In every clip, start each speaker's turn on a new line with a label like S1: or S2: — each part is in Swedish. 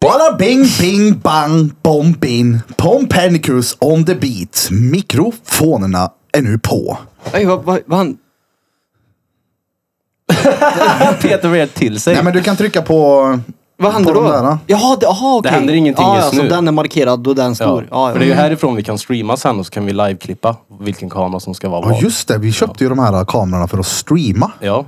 S1: Bada bing bing bang bom bin. Pompernicus on the beat. Mikrofonerna är nu på.
S2: Oj, vad, vad, vad han... Peter vred till sig.
S1: Nej men du kan trycka på...
S2: vad händer
S1: på
S2: då?
S1: de där, då?
S2: Jaha, det, aha,
S3: Det
S2: okej.
S3: händer ingenting
S2: ja,
S3: just
S2: alltså,
S3: nu.
S2: Den är markerad och den
S3: Ja,
S2: står. Ja, ja.
S3: För det är ju härifrån vi kan streama sen och så kan vi liveklippa vilken kamera som ska vara
S1: Ja
S3: var.
S1: just det, vi köpte ju de här kamerorna för att streama.
S3: Ja,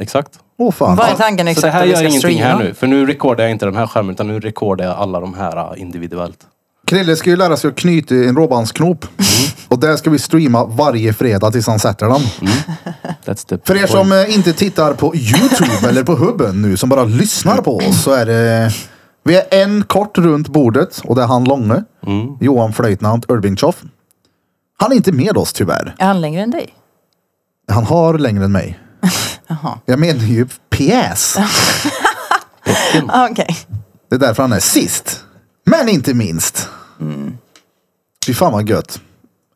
S3: exakt.
S1: Åh fan.
S4: Vad är tanken
S3: Så det
S4: exakt
S3: här
S4: att vi
S3: gör
S4: ska
S3: ingenting
S4: streama?
S3: här nu. För nu rekordar jag inte den här skärmen utan nu rekordar jag alla de här äh, individuellt.
S1: Krille ska ju lära sig att knyta i en råbandsknop. Och där ska vi streama varje fredag tills han sätter den.
S3: That's the
S1: För er som eh, inte tittar på YouTube eller på hubben nu, som bara lyssnar på oss, så är det... Vi är en kort runt bordet och det är han långe.
S2: Mm.
S1: Johan Flöjtnant Ölbingtjoff. Han är inte med oss tyvärr.
S4: Är han längre än dig?
S1: Han har längre än mig. Jag menar ju pjäs. Mm.
S4: Ah, Okej.
S1: Det är därför han är sist. Men inte minst.
S2: Mm.
S1: Fy fan vad gött.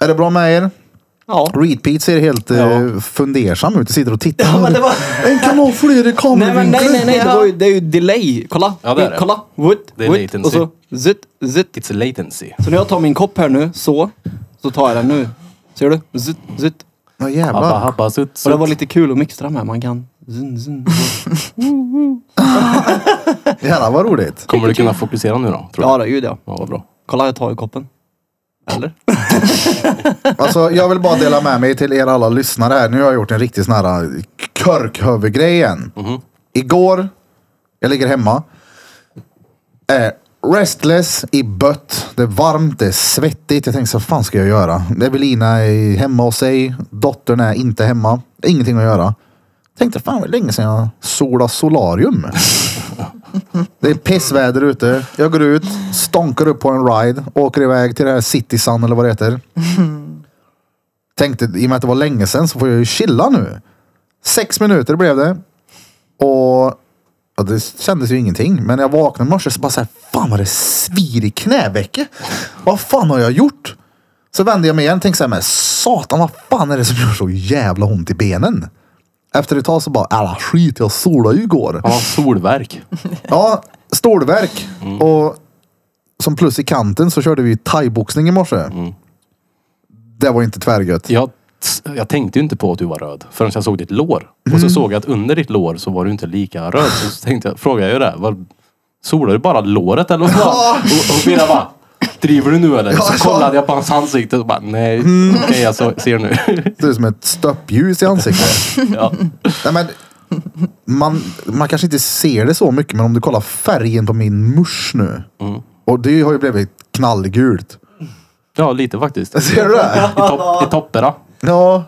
S1: Är det bra med er?
S2: Ja.
S1: Reed Pete ser helt eh, fundersam ut. Sitter och tittar.
S2: Ja, men det var-
S1: En kan ha flera
S2: Nej, men nej, nej,
S1: kameravinklar.
S2: nej. Det, var ju, det är ju delay. Kolla.
S3: Ja, det är det.
S2: Kolla. Woot,
S3: Det är
S2: woot,
S3: latency.
S2: Och så zut, zut.
S3: It's a latency.
S2: Så när jag tar min kopp här nu, så, så tar jag den nu. Ser du? Zut, zut.
S1: Ja
S3: Abba,
S1: jävlar.
S3: habba, sutt,
S2: Och det
S3: sutt.
S2: var lite kul att mixtra med. Man kan... Zun, zun.
S1: Jävlar vad roligt.
S3: Kommer du kunna fokusera nu då? Tror
S2: Ja,
S3: du?
S2: det är ju det.
S3: Ja, vad bra.
S2: Kolla, jag tar ju koppen. Eller?
S1: Alltså, jag vill bara dela med mig till er alla lyssnare här. Nu har jag gjort en riktig sån här körkhövegrej igen. Igår, jag ligger hemma. Är restless i bött. Det är varmt, det är svettigt. Jag tänkte så vad fan ska jag göra? Evelina är hemma hos sig. Dottern är inte hemma. Ingenting att göra. Tänkte fan vad länge sedan jag sola solarium. Det är pissväder ute. Jag går ut, stonkar upp på en ride, åker iväg till det här City Sun eller vad det heter. Tänkte, i och med att det var länge sedan så får jag ju chilla nu. Sex minuter blev det. Och ja, det kändes ju ingenting. Men när jag vaknade i morse så bara såhär, fan vad det svir i knävecket. Vad fan har jag gjort? Så vände jag mig igen och tänkte såhär, men satan vad fan är det som gör så jävla ont i benen? Efter ett tag så bara, alla skit jag solade ju igår.
S3: Han har solverk.
S1: Ja, stålverk. Och som plus i kanten så körde vi thaiboxning i morse. Det var inte tvärgött.
S3: Jag, jag tänkte ju inte på att du var röd förrän jag såg ditt lår. Och
S1: Mm.
S3: så såg jag att under ditt lår så var du inte lika röd. Så, så tänkte jag, frågade jag ju det. Var, solar du bara låret eller vad?
S1: Ja.
S3: Och, och Birra bara, driver du nu eller?
S1: Ja, ja. Mm.
S3: så kollade jag på hans ansikte och bara, nej, okej jag så, ser nu.
S1: Det är som ett stöppljus i ansiktet.
S3: ja.
S1: Nej, men man, man kanske inte ser det så mycket, men om du kollar färgen på min musch nu. Och det har ju blivit knallgult.
S3: ja, lite faktiskt. I,
S1: Ser du det?
S3: topp, i topperna.
S1: Ja.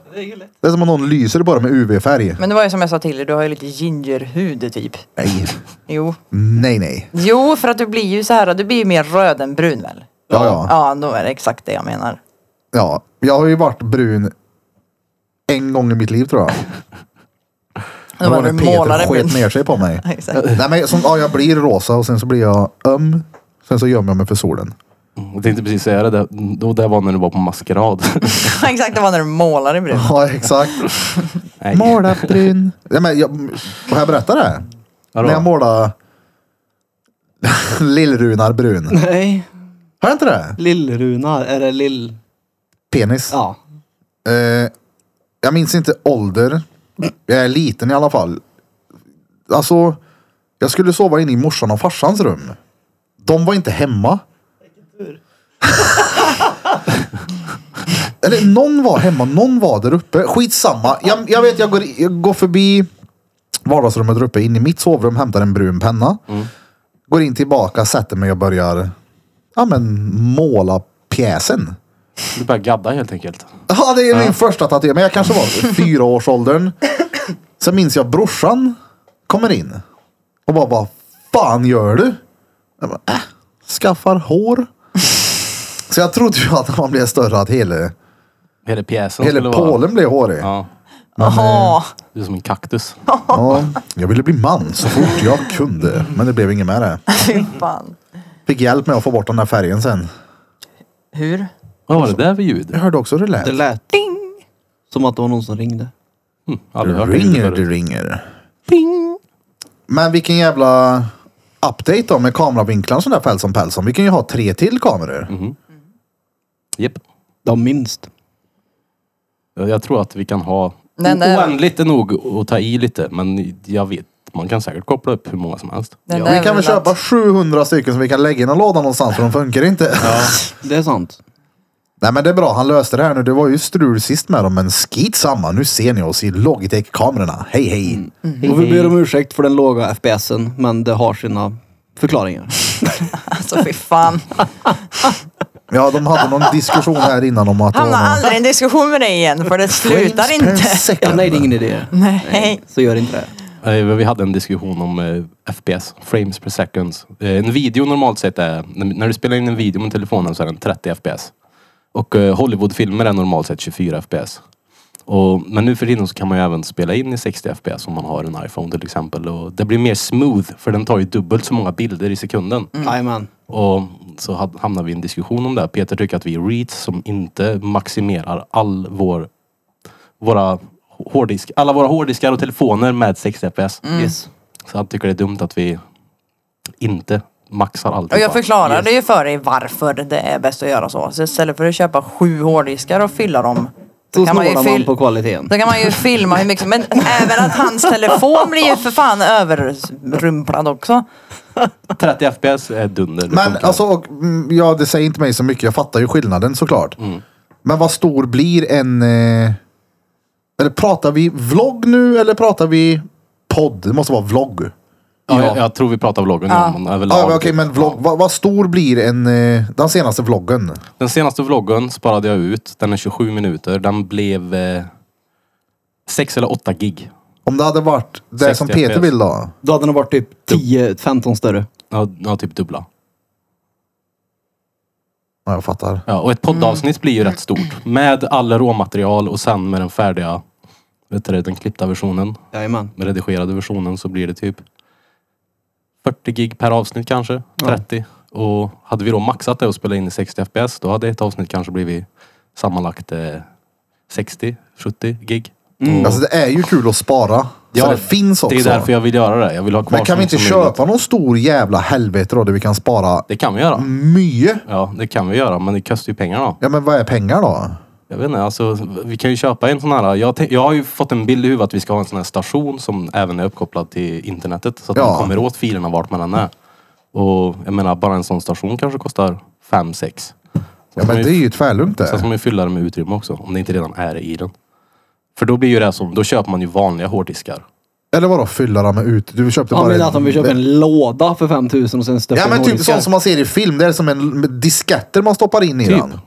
S1: Det är som om någon lyser bara med UV-färg.
S4: Men det var ju som jag sa till dig, du har ju lite gingerhud typ.
S1: Nej,
S4: Jo.
S1: nej, nej.
S4: Jo, för att du blir ju så här, du blir ju mer röd än brun väl?
S1: Ja, ja.
S4: Ja, då är det exakt det jag menar.
S1: ja. Jag har ju varit brun en gång i mitt liv tror jag.
S4: Då var
S1: när
S4: du
S1: Peter
S4: målare
S1: sket
S4: brun.
S1: ner sig på mig.
S4: Exakt.
S1: Nej men som, ja, jag blir rosa och sen så blir jag öm. Sen så gömmer jag mig för solen.
S3: Mm, Jag tänkte precis säga det. Det, då- det var när du var på maskerad.
S4: exakt, det var när du målade brun.
S1: Ja exakt.
S3: nej.
S1: Måla brun. Ja, men jag, får jag berätta det? här?
S3: Ja,
S1: När jag
S3: då.
S1: målade Lill-Runar brun.
S2: Nej.
S1: Har jag inte det?
S2: Lill-Runar. Är det lill...
S1: Penis.
S2: Ja.
S1: Eh, jag minns inte ålder. Jag är liten i alla fall. Alltså, jag skulle sova inne i morsan och farsans rum. De var inte hemma. Eller någon var hemma, någon var där uppe. Skitsamma. Jag, jag vet, jag går, jag går förbi vardagsrummet där uppe, in i mitt sovrum, hämtar en brun penna. Går in tillbaka, sätter mig och börjar ja, men, måla pjäsen.
S3: Du började gadda helt enkelt.
S1: Ja, det är min första tatuering. Men jag kanske var fyra års åldern. Sen minns jag brorsan kommer in och bara, vad fan gör du? Jag bara, äh, skaffar hår. Så jag trodde ju att han blev större, att hela,
S3: Hela pjäsen
S1: hela pålen blev hårig.
S3: Ja.
S4: Jaha.
S3: Du är som en kaktus.
S1: Ja, jag ville bli man så fort jag kunde, men det blev inget med det.
S4: Fy fan.
S1: Fick hjälp med att få bort den där färgen sen.
S4: Hur?
S3: Vad var det där för ljud?
S1: Jag hörde också hur det lät.
S2: Det lät som att det var någon som ringde.
S3: Mm, aldrig hört det
S1: ringer,
S3: förut.
S1: det ringer. Men vilken jävla update då med kameravinklarna sådär päls om päls om. Vi kan ju ha tre till kameror.
S4: Mhm.
S3: Japp.
S2: De minst.
S3: Jag jag tror att vi kan ha
S4: Den där-
S3: oändligt är nog att ta i lite. Men jag vet, man kan säkert koppla upp hur många som helst.
S4: Den där
S1: Vi kan väl
S4: att-
S1: köpa 700 stycken som vi kan lägga i någon låda någonstans för de funkar inte.
S2: Det är sant.
S1: Nej men det är bra, han löste det här nu. Det var ju strul sist med dem men skit samma. Nu ser ni oss i Logitech-kamerorna. Hej hej!
S4: Mm.
S2: Och vi ber om ursäkt för den låga FPSen, men det har sina förklaringar.
S4: Alltså fy fan.
S1: Ja, de hade någon diskussion här innan om att... det var
S4: Hamnar
S1: någon-
S4: aldrig i en diskussion med dig igen för det slutar
S1: Frames per
S4: inte.
S1: second.
S2: Ja, nej, det är ingen idé.
S4: Nej.
S2: Så gör inte det.
S3: Eh, Vi hade en diskussion om eh, FPS, frames per seconds. Eh, En video normalt sett är, när- när du spelar in en video med telefonen så är den 30 FPS. Och eh, Hollywoodfilmer är normalt sett 24 FPS. Och, men nu för tiden så kan man ju även spela in i 60 FPS om man har en iPhone till exempel. Och det blir mer smooth för den tar ju dubbelt så många bilder i sekunden.
S4: Mm.
S2: Jajamän.
S3: Och så ha- hamnade vi i en diskussion om det. här. Peter tycker att vi är reeds som inte maximerar all vår, våra hårddisk, alla våra hårddiskar och telefoner med 60 fps.
S4: Mm.
S1: Mm.
S2: Yes.
S3: Så han tycker det är dumt att vi inte maxar allt.
S4: Och jag förklarade ju för dig varför det är bäst att göra så. Så istället för att köpa sju hårddiskar och fylla dem.
S2: Så
S4: kan man ju
S2: snålar man,
S4: fyll-
S2: på kvaliteten.
S4: Då kan man ju filma hur mycket som Men även att hans telefon blir ju för fan överrumplad också.
S3: 30 fps är dunder. Det
S1: Men
S3: funkar.
S1: alltså, och, mm, ja det säger inte mig så mycket. Jag fattar ju skillnaden såklart.
S3: Mm.
S1: Men vad stor blir en... Eh, eller pratar vi vlogg nu eller pratar vi podd? Det måste vara vlogg.
S3: ja, jag, jag tror vi pratar vloggen
S4: Ja.
S3: nu. Men överlag.
S1: Ja, Okej, men vlogg. Vad, vad stor blir en... Eh, den senaste vloggen?
S3: Den senaste vloggen sparade jag ut. Den är 27 minuter. Den blev eh, 6 eller 8 gig.
S1: Om det hade varit det
S3: 60
S1: som Peter
S3: FPS.
S1: vill då?
S2: Då hade den varit typ 10-15 större.
S3: Ja, ja, typ dubbla.
S1: Ja, jag fattar.
S3: Ja, och ett poddavsnitt blir
S1: Mm.
S3: ju rätt stort. Med all råmaterial och sen med den färdiga, vet du det, den klippta versionen,
S2: Jajamän.
S3: den redigerade versionen så blir det typ 40 gig per avsnitt kanske, 30. Och hade vi då maxat det och spelat in i 60 fps, då hade ett avsnitt kanske blivit sammanlagt eh, 60-70 gig. Och
S1: Alltså det är ju kul att spara. så det finns också.
S3: Det är därför jag vill göra det. Jag vill ha kvar
S1: men kan vi
S3: sånt
S1: inte
S3: som är
S1: köpa någon stor jävla helvete då där vi kan spara
S3: Det kan vi göra.
S1: Mm. mycket?
S3: Ja, det kan vi göra, men det kostar ju pengar då.
S1: Ja men vad är pengar då?
S3: Jag vet inte, alltså, vi kan ju köpa en sån här. Jag, tän- jag har ju fått en bild i huvudet att vi ska ha en sån här station som även är uppkopplad till internetet. Så att
S1: Ja.
S3: man kommer åt filerna vart man än är. Och jag menar, bara en sån station kanske kostar 5-6.
S1: Ja men det är ju tvärlugnt
S3: Sen ska
S1: det.
S3: man ju fylla det med utrymme också, om det inte redan är i den. För då blir ju det som, då köper man ju vanliga hårddiskar.
S1: Eller vadå fylla dem med ut? Du köpte
S2: Ja,
S1: bara
S2: men att om vi köper en låda för 5000 och sen stöper
S1: Ja men typ
S2: hårddiskar.
S1: sånt som man ser i film. Det är som en med disketter man stoppar in i
S3: Typ.
S1: den.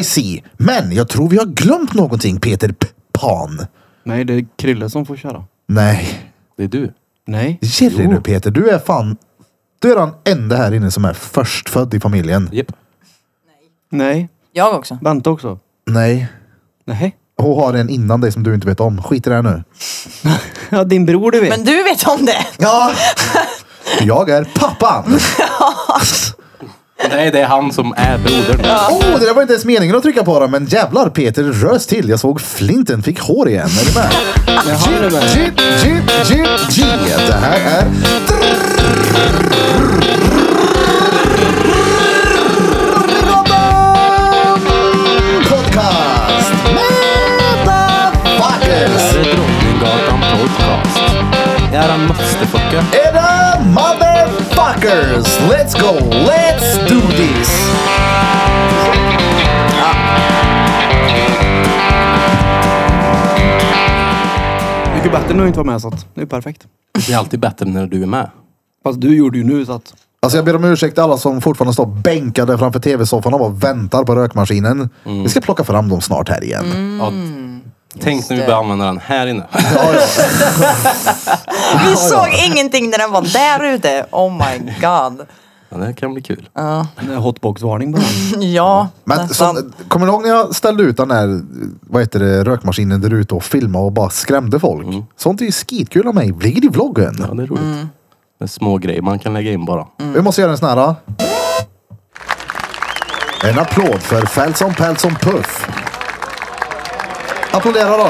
S1: I see. Men jag tror vi har glömt någonting Peter P- Pan.
S2: Nej, det är Krille som får köra.
S1: Nej.
S3: Det är du.
S2: Nej.
S1: Ge dig nu Peter. Du är fan. Du är den enda här inne som är förstfödd i familjen.
S3: Japp.
S2: Nej.
S4: Jag också.
S2: Vänta också.
S1: Nej.
S2: Nej.
S1: Hon har en innan dig som du inte vet om. Skit i det här nu.
S2: Ja, din bror du vet.
S4: Men du vet om det.
S1: Ja. Jag är pappan.
S3: Nej, det är han som är brodern.
S1: Oh, det där var inte ens meningen att trycka på den, men jävlar Peter rös till. Jag såg flinten fick hår igen. Är du med?
S2: han är med.
S1: Jit, jit, jit, jit. Det här är... Drottninggatan Podcast
S3: Det
S1: Motherfuckers!
S3: här är Drottninggatan Podcast. Det här är en masterfucker.
S1: Era motherfuckers! Let's go! Let's do this!
S2: Mycket bättre när du inte var med så att det är perfekt.
S3: Det är alltid bättre när du är med.
S2: Fast du gjorde ju nu så att...
S1: Alltså jag ber om ursäkt till alla som fortfarande står bänkade framför tv-soffan och bara väntar på rökmaskinen. Vi ska plocka fram dem snart här igen.
S3: Ja, tänk när vi
S4: det.
S3: börjar använda den här inne.
S1: Ja, ja.
S4: Vi såg ingenting när den var där ute. Oh my god.
S3: Ja, det kan bli kul.
S2: Det är hotbox-varning på den.
S4: Ja,
S1: Men
S4: nästan.
S1: som, kommer du ihåg när jag ställde ut den där vad heter det, rökmaskinen där ute och filmade och bara skrämde folk? Sånt är ju skitkul av mig. Blir det i vloggen?
S3: Ja, det är roligt. Det är små grejer man kan lägga in bara.
S1: Vi måste göra en sån här. En applåd för Felson Pelson Puff. Applådera då.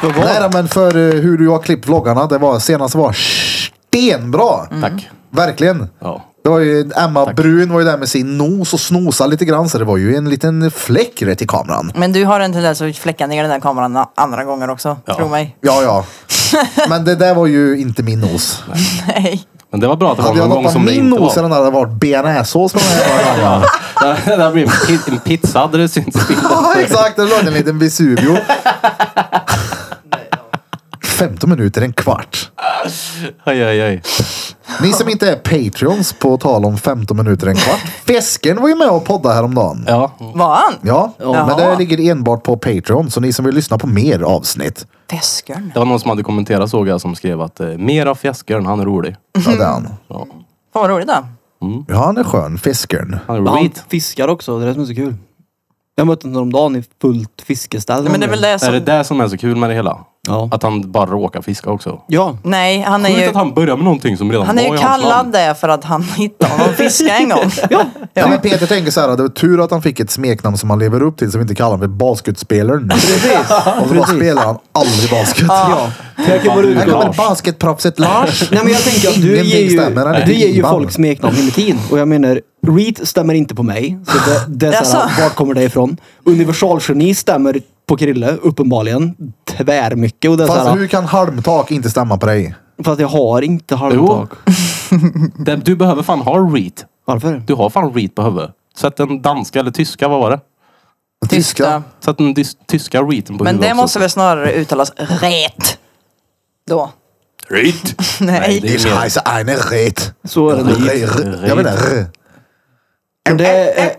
S2: För vad?
S1: Nej då, men för eh, hur du har klippt vloggarna. Det var, senast var stenbra.
S3: Tack.
S1: Verkligen.
S3: Ja.
S1: Det var ju Emma Brun var ju där med sin nos och snosade lite grann så det var ju en liten fläck rätt i kameran.
S4: Men du har en tendens att fläcka ner den där kameran a- andra gånger också.
S3: Ja.
S4: Tro mig.
S1: Ja, ja. Men det där var ju inte min nos.
S4: Nej.
S3: Men det var bra att det var
S1: Hade jag
S3: någon gång
S1: loppat
S3: som det
S1: min
S3: inte
S1: nos i
S3: var.
S1: den där hade det varit bearnaisesås på den här jävla kameran.
S3: Det hade blivit en pi- en pizza hade det synts i bilden.
S1: Ja, exakt. Det låg en liten Vesuvio. 15 minuter, en kvart.
S3: Aj, aj, aj.
S1: Ni som inte är Patreons, på tal om 15 minuter, en kvart. Fesken var ju med och poddade häromdagen.
S3: Ja.
S4: Var han?
S1: Ja,
S4: Jaha.
S1: men det ligger enbart på Patreon. Så ni som vill lyssna på mer avsnitt.
S4: Fäskön.
S3: Det var någon som hade kommenterat såg jag som skrev att eh, mer av fjäskaren, han är rolig.
S1: Ja,
S2: Mhm.
S1: det är han.
S3: Ja.
S4: Fan vad roligt då.
S1: Ja, han är skön. Fiskern.
S3: Han är
S2: Men han
S3: rolig.
S2: fiskar också, det är det som är så kul. Jag mötte honom häromdagen i fullt fiskeställ.
S4: Men det är väl det
S3: Är det
S4: som...
S3: det som är så kul med det hela?
S2: Ja.
S3: Att han bara råkar fiska också.
S2: Ja.
S4: Nej, han är
S3: Sjukt
S4: ju...
S3: att han börjar med någonting som redan
S4: Han är
S3: var
S4: ju
S3: i hans
S4: kallad
S3: namn.
S4: det för att han hittade honom fiska en gång.
S1: Ja, men Peter tänker så här, det var tur att han fick ett smeknamn som han lever upp till som inte kallar honom för basketspelaren.
S2: Precis.
S1: Och så bara spelar han aldrig basket.
S2: Ja. Jag kan bara
S3: Här
S1: Här
S2: utgå.
S1: kommer basketproffset Lars.
S2: Nej men jag tänker att du
S1: Ingenting
S2: ger ju,
S1: stämmer, han är
S2: du ger ju
S1: inband.
S2: folk smeknamn hela tiden. Och jag menar, Reet stämmer inte på mig. Så det, det är såhär,
S4: Jaså?
S2: vart kommer det ifrån? Universalgeni stämmer på Krille, uppenbarligen. Tvärmycket. Och det är
S1: Fast
S2: såhär,
S1: hur kan halmtak inte stämma på dig?
S2: fast jag har inte halmtak.
S3: Det- Du behöver fan ha reet.
S2: Varför?
S3: Du har fan reet på huvudet. Sätt en danska eller tyska, vad var det?
S1: Tyska.
S3: Sätt den dys- tyska reeten på
S4: Men
S3: huvudet
S4: det måste väl snarare uttalas rätt. Då.
S3: Reet!
S4: Nej.
S3: det
S1: Ich
S3: är mer...
S1: heiße eine Red.
S2: Så är det nog.
S1: Jag menar R.
S2: Men det är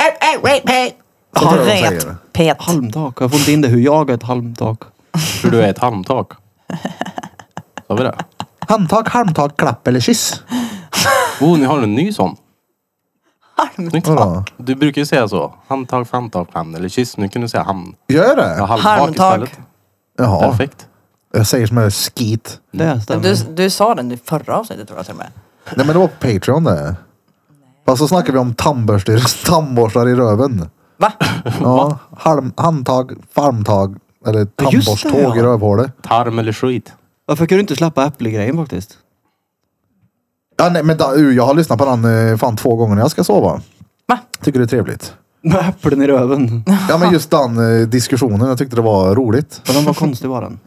S1: Så tror jag de
S4: Eh, Rätt.
S1: säger.
S4: Pet.
S2: halmtak. Jag får inte in det hur jag är ett halmtak.
S3: Tror du är ett halmtak? Sa vi det?
S1: Handtag, halmtag, klapp eller kyss.
S3: Oh, ni har en ny sån. Snyggt.
S1: Vadå?
S3: Du brukar ju säga så. Handtag, handtag, hand eller kyss. Nu kan du säga hand.
S1: Gör
S3: Ja,
S1: det?
S3: halmtak
S4: Halmtag.
S3: istället.
S1: Jaha.
S3: Perfekt.
S1: Jag säger som en skit.
S2: Det
S4: Mm. Du,
S2: stämmer.
S4: du sa den i förra avsnittet tror jag till och med.
S1: Nej men det var på Patreon det. Fast så snackar vi om tandborstar, tandborstar i röven.
S4: Va?
S1: Ja, halm, handtag, farmtag eller
S2: Ja, just det,
S1: tandborsttåg
S2: ja.
S1: i rövhålet.
S3: Tarm eller skit.
S2: Varför kan du inte släppa äppelgrejen faktiskt?
S1: Ja, nej, men da, uh, jag har lyssnat på den eh, fan två gånger när jag ska sova.
S4: Va?
S1: Tycker det är trevligt.
S2: Med äpplen i röven.
S1: Ja men just den eh, diskussionen, jag tyckte det var roligt.
S2: Men den var konstig var den.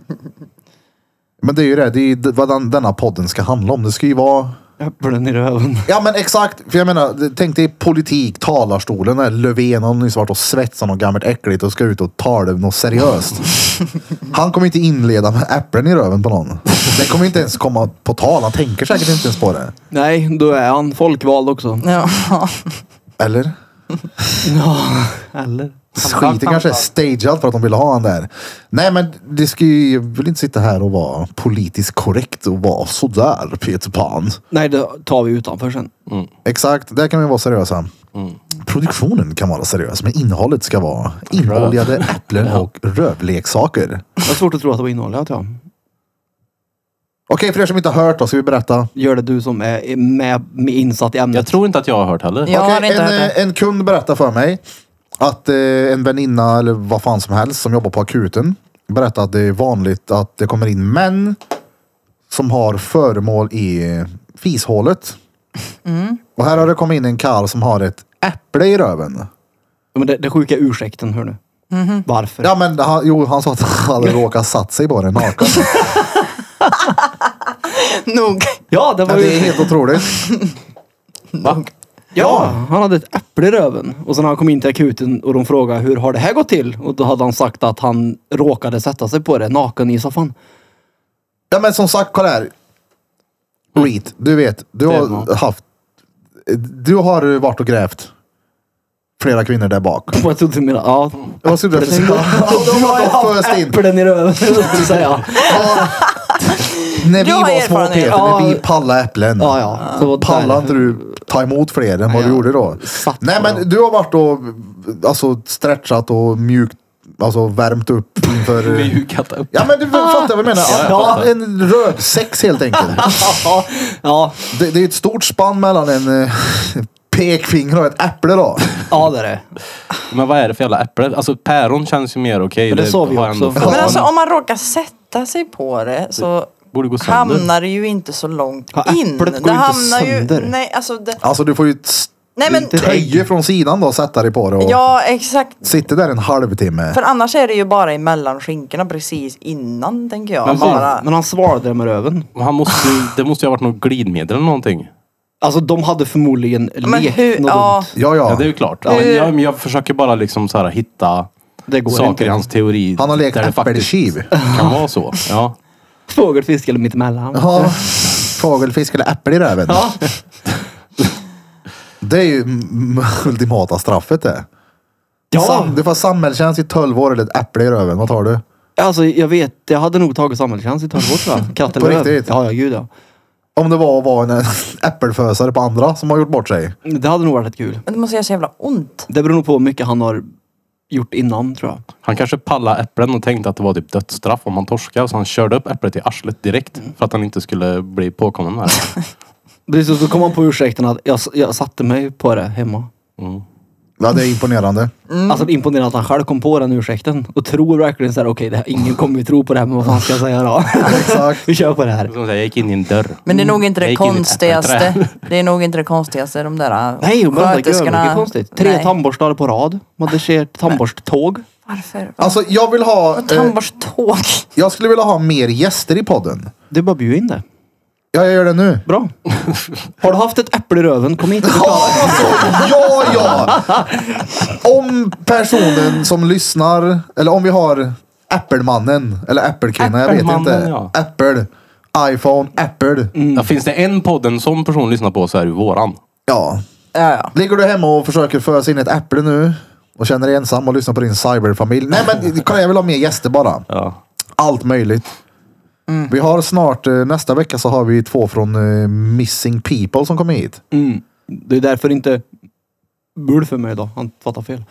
S1: Men det är ju det, det är ju d- vad den, denna podden ska handla om. Det ska ju vara...
S2: Äpplen i röven.
S1: Ja men exakt, för jag menar, d- tänk dig politik, talarstolen, där Löfven har nyss varit och svetsat något gammalt äckligt och ska ut och tala om något seriöst. Han kommer inte inleda med äpplen i röven på någon. Det kommer inte ens komma på tal, han tänker säkert inte ens på det.
S2: Nej, då är han folkvald också.
S4: Ja.
S1: Eller?
S2: Ja, eller?
S1: Skiten kanske är stagead för att de ville ha han där. Nej men det ska ju, jag vill inte sitta här och vara politiskt korrekt och vara sådär Peter Pan.
S2: Nej, det tar vi utanför sen.
S1: Exakt, där kan vi vara seriösa. Produktionen kan vara seriös men innehållet ska vara inoljade äpplen och rövleksaker.
S2: Jag har svårt att tro att det var innehållet, ja.
S1: Okej, för er som inte har hört då ska vi berätta.
S2: Gör det du som är med, med insatt i
S3: Jag
S2: ämnet.
S3: tror inte att jag har hört heller.
S4: Jag har
S1: Okej,
S4: inte
S1: en,
S4: hört
S1: eh,
S4: det.
S1: en kund berättade för mig att eh, en väninna eller vad fan som helst som jobbar på akuten berättade att det är vanligt att det kommer in män som har föremål i eh, fishålet.
S4: Mm.
S1: Och här har det kommit in en karl som har ett äpple i röven.
S2: Men det, det sjuka är ursäkten, hör nu. Varför?
S1: Ja men han, jo, han sa att han hade råkat satt sig på den naken.
S4: Nog.
S2: Ja, det
S1: Ja,
S2: var
S1: det är
S2: ju...
S1: helt otroligt.
S3: Va?
S2: Ja, han hade ett äpple i röven. Och sen när han kom in till akuten och de frågade hur har det här gått till? Och då hade han sagt att han råkade sätta sig på det naken i soffan.
S1: Ja men som sagt, kolla här. Reet, du vet, du
S3: Det är
S1: har
S3: bra.
S1: haft... Du har varit och grävt flera kvinnor där bak.
S2: Och jag trodde du menade... Ja.
S1: Vad skulle du säga? De har föst in.
S2: Äpplen i röven, skulle du säga.
S1: Ja. När vi
S4: Jag har
S1: var små
S4: erfarenhet.
S1: Peter,
S2: Ja.
S1: när vi pallade äpplen.
S2: Ja, ja. Så var det
S1: Pallade
S2: där.
S1: inte du ta emot fler än vad du
S2: Ja.
S1: gjorde då?
S2: Satt
S1: Nej
S2: på dem.
S1: men du har varit och alltså, stretchat och mjukt, alltså värmt upp inför...
S3: Mjukat upp.
S1: Ja men du fattar vad jag menar.
S3: Ja, jag
S1: Ah. Ja,
S3: fattar.
S1: en rövsex helt enkelt.
S2: Ja, ja,
S1: Det, det är ett stort spann mellan en eh, pekfinger och ett äpple då.
S2: ja det är det.
S3: Men vad är det för jävla äpple? Alltså päron känns ju mer okej.
S2: Men det sa vi
S3: har jag
S2: också.
S3: ändå
S2: Men
S3: fått.
S4: Men alltså om man råkar sätta sig på det så
S3: Borde gå sönder.
S4: hamnar det ju inte så långt
S2: Ja,
S4: in.
S2: äpplet går
S4: det
S2: ju inte
S4: hamnar
S2: sönder.
S4: ju... Nej, alltså det,
S1: Alltså du får ju s-
S4: nej men...
S2: inte-
S1: töje från sidan då och sätta dig på det och
S4: Ja, exakt.
S1: sitta där en halvtimme.
S4: För annars är det ju bara emellan skinkorna precis innan, tänker jag.
S3: Men vad-
S4: bara.
S2: Men han svarade det med röven.
S3: Han måste, ju- det måste ju ha varit något glidmedel eller någonting.
S2: Alltså de hade förmodligen
S4: Men
S2: lekt
S4: hur...
S2: något
S4: Ja,
S2: dumt.
S1: Ja,
S3: Ja.
S1: ja.
S3: det är ju klart. Ja, men jag, men jag försöker bara liksom så här hitta
S2: Det går
S3: saker
S2: inte.
S3: i hans teori.
S1: Han har lekt
S3: där det faktiskt
S1: äppelkiv.
S3: kan vara så. Ja.
S2: Fågel, fisk eller mittemellan.
S1: Ja, fågelfisk eller äpple i röven.
S2: Ja.
S1: Det är ju m- ultimata straffet det.
S2: ja.
S1: Sam, du får samhällstjänst i 12 år eller ett äpple i röven. Vad tar du?
S2: Alltså jag vet, jag hade nog tagit samhällstjänst i tolv år tror jag. Katt eller
S1: På
S2: löv.
S1: riktigt?
S2: Ja, ja, gud ja.
S1: Om det var att vara en äppelfösare på andra som har gjort bort sig.
S2: Det hade nog varit rätt kul.
S4: men det måste göra så jävla ont.
S2: Det beror nog på hur mycket han har gjort innan tror jag.
S3: Han kanske pallade äpplen och tänkte att det var typ dödsstraff om han torskade. Så han körde upp äpplet i arslet direkt. För att han inte skulle bli påkommen med det.
S2: Precis, så kom han på ursäkten att jag, jag satte mig på det hemma.
S1: Ja, det är imponerande.
S2: Alltså det är imponerande att han själv kom på den ursäkten. Och tror verkligen såhär, okej det här- ingen kommer ju tro på det här men vad fan ska jag säga då?
S1: Exakt.
S2: Vi kör på det här.
S3: Som säger, jag gick in i en dörr.
S4: Men
S2: Mm.
S4: det är nog inte
S3: Jag
S4: det
S3: gick in i ett äppelträd.
S4: konstigaste. Det är nog inte det konstigaste de där äh,
S2: Nej, men det är
S4: sköterskorna-
S2: inte konstigt. Tre
S4: Nej.
S2: tandborstar på rad. Man hade kört tandborsttåg.
S4: Varför?
S1: Alltså jag vill ha...
S4: Och
S1: Eh,
S4: tandborsttåg.
S1: jag skulle vilja ha mer gäster i podden.
S2: Det är bara att bjuda in det.
S1: Ja, jag gör det nu.
S2: Bra. Har du haft ett äpple i röven, kom hit och
S1: Ja,
S2: förklara.
S1: alltså, ja, ja! Om personen som lyssnar, eller om vi har Äppelmannen, eller Äppelkvinna, jag vet inte.
S3: Äppelmannen, ja.
S1: Äppel, iPhone, Äppel.
S3: Mm. Ja, finns det en podd en sån person lyssnar på så är det ju våran.
S1: Ja.
S4: Ja, ja.
S1: Ligger du hemma och försöker fösa in ett äpple nu och känner dig ensam och lyssnar på din cyberfamilj. Nej men kolla, jag vill ha mer gäster bara.
S3: Ja.
S1: Allt möjligt. Vi har snart, eh, nästa vecka så har vi två från eh, Missing People som kommer hit.
S2: Det är därför inte bull för mig idag. Han fattar fel.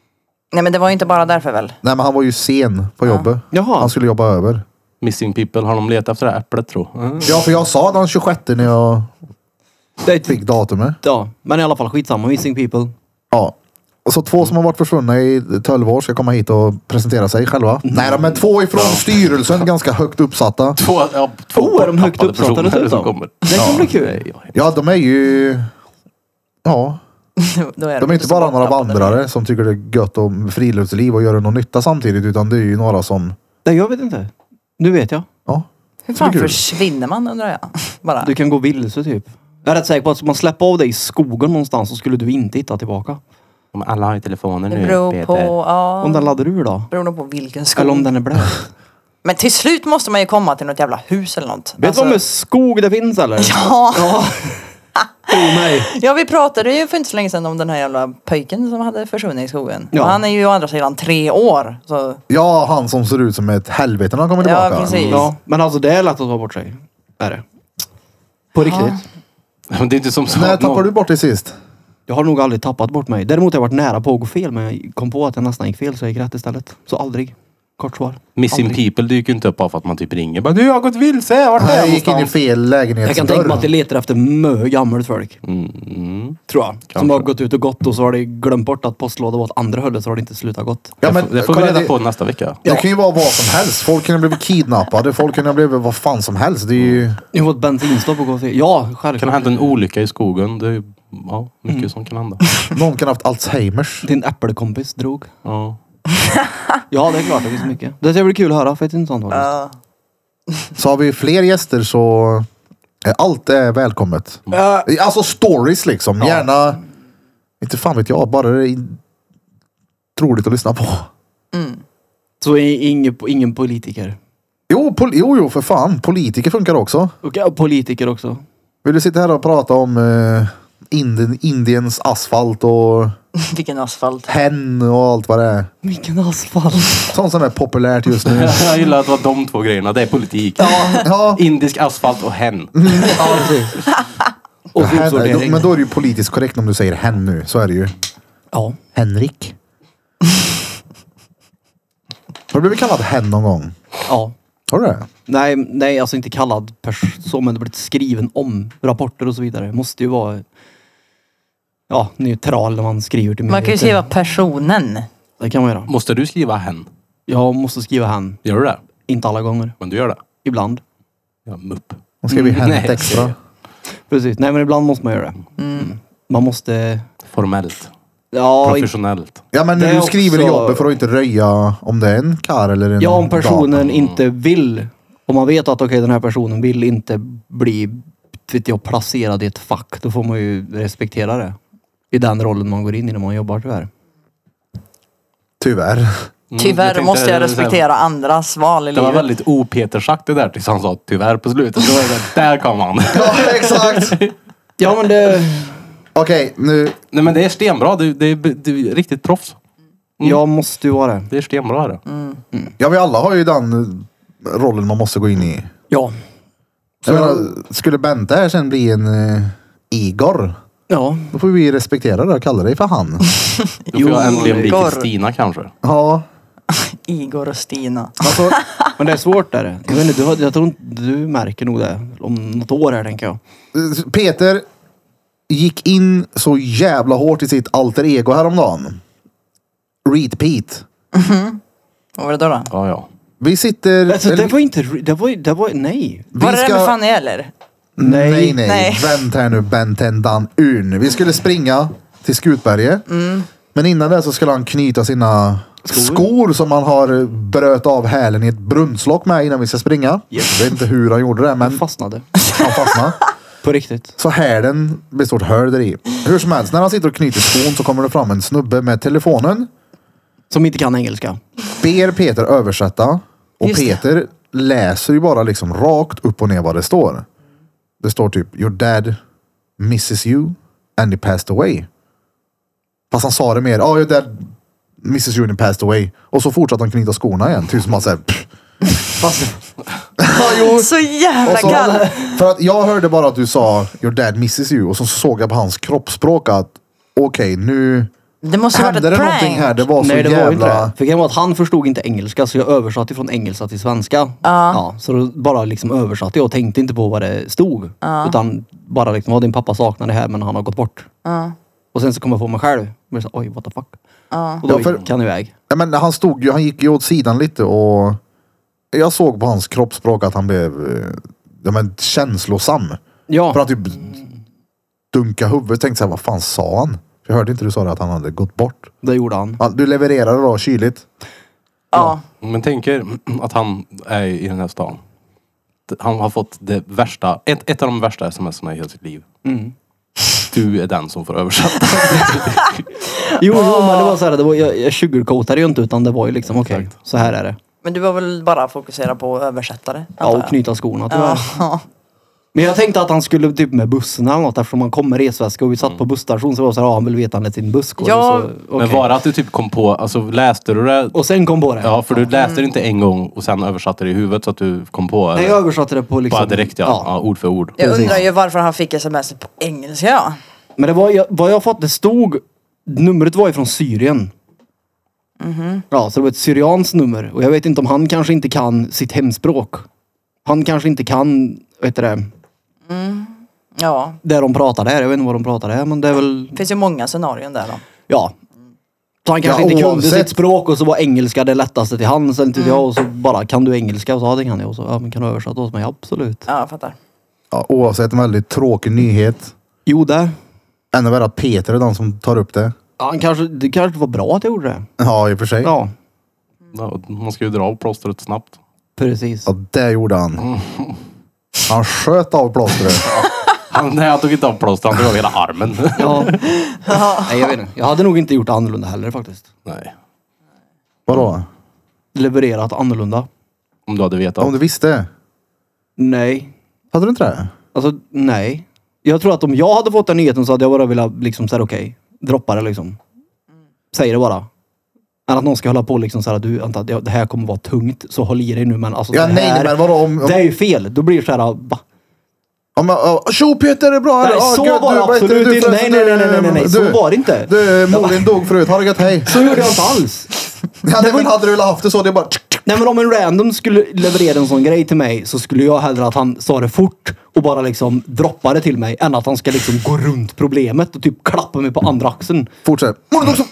S4: Nej, men det var ju inte bara därför väl?
S1: Nej men han var ju sen på jobbet.
S2: Jaha.
S1: Han skulle jobba över.
S3: Missing people, har de letat efter det här äpplet tro? Mm.
S1: Ja för jag sa den 26 när jag
S2: Det är ett
S1: fick datumet.
S2: Ja, men i alla fall skitsamma. Missing people.
S1: Ja. Och så två som har varit försvunna i 12 år ska komma hit och presentera sig själva. Nej men två ifrån styrelsen, ganska högt uppsatta.
S3: Två, ja, två
S2: Oh, är de högt
S3: borttappade
S2: uppsatta
S3: personer
S2: dessutom?
S3: som kommer.
S2: Det kan bli kul.
S3: Nej, ja.
S1: Ja de är ju... Ja,
S4: Då är
S1: De är inte bara några vandrare som tycker det är gött om friluftsliv och gör någon nytta samtidigt. Utan det är ju några som...
S2: Nej, jag vet inte. Nu vet jag.
S1: Ja.
S4: Hur fan
S1: Tycker du?
S4: försvinner man undrar jag? Bara.
S2: Du kan gå vilse typ. Jag är rätt säker på att om man släpper av dig i skogen någonstans så skulle du inte hitta tillbaka.
S3: Men alla har ju telefoner
S4: det
S3: nu
S4: beror
S3: Peter.
S4: på, ja,
S2: Om den laddar ur då?
S4: beror nog på vilken
S2: Eller om
S4: skog.
S2: den är blöt?
S4: Men till slut måste man ju komma till något jävla hus eller något. Alltså-
S2: Vet du vad med skog det finns eller?
S4: ja, Oh,
S2: Ja. Tro mig.
S4: ja, vi pratade ju för inte så länge sedan om den här jävla pöjken som hade försvunnit i skogen.
S2: Ja.
S4: Och han är ju å andra sidan tre år. Så,
S1: ja, han som ser ut som ett helvete när han kommer
S4: ja,
S1: tillbaka.
S4: precis.
S2: Ja, men alltså det är lätt att ta bort sig. Är det. På riktigt.
S3: Men det är inte som så
S1: Mm. När
S3: att någon-
S1: tappar du bort det sist?
S2: Jag har nog aldrig tappat bort mig. Däremot har jag varit nära på att gå fel men jag kom på att jag nästan gick fel så jag gick rätt istället. Så aldrig. Kort svar.
S3: Missing
S2: Aldrig.
S3: people dyker inte upp bara för att man typ ringer. Bara, du jag har gått vilse, vart är
S1: Nej,
S3: jag
S1: jag gick in i
S3: någonstans?
S1: fel
S2: Jag kan tänka mig att
S1: lägenhetsdörr.
S2: det letar efter mö gammalt folk.
S3: Mm.
S2: Tror jag. Som
S3: Kanske.
S2: har gått ut och gått och så har de glömt bort att postlådan var åt andra hållet så har det inte slutat gått.
S1: Ja,
S3: det, får- det får vi
S1: kolla,
S3: reda
S1: det-
S3: på nästa vecka.
S1: Det kan ju vara vad som helst. Folk kan ha blivit kidnappade, folk kan ha blivit vad fan som helst. Det är ju...
S2: Jag har fått bensinstopp och gå fel. Ja, självklart.
S3: Kan det hända en olycka i skogen? Det är ju- ja, mycket
S4: Mm.
S3: som kan hända.
S1: Någon kan ha haft Alzheimers.
S2: Din äppelkompis drog.
S3: Ja.
S2: Ja, det är klart. Det finns mycket. Det ska bli kul att höra. Fett intressant faktiskt.
S4: Ja.
S1: Så har vi fler gäster så... eh, Allt är välkommet.
S2: Ja.
S1: Alltså stories liksom. Gärna... Inte fan vet jag, bara det är roligt att lyssna på.
S2: Så i- ingen, ingen politiker.
S1: Jo, pol- jo, jo, för fan. Politiker funkar också.
S2: Och ja, politiker också.
S1: Vill du sitta här och prata om eh, Indien, Indiens asfalt och
S4: Vilken asfalt.
S1: hen och allt vad det är?
S2: Vilken asfalt.
S1: Sånt som är populärt just nu.
S3: Jag gillar att det var de två grejerna. Det är politik.
S1: ja,
S3: Indisk asfalt och hen.
S2: ja, precis. Och
S1: hen,
S2: sopsortering.
S1: men då är det ju politiskt korrekt om du säger hen nu. Så är det ju.
S2: Ja.
S1: Henrik. Har du blivit kallad hen någon gång?
S2: ja.
S1: Har du det?
S2: Nej, nej, alltså inte kallad pers- så, men det blivit skriven om rapporter och så vidare. Måste ju vara ja, neutral när man skriver till
S4: Man kan ju
S2: myndigheter.
S4: skriva personen.
S2: Det kan man göra.
S3: Måste du skriva hen?
S2: Jag måste skriva han.
S3: Gör du det?
S2: Inte alla gånger.
S3: Men du gör det?
S2: Ibland.
S3: Ja, mupp.
S1: Hon skrev ju
S3: Mm,
S1: hänt
S3: nej.
S1: extra.
S2: Precis. Nej men ibland måste man göra det. Mm. Man måste...
S3: Formellt.
S2: Ja, i-
S3: Professionellt. Mm,
S1: Ja men
S2: Det är
S1: du skriver i
S2: också-
S1: jobbet för att inte röja om det är en kar eller en
S2: ja om personen
S1: dam.
S2: inte vill. Om man vet att okej den här personen vill inte bli vet jag, placerad i ett fack. Då får man ju respektera det. I den rollen man går in i när man jobbar tyvärr.
S1: Tyvärr.
S3: Mm,
S4: Tyvärr
S3: tänkte-
S4: måste jag respektera andras val i
S3: Det var
S4: livet.
S3: väldigt opetersagt det där tills han sa tyvärr på slutet. Då var det där, där kom han.
S1: Ja exakt.
S2: Ja men det...
S1: Okej nu.
S3: Nej men det är stenbra. Du, det är, du är riktigt proffs.
S2: Jag måste ju vara det.
S3: Det är stenbra det.
S1: Ja vi alla har ju den rollen man måste gå in i.
S2: Ja.
S1: Jag menar, skulle Bente här sen bli en eh, Igor.
S2: Ja.
S1: Då får vi respektera det och kalla dig för han.
S3: Då får jag
S4: Mm. Jo,
S3: äntligen bli
S4: Igor.
S3: Kristina kanske.
S1: Ja.
S4: Igor och Stina.
S1: Alltså,
S2: Men det är svårt är det. Jag vet inte, du, har- jag tror inte, du märker nog det om något år här tänker jag.
S1: Peter gick in så jävla hårt i sitt alter ego häromdagen. Reed Pete.
S4: Vad var det då? då?
S3: Ja, ja.
S1: Vi sitter...
S2: Alltså det
S1: eller-
S2: var inte, det var, det var, nej.
S1: vi
S4: Var det det
S1: ska-
S4: med Fanny eller?
S1: Nej, nej.
S4: Nej.
S1: Vänta här nu, Bentendan Urn. Vi skulle springa till Skutberget. Men innan det så skulle han knyta sina Mm. skor, som han har bröt av hälen i ett brunnslock med innan vi ska springa. Jag vet inte hur han gjorde det, men
S2: Jag fastnade.
S1: han fastnade.
S2: På riktigt.
S1: Så hälen blir stort hål där i. Hur som helst, när han sitter och knyter skon så kommer det fram en snubbe med telefonen.
S2: Som inte kan engelska.
S1: Ber Peter översätta. Och
S4: Just det.
S1: Peter läser ju bara liksom rakt upp och ner vad det står. Det står typ Your dad misses you and he passed away. Fast han sa det mer. Ja, your dad misses you and he passed away. Och så fortsatte han knyta skorna igen. Typ som att säga. pff. Fast- Ja, jo.
S4: Så jävla
S1: Och så-
S4: kall.
S1: För att jag hörde bara att du sa your dad misses you och så såg jag på hans kroppsspråk att okej nu
S4: Det måste ha varit
S1: hände
S4: ett
S1: det någonting
S4: prank.
S1: här. Det var så
S2: nej det
S1: jävla...
S2: var ju inte det. För grejen var att han förstod inte engelska så jag översatte från engelska till svenska. Ja, så då bara liksom översatte jag och tänkte inte på vad det stod. Utan bara liksom, "Ja, din pappa saknar det här men han har gått bort. Och sen så kom jag på mig själv. Men så, Oj, what the fuck. Och då
S1: Ja, för-
S2: gick han iväg.
S1: Ja, men han stod ju, han gick ju åt sidan lite och jag såg på hans kroppsspråk att han blev eh, ja, men, känslosam.
S2: Ja.
S1: För att typ dunka huvudet. Tänkte såhär, vad fan sa han? Jag hörde inte du sa det att han hade gått bort.
S2: Det gjorde han.
S1: Ja, Du levererade då kyligt.
S4: Ja.
S3: Men tänk er att han är i den här stan. Han har fått det värsta, ett, ett av de värsta sms'erna i hela sitt liv. Du är den som får översätta.
S2: Jo, jo men det var så här, det var, jag, jag sugarcoatade ju inte utan det var ju liksom okej, så här är det.
S4: Men du var väl bara fokusera på att översätta det?
S2: Ja,
S4: antar
S2: och
S4: jag.
S2: knyta skorna tyvärr.
S4: Alltså- Ja.
S2: Men jag tänkte att han skulle typ med bussen eller något eftersom han kom med resväska och vi
S3: Mm.
S2: satt på busstation så var det så här, ja han vill veta när sin buss går.
S4: Ja.
S2: och, så, okej.
S3: Men bara att du typ kom på, alltså läste du det?
S2: och sen kom på det.
S3: Ja, för du läste det inte en gång och sen översatte det i huvudet så att du kom på
S2: Nej,
S3: eller?
S2: jag översatte det på liksom...
S3: Bara direkt ja. Ja. ord för ord.
S4: Jag
S2: Precis.
S4: undrar ju varför han fick sms på engelska. Ja.
S2: Men det var, jag- vad jag fått, det stod... Numret var ju från Syrien. Ja, så det var ett syrianskt nummer. Och jag vet inte om han kanske inte kan sitt hemspråk. Han kanske inte kan, vet du det,
S4: ja.
S2: det de pratar där. Jag vet inte vad de pratar där, men det är väl...
S4: Det finns ju många scenarion där då.
S2: Ja. Så han kanske
S1: Ja,
S2: inte kunde
S1: oavsett. Mm.
S2: sitt språk och så var engelska det lättaste till hands. Eller till jag och så bara, kan du engelska? Och så, ja det kan jag. Och så, ja men kan du översätta åt mig? Ja, absolut.
S4: Ja, jag fattar.
S1: Ja, oavsett en väldigt tråkig nyhet.
S2: Jo det.
S1: Ännu värre att Peter är den som tar upp det.
S2: Ja, han kanske, det kanske var bra att jag gjorde det.
S1: Ja, i och för sig. Ja,
S2: Ja,
S3: Ja, Man ska ju dra av plåstret snabbt.
S2: precis.
S1: det gjorde han. Han sköt av plåstret.
S3: Han, nej, han tog inte av plåstret, han drog av hela armen.
S2: Ja. Nej, jag vet inte. Jag hade nog inte gjort annorlunda heller faktiskt.
S3: nej.
S1: Vadå?
S2: Levererat annorlunda.
S3: Om du hade vetat.
S1: Om du visste?
S2: Nej.
S1: Hade du inte det?
S2: Alltså, nej. Jag tror att om jag hade fått den nyheten så hade jag bara velat liksom säga okej. Droppa det liksom. Säg det bara. Än att någon ska hålla på liksom så här, du Anta, det det här kommer vara tungt så håll i dig nu men alltså
S1: Ja,
S2: det
S1: nej,
S2: här,
S1: nej, men vadå om... om
S2: Det är ju fel. Då blir det så här, va?
S1: Ja, men, ja, tjo Peter, det är bra.
S2: Nej,
S1: Ja,
S2: så
S1: gött,
S2: var det
S1: vad heter
S2: absolut
S1: du
S2: inte. Nej,
S1: förresten?
S2: nej, nej, nej, nej, nej,
S1: Du-
S2: så var det inte.
S1: Du, morin dog förut. Ha det gött, hej.
S2: Så gjorde jag inte alls.
S1: Ja, nej, men hade du velat haft det så, det är bara... tsk, tsk.
S2: Nej men om en random skulle leverera en sån grej till mig så skulle jag hellre att han sa det fort och bara liksom droppa det till mig än att han ska liksom gå runt problemet och typ klappa mig på andra axeln.
S1: Fortsätt. Morin dog så...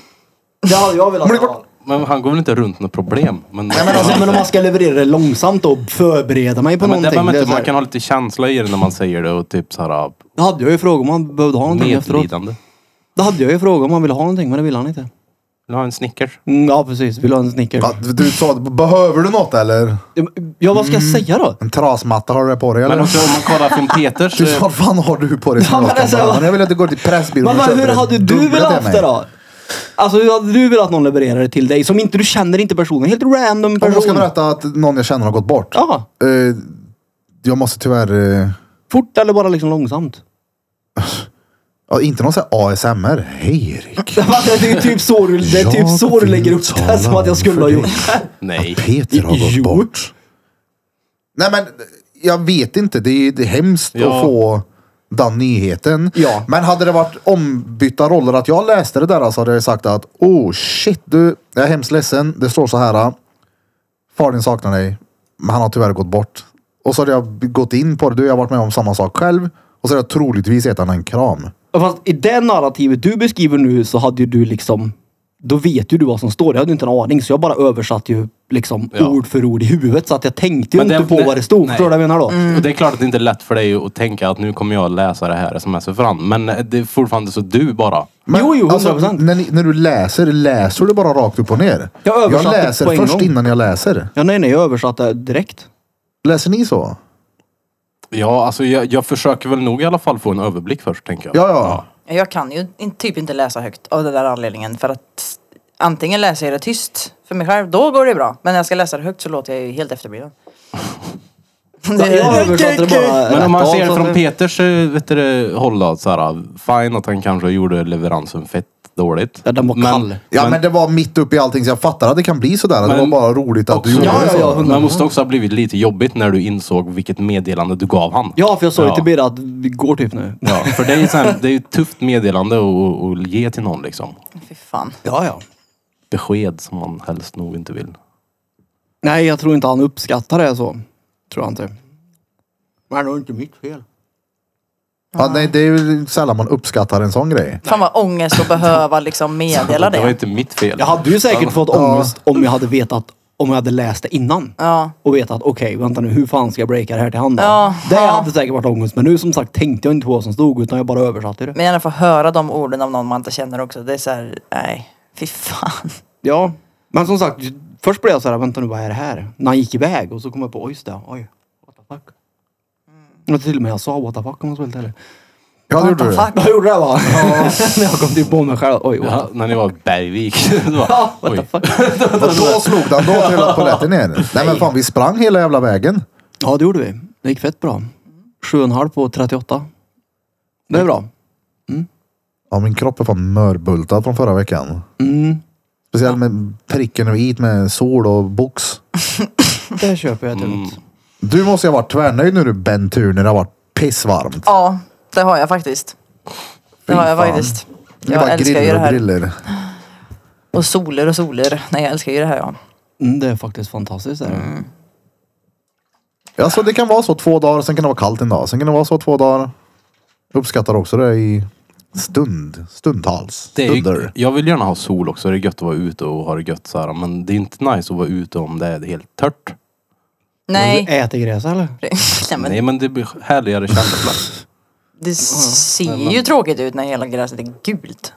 S2: Det hade jag velat
S1: Men det
S2: ha.
S1: går-
S3: Men han går väl inte runt något problem. Men,
S1: Nej, men alltså,
S2: men om man ska leverera det långsamt och förbereda mig på
S3: Ja, men det
S2: någonting.
S3: behöver man
S2: det är
S3: inte,
S2: så här-
S3: man kan ha lite känsla i det när man säger det och typ såhär
S2: Då hade jag ju frågat om han behövde ha någonting efteråt.
S3: medlidande.
S2: Då hade jag ju frågat om han ville ha någonting men det ville han inte.
S3: Vill du ha en Snickers?
S2: Mm, ja precis, vill du ha en Snickers?
S1: Ja, du sa, behöver du något eller?
S2: Ja vad ska
S1: Mm.
S2: jag säga då?
S1: En trasmatta har du det på dig eller?
S3: Men också om man kollar från Peters...
S1: Du sa, vad fan har du på dig för
S2: Ja, men
S1: något?
S2: alltså,
S1: Han bara, jag vill att du går till Pressbyrån
S2: Men
S1: och
S2: vad-
S1: köper
S2: hur
S1: en
S2: hade du
S1: dubbla till
S2: velat haft det
S1: mig.
S2: då? Alltså hur hade du velat att någon levererar det till dig som inte du känner inte personen? Helt random
S1: Om jag ska
S2: person.
S1: berätta att någon jag känner har gått bort.
S2: Ja,
S1: Eh, jag måste tyvärr... eh,
S2: fort eller bara liksom långsamt?
S1: ja, inte någon sån här ASMR. Hej Erik.
S2: det är typ så du, det är typ
S1: Jag
S2: så du lägger
S1: vill
S2: upp det här
S1: tala
S2: som att jag
S1: om
S2: skulle
S1: för
S2: ha
S1: dig.
S2: gjort det.
S3: Nej.
S1: Peter har gått
S2: Jo.
S1: bort. Nej men, jag vet inte. Det är, det är hemskt
S3: Ja.
S1: att få den nyheten.
S2: Ja.
S1: Men hade det varit ombytta roller, att jag läste det där så hade jag sagt att oh shit du, jag är hemskt ledsen. Det står så här. Far din saknar dig, men han har tyvärr gått bort. Och så hade jag gått in på det. Du, jag har varit med om samma sak själv. Och så hade jag troligtvis gett han en kram.
S2: Ja, Fast i det narrativet du beskriver nu så hade ju du liksom... Då vet ju du vad som står. Jag hade inte en aning så jag bara översatte ju liksom
S3: Ja.
S2: ord för ord i huvudet så att jag tänkte ju
S3: Men det-
S2: inte på
S3: det-
S2: vad det stod.
S3: nej.
S2: Förstår du vad jag menar då?
S3: Och det är klart att det inte är lätt för dig att tänka att nu kommer jag läsa det här sms'et fram. Men det är fortfarande så du bara.
S2: Jo, jo, 100%.
S1: alltså, när, ni- när du läser, läser du bara rakt upp och ner?
S2: Jag översatte på
S1: läser
S2: en
S1: först
S2: gång.
S1: innan jag läser.
S2: Ja, nej, nej, jag översatte direkt.
S1: Läser ni så?
S3: Ja, alltså jag, jag försöker väl nog i alla fall få en överblick först tänker jag.
S1: Ja, ja.
S4: Jag kan ju in- typ inte läsa högt av den där anledningen för att antingen läser jag det tyst för mig själv, då går det bra. Men när jag ska läsa det högt så låter jag ju helt efterbliven.
S2: Jag översatte det bara
S3: Men
S2: rätt
S3: om man
S2: av,
S3: ser
S2: så
S3: det
S2: att
S3: från
S2: det-
S3: Peters eh, vet du, det, håll då, så här, ah, fine att han kanske gjorde leveransen fett dåligt.
S2: Ja, den var kall.
S1: Ja men, det var mitt uppe i allting så jag fattar att det kan bli sådär. det
S3: Men-
S1: var bara roligt att du
S3: också-
S1: gjorde
S2: Ja,
S1: det
S2: ja,
S1: så.
S2: ja, hundra.
S3: Men måste också ha blivit lite jobbigt när du insåg vilket meddelande du gav han.
S2: Ja, för jag sa ju
S3: Ja.
S2: till Birra att vi går typ nu.
S3: Ja, för det är ju så här, det är ju ett tufft meddelande att- att ge till någon liksom.
S4: Fy fan.
S2: Ja, ja.
S3: Besked som man helst nog inte vill.
S2: Nej, jag tror inte han uppskattar det så. Tror jag inte. Men det är inte mitt fel.
S1: Ja, nej, det är ju sällan man uppskattar en sån grej.
S4: Fan vad ångest att behöva liksom meddela
S3: Det var
S4: det.
S3: inte mitt fel.
S2: Jag hade ju säkert fått ångest om jag hade vetat, om jag hade läst det innan.
S4: Ja.
S2: Och vetat, okej vänta nu, hur fan ska jag breaka det här till han då?
S4: Ja.
S2: det
S4: Ja.
S2: hade säkert varit ångest. Men nu som sagt tänkte jag inte på vad som stod utan jag bara översatte det.
S4: Men gärna få höra de orden av någon man inte känner också. Det är så här, nej, fy fan.
S2: Ja. Men som sagt, först blev jag så här, vänta nu vad är det här? När han gick iväg och så kom jag på, oj just det, oj. What the fuck. Och till och med jag sa Mm. what the fuck om jag skulle det.
S1: Ja, det gjorde du.
S4: Fuck.
S2: Jag gjorde det va? När jag kom typ på mig själv, oj what
S3: Ja, när ni var i Bergvik. Det var-
S2: the
S3: Oj.
S2: fuck.
S1: Och då slog den, då trillade polletten ner. Nej men fan vi sprang hela jävla vägen.
S2: Ja, det gjorde vi. Det gick fett bra. 7,5 på 38. Det är bra.
S1: Ja min kropp är fan mörbultad från förra veckan.
S2: Mm.
S1: Speciellt med pricken över hit med sol och box.
S2: Det köper jag till.
S1: Du måste ju ha varit tvärnöjd nu du Ben Tur när det har varit pissvarmt.
S4: Ja, det har jag faktiskt. Det har jag
S1: fan.
S4: faktiskt.
S1: Det är
S4: Jag
S1: bara
S4: älskar ju
S1: griller
S4: det
S1: och
S4: här.
S1: griller.
S4: Och soler och soler. Nej, jag älskar ju det här ja.
S2: Mm, det är faktiskt fantastiskt. Är det.
S1: Alltså det kan vara så två dagar, sen kan det vara kallt en dag. Sen kan det vara så två dagar. Uppskattar också det i stund, stundtals,
S3: Det är
S1: stunder.
S3: ju, jag vill gärna ha sol också. Det är gött att vara ute och ha det gött så här. Men det är inte nice att vara ute om det är helt torrt.
S2: Men
S4: Nej.
S2: Du äter gräs eller?
S4: Nej men
S3: Nej men det blir härligare känsla.
S4: det ser ju tråkigt ut när hela gräset är gult.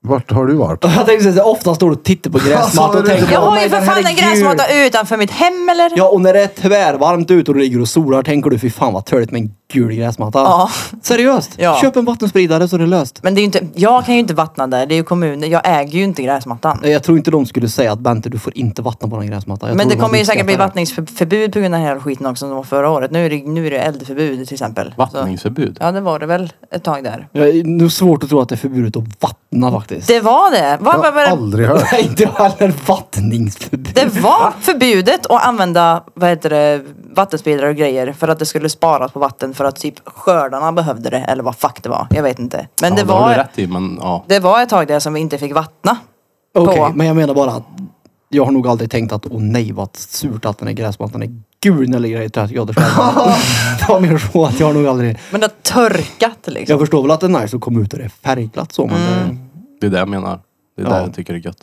S1: Vart har du varit?
S2: Jag tänkte säga, ofta står du och tittar på
S1: Alltså,
S2: gräsmattan och
S1: det är
S2: tänker
S1: inte
S4: Jag har ju
S2: "Nej,
S4: för
S2: den
S4: fan
S2: här
S4: en
S2: är gul."
S4: gräsmatta utanför mitt hem eller?
S2: Ja, och när det är tvärvarmt ute och du ligger och solar tänker du fy fan vad törligt med en gul gräsmatta.
S4: Ja.
S2: Seriöst?
S4: Ja.
S2: Köp en vattenspridare så är det löst.
S4: Men det är ju inte, jag kan ju inte vattna där, det är ju kommunen, jag äger ju inte gräsmattan.
S2: Nej, Jag tror inte de skulle säga att Bente du får inte vattna på den gräsmattan. Jag
S4: Men
S2: tror
S4: det
S2: de hade
S4: kommer ju säkert bli
S2: uppskattat
S4: vattningsförbud på grund av den här skiten också som var förra året. Nu är det, nu är det eldförbud till exempel. Så-
S3: Vattningsförbud.
S4: Ja det var det väl ett tag där.
S2: det. Ja, Det är svårt att tro att det är förbjudet att vattna faktiskt.
S4: Det var det! Va,
S1: Jag
S4: va,
S1: har
S4: va,
S1: aldrig hört.
S2: Nej, inte heller vattningsförbud.
S4: det var förbjudet att använda vad heter det, vattenspridare och grejer för att det skulle sparas på vatten för att typ skördarna behövde det eller vad fuck det var. Jag vet inte. Men
S3: Ja,
S4: det,
S3: det har du
S4: var,
S3: rätt i men ja.
S4: det var ett tag där som vi inte fick vattna.
S2: Okej,
S4: på.
S2: men jag menar bara att jag har nog aldrig tänkt att åh nej vad surt att den här gräsmattan är gul när jag ligger i 30 graders värme. Det var mer så att jag har nog aldrig...
S4: Men det har törkat liksom.
S2: Jag förstår väl att det är nice att komma ut och det är färgglatt så men eh, det,
S3: Det är det jag menar. Det är
S2: Ja.
S3: det jag tycker är gött.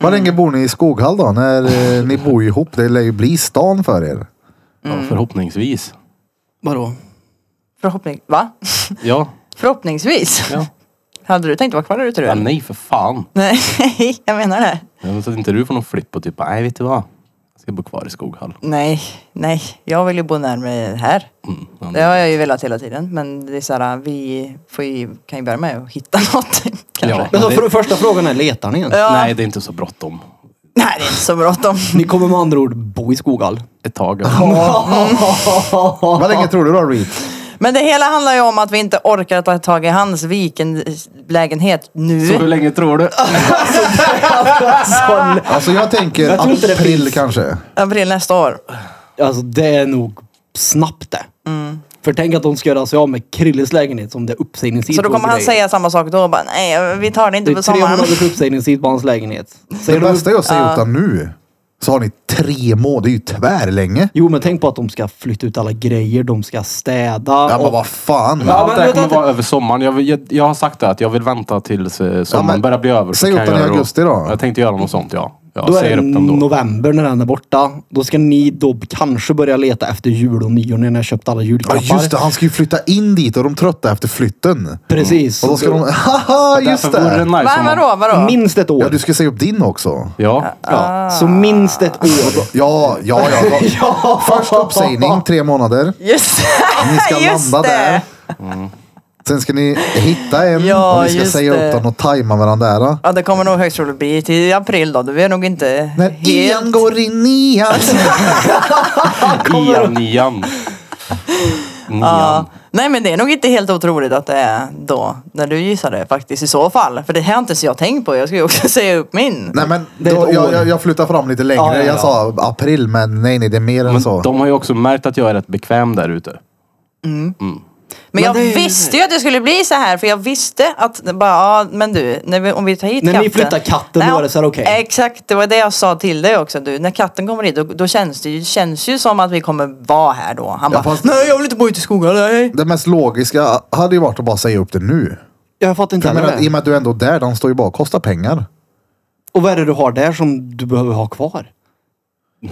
S1: Vad länge bor ni i Skoghall då? När eh, ni bor ihop? Det lär ju bli stan för er.
S2: Mm.
S3: Ja, förhoppningsvis.
S2: Vadå?
S4: Förhoppning... Va?
S3: Ja.
S4: Förhoppningsvis.
S3: ja.
S4: Hade du tänkt vara kvar där ute
S3: ja
S4: du?
S3: nej för fan.
S4: Nej, jag menar det.
S3: Ja, Så att inte du får någon flipp och typ, nej vet du vad. Jag ska bo kvar i Skoghall.
S4: Nej, nej. Jag vill ju bo närmare här.
S3: Mm. Ja,
S4: Det har jag ju velat hela tiden. Men det är så här, vi får ju, kan ju börja med att hitta någonting. Kanske.
S2: Men så,
S3: det- Eh.
S2: för, första frågan är, letar ni ens?
S4: Ja.
S3: Nej det är inte så bråttom.
S4: Nej, det är inte så bråttom.
S2: Ni kommer med andra ord bo i Skoghall.
S3: Ett tag.
S1: Vad länge tror du då Reet?
S4: Men det hela handlar ju om att vi inte orkar ta tag i hans vikenlägenhet nu.
S3: Så hur länge tror du?
S2: Så-
S1: Alltså jag tänker
S2: Jag tror inte det
S1: april
S2: finns.
S1: kanske.
S4: April nästa år.
S2: Alltså det är nog snabbt det. För tänk att de ska göra sig av med Krilles lägenhet som det är uppsägningstid
S4: Så då
S2: på
S4: kommer han
S2: grejer.
S4: säga samma sak då och bara nej, vi tar det
S2: Det
S4: inte på
S2: är tre
S4: sommaren.
S2: månaders uppsägningstid på hans lägenhet.
S1: Det
S2: Säger de-
S1: bästa är att säga utan nu. Så har ni tre månader. Det är ju tvärlänge.
S2: Jo men tänk på att de ska flytta ut alla grejer, de ska städa.
S1: Ja men
S2: och...
S1: vad fan.
S2: Ja,
S3: Allt
S2: men
S3: det här
S2: vet
S3: kommer
S2: inte.
S3: vara över sommaren. Jag, vill- jag, jag har sagt det att jag vill vänta tills eh, sommaren
S1: Ja, men
S3: börjar bli över. så
S1: säg
S3: kan
S1: upp
S3: jag
S1: den i
S3: göra-
S1: augusti då.
S3: Jag tänkte göra något sånt ja. Jag
S2: Då är
S3: säger
S2: det
S3: upp den då.
S2: november när den är borta. Då ska ni då kanske börja leta efter jul och nyår när ni har köpt alla
S1: Ja
S2: julklappar.
S1: just det, han ska ju flytta in dit och de är trötta efter flytten.
S2: Precis.
S1: Och då ska de... Haha, just
S3: Därför vore det
S1: det!
S3: nice
S4: Va,
S3: om man-
S4: vadå, vadå?
S2: Minst ett år.
S1: Ja, du ska säga upp din också.
S3: Ja.
S2: Ja. Så minst ett år.
S1: Ja, ja, ja.
S2: ja.
S1: Först uppsägning, tre månader.
S4: Just,
S1: Ni ska
S4: just
S1: landa
S4: det!
S1: där. Mm. Sen ska ni hitta en
S4: Ja,
S1: och ni ska
S4: just
S1: säga
S4: det.
S1: upp den och tajma varandra. Där.
S4: Ja, det kommer nog högst troligt bli till april då. Du är nog inte
S1: När Ian går i nian.
S3: Ian, nian. Nian.
S4: Ja. Nej men det är nog inte helt otroligt att det är då, när du gissade faktiskt i så fall. För det här har inte så jag tänkt på, jag ska ju också säga upp min.
S1: Nej men
S2: Det är ett
S1: då, jag,
S2: år.
S1: jag, jag flyttar fram lite längre.
S2: Ja, ja, ja.
S1: Jag sa april men nej nej det är mer än
S3: Men
S1: så.
S3: de har ju också märkt att jag är rätt bekväm där ute.
S4: Men,
S2: Men
S4: jag
S2: det är ju-
S4: visste ju att det skulle bli så här för jag visste att, bara, ja men du, när vi, om vi tar hit
S2: När ni
S4: katten.
S2: flyttar katten, då
S4: Nej,
S2: var det så här, okej.
S4: Exakt, det var det jag sa till dig också. Du, när katten kommer hit då, då känns det ju, känns ju som att vi kommer vara här då. Han
S1: Ja,
S4: bara,
S1: fast-
S4: nej jag vill inte bo ute i skogen, nej.
S1: Det mest logiska hade ju varit att bara säga upp det nu.
S2: Jag fattar inte
S1: Jag menar,
S2: heller
S1: I och
S2: det.
S1: med att du ändå är där, de står ju bara och kostar pengar.
S2: Och vad är det du har där som du behöver ha kvar?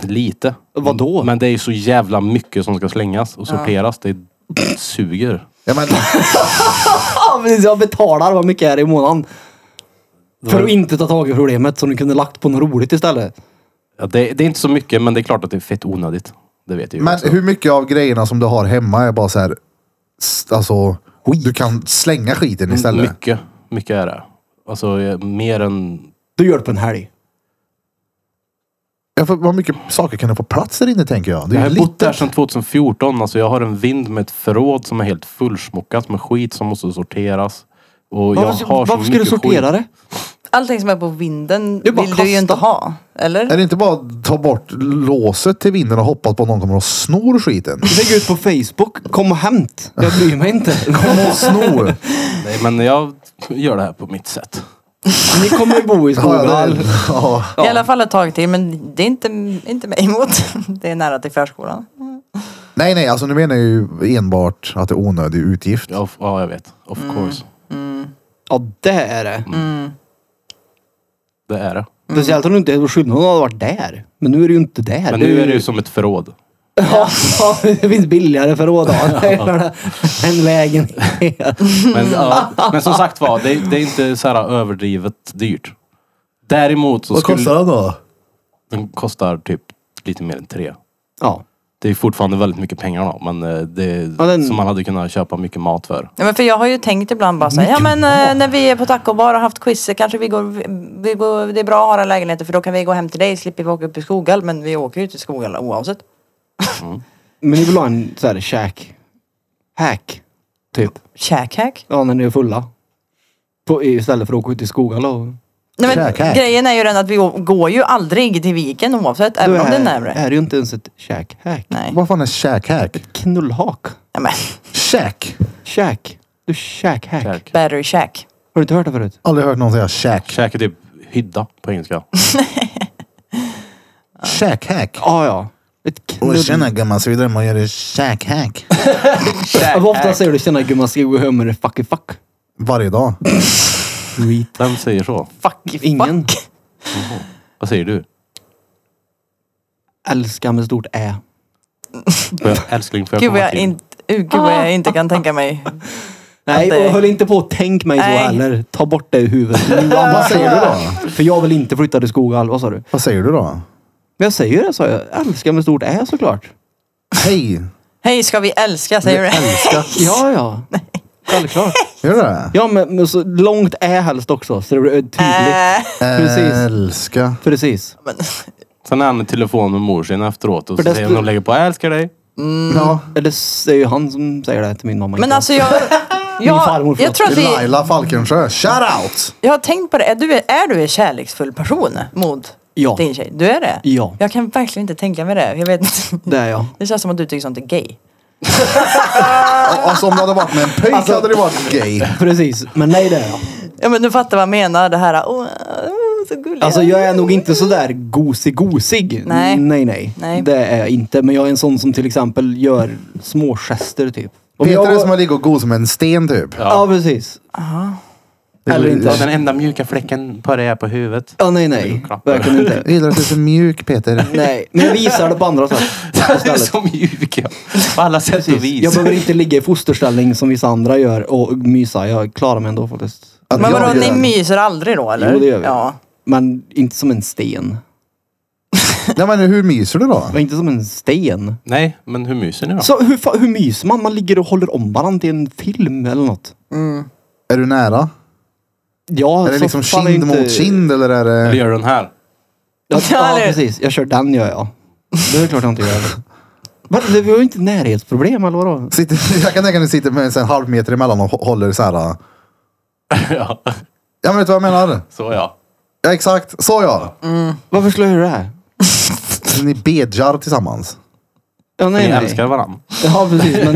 S3: Lite.
S2: Vadå?
S3: Men det är ju så jävla mycket som ska slängas och sorteras. Det suger.
S1: Jag men,
S2: Ja, precis. Jag betalar vad mycket är det i månaden. För
S3: var-
S2: att inte ta tag i problemet som ni kunde lagt på något roligt istället.
S3: Ja, det, det är inte så mycket men det är klart att det är fett onödigt. Det vet jag ju
S1: men
S3: också.
S1: hur mycket av grejerna som du har hemma är bara så här, s- alltså, du kan slänga skiten istället.
S3: Mycket. Mycket är det. Alltså eh, mer än...
S2: Du gör det på en helg.
S1: Ja, för vad mycket saker kan du få plats där inne tänker jag. Det
S3: Jag
S1: är
S3: har
S1: ju
S3: bott där
S1: litet.
S3: sedan 2014. Alltså jag har en vind med ett förråd som är helt fullsmockat med skit som måste sorteras. Och jag
S2: Varför,
S3: har så
S2: varför ska du
S3: mycket
S2: sortera
S3: skit.
S2: det?
S4: Allting som är på vinden
S2: är bara
S4: vill du ju
S2: kasta.
S4: inte ha. Eller?
S1: Är det inte bara att ta bort låset till vinden och hoppas på att någon kommer och snor skiten?
S2: Lägg ut på Facebook. Kom och hämt. Jag bryr mig inte.
S1: Kom och sno!
S3: Nej men jag gör det här på mitt sätt.
S2: Ni kommer ju bo i
S1: Ja, ja,
S2: Skoghall.
S1: det- ja.
S4: I alla fall ett tag till men det är inte, inte mig emot. Det är nära till förskolan.
S1: Nej, nej, alltså nu menar jag ju enbart att det är onödig utgift.
S3: Ja, f- ja jag vet. Of
S2: Mm.
S3: course.
S2: Ja, det är det.
S3: Det är det.
S2: Speciellt om du inte är skyldig. Hon hade varit där. Men nu är du ju inte där.
S3: Men nu är det ju som ett förråd.
S2: Ja, det finns billigare förråd ja. än lägenhet.
S3: Men, ja, men som sagt var, det, det är inte så här överdrivet dyrt. Däremot så skulle...
S1: den då?
S3: Den kostar typ lite mer än tre.
S2: Ja.
S3: Det är fortfarande väldigt mycket pengar då, men eh, det är
S2: Ja, den-
S3: som man hade kunnat köpa mycket mat för.
S4: Ja, men för jag har ju tänkt ibland bara såhär, ja men eh, när vi är på tacobar och haft quiz så kanske vi går, vi går, det är bra att ha den här lägenheten för då kan vi gå hem till dig, slipper vi åka upp i Skoghall men vi åker ju till Skoghall oavsett.
S2: Men ni vill ha en så här käk... Hack. Typ.
S4: Käkhack?
S2: Ja, när ni är fulla. På, istället för att åka ut i skogarna och...
S4: Nej men
S1: Käkhack.
S4: grejen är ju den att vi å- går ju aldrig till viken oavsett,
S2: Då
S4: även om det är
S2: är,
S4: närmre.
S2: är det ju inte ens ett käkhack.
S4: Nej.
S1: Vad fan är käkhäk?
S2: Knullhak.
S4: Ja, men,
S1: Käk?
S2: Käk. Du käkhack.
S3: Käk.
S4: better käk.
S2: Har du inte hört det förut?
S1: Aldrig hört någon säga käk.
S3: Käk är typ hydda på engelska.
S1: Käkhäk?
S2: Ja, ja. Ett knull...
S1: gumman, ska vi drömma och göra käkhäk?
S2: Hur ofta säger du tjena gumman, ska vi gå hem med det fucky fuck?
S1: Varje dag.
S3: Vem säger så?
S2: Fuck. Ingen.
S3: Vad säger du?
S2: Älska med stort Ä.
S3: Får jag- Älskling, får jag
S4: Gud vad
S3: komma
S4: jag,
S3: till?
S4: in, uh, gud vad jag inte kan tänka mig. Att
S2: Nej,
S4: det-
S2: och höll inte på att tänk mig så
S4: Nej.
S2: heller. Ta bort det ur huvudet nu.
S1: Vad
S2: annars-
S1: säger du då?
S2: För jag vill inte flytta till Skoghall. Vad sa du?
S1: Vad säger du då?
S2: Men jag säger det sa jag. Älskar med stort Ä såklart.
S1: Hej!
S4: Hej ska vi älska säger du?
S1: Älska.
S2: Ja, ja. Självklart.
S1: Gör du det?
S2: Ja, men, men så långt Ä helst också. Så det blir tydligt.
S4: Äh,
S2: Precis. Mm.
S1: Älska.
S2: Precis.
S4: men,
S3: Sen är han i telefon med mor sin efteråt och
S2: För
S3: så
S2: det
S3: säger hon
S2: stod-
S3: och lägger på jag älskar dig.
S1: Ja.
S2: Eller s- det är ju han som säger det till min mamma.
S4: men
S2: inte jag.
S4: alltså jag...
S2: farmor,
S4: Jag,
S2: förlåt.
S4: jag tror att vi,
S1: Laila Falkensjö. Shout out!
S4: jag har tänkt på det. Är du, är du en kärleksfull person mot
S2: Ja.
S4: din tjej? Du är det?
S2: Ja.
S4: Jag kan verkligen inte tänka mig det. Jag vet inte.
S2: Det är jag.
S4: Det känns som att du tycker sånt är gay.
S1: Alltså om det hade varit med en pöjk
S2: Alltså-
S1: hade det varit gay.
S2: Precis. Men nej, det är jag.
S4: Ja men du fattar vad jag menar. Det här, åh, åh, så gullig.
S2: Alltså jag är nog inte sådär gosig-gosig.
S4: Nej.
S2: nej, nej.
S4: Nej.
S2: Det är jag inte. Men jag är en sån som till exempel gör små gester typ. Om
S1: Peter
S2: jag
S1: är
S2: går-
S1: som att ligga och go som en sten typ.
S2: Ja, precis.
S1: Det är
S2: Eller
S1: väl-
S2: inte.
S3: Den enda mjuka fläcken på dig är på huvudet.
S2: Ja, nej, nej. Verkligen inte.
S1: Jag gillar att du är så mjuk Peter.
S2: Nej, men jag visar det på andra sätt.
S3: Du är
S2: Istället.
S3: så mjuk ja. På alla sätt och vis.
S2: Jag behöver inte ligga i fosterställning som vissa andra gör och mysa. Jag klarar mig ändå faktiskt.
S1: Att
S4: Men
S1: jag
S4: vadå,
S1: gör
S4: ni
S1: den.
S4: myser aldrig då eller?
S2: Jo, det gör vi.
S4: Ja.
S2: Men inte som en sten.
S1: Nej men hur myser du då?
S2: Men inte som en sten.
S3: Nej, men hur myser ni då?
S2: Så hur, fa- hur myser man? Man ligger och håller om varandra i en film eller något.
S1: Är du nära?
S2: Ja,
S1: Är det
S2: så
S1: liksom
S2: Alltså, fan är
S1: kind
S2: inte-
S1: mot kind eller är
S3: Eller
S1: det...
S3: gör den här?
S2: Ja,
S4: Ja,
S2: ja
S4: det-
S2: precis. Jag kör den gör jag. Det är klart jag inte gör. Va, det var ju inte närhetsproblem eller vadå?
S1: Sitter, jag kan tänka mig att du sitter med en halv meter emellan och hå- håller så här. Ja
S3: ja,
S1: men vet du vad jag menar?
S3: så ja.
S1: Ja exakt, så ja.
S2: Varför skulle jag göra det här?
S1: Ni bedjar tillsammans.
S2: Ja,
S3: Ni
S2: nej, nej.
S3: älskar varandra.
S2: Ja, precis. Men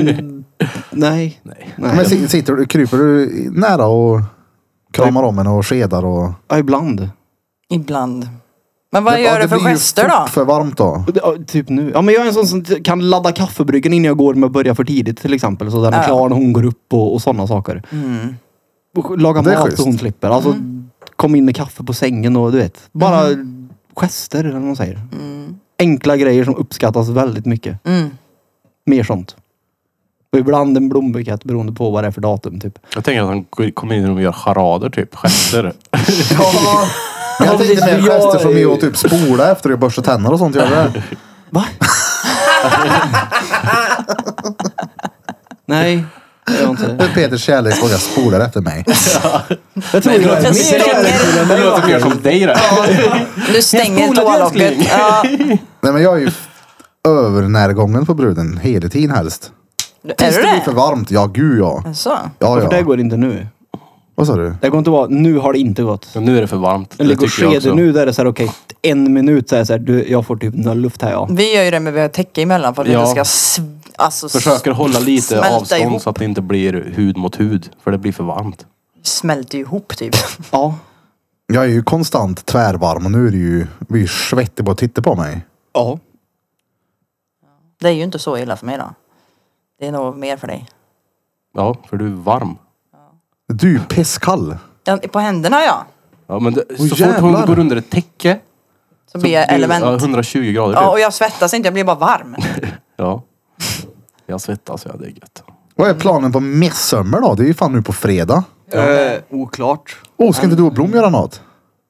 S2: nej.
S3: Nej.
S1: Men
S2: nej.
S1: si- sitter du, kryper du nära och kramar om henne och skedar och...
S2: Ja, ibland.
S4: Ibland. Men vad gör
S1: Ja,
S4: du för
S1: blir ju
S4: gester
S1: fort
S4: då?
S1: för varmt då.
S2: Ja, typ nu. Ja, men jag är en sån som t- kan ladda kaffebryggen innan jag går med att börja för tidigt till exempel. Så den är
S4: Ja.
S2: klar när hon går upp och, och sådana saker. Och Laga
S1: Det är
S2: mat
S1: schysst.
S2: så hon slipper. Alltså, kom in med kaffe på sängen och du vet. Bara gester eller vad man säger. Enkla grejer som uppskattas väldigt mycket.
S4: Mm.
S2: Mer sånt. Och ibland en blombukett beroende på vad det är för datum typ.
S3: Jag tänker att han g- kommer in och gör charader typ. Gester.
S1: Ja. Men jag tänkte mer
S2: precis.
S1: gester som
S2: Jag-
S1: är att typ spola efter att borsta tänder och sånt. Gör du det?
S2: Va? Nej, det gör jag inte.
S1: Det är Peters kärlek och jag spolar efter mig.
S2: Jag tror jag är mer
S4: låter som-
S2: kärleksfull än
S3: Det
S2: du
S3: låter mer som dig det.
S4: Du stänger
S3: spolade,
S4: toalocket.
S3: älskling.
S4: Ja.
S1: Nej men jag är ju f- övernärgången på bruden hela tiden helst.
S4: Är
S1: Tills
S4: du
S1: det blir för
S4: det?
S1: varmt. Ja gud ja.
S4: Så.
S1: Ja
S2: För det
S1: ja.
S2: går inte nu.
S1: Vad sa du?
S2: Det går inte att vara, nu har det inte gått.
S3: Ja, nu är det för varmt.
S2: Jag
S3: Det
S2: ligger och
S3: tycker jag
S2: skeder
S3: också.
S2: nu där är det såhär okej, en minut så är det såhär, du, jag får typ noll luft här ja.
S4: Vi gör ju det med att vi har täcke emellan för att vi
S3: Ja.
S4: inte ska sv- alltså,
S3: Försöker hålla lite
S4: Smälta
S3: avstånd
S4: ihop.
S3: så att det inte blir hud mot hud. För det blir för varmt.
S4: smälta ihop typ.
S2: Ja.
S1: Jag är ju konstant tvärvarm och nu är det ju, vi är ju svettig bara att titta på mig.
S2: Ja.
S4: Det är ju inte så illa för mig då. Det är nog mer för dig.
S3: Ja, för du är varm.
S1: Du är ju pisskall.
S4: Ja, på händerna ja.
S3: Ja, men det, så fort
S1: jävlar.
S3: hon går under ett täcke.
S4: Så blir jag
S3: Ja,
S4: element.
S3: 120 grader
S4: Ja, och
S3: typ.
S4: jag svettas inte, jag blir bara varm.
S3: Ja. Jag svettas, ja det är gött.
S1: Vad är planen på midsommar då? Det är ju fan nu på fredag.
S2: Eh, oklart.
S1: Åh, ska inte du och Blom göra något?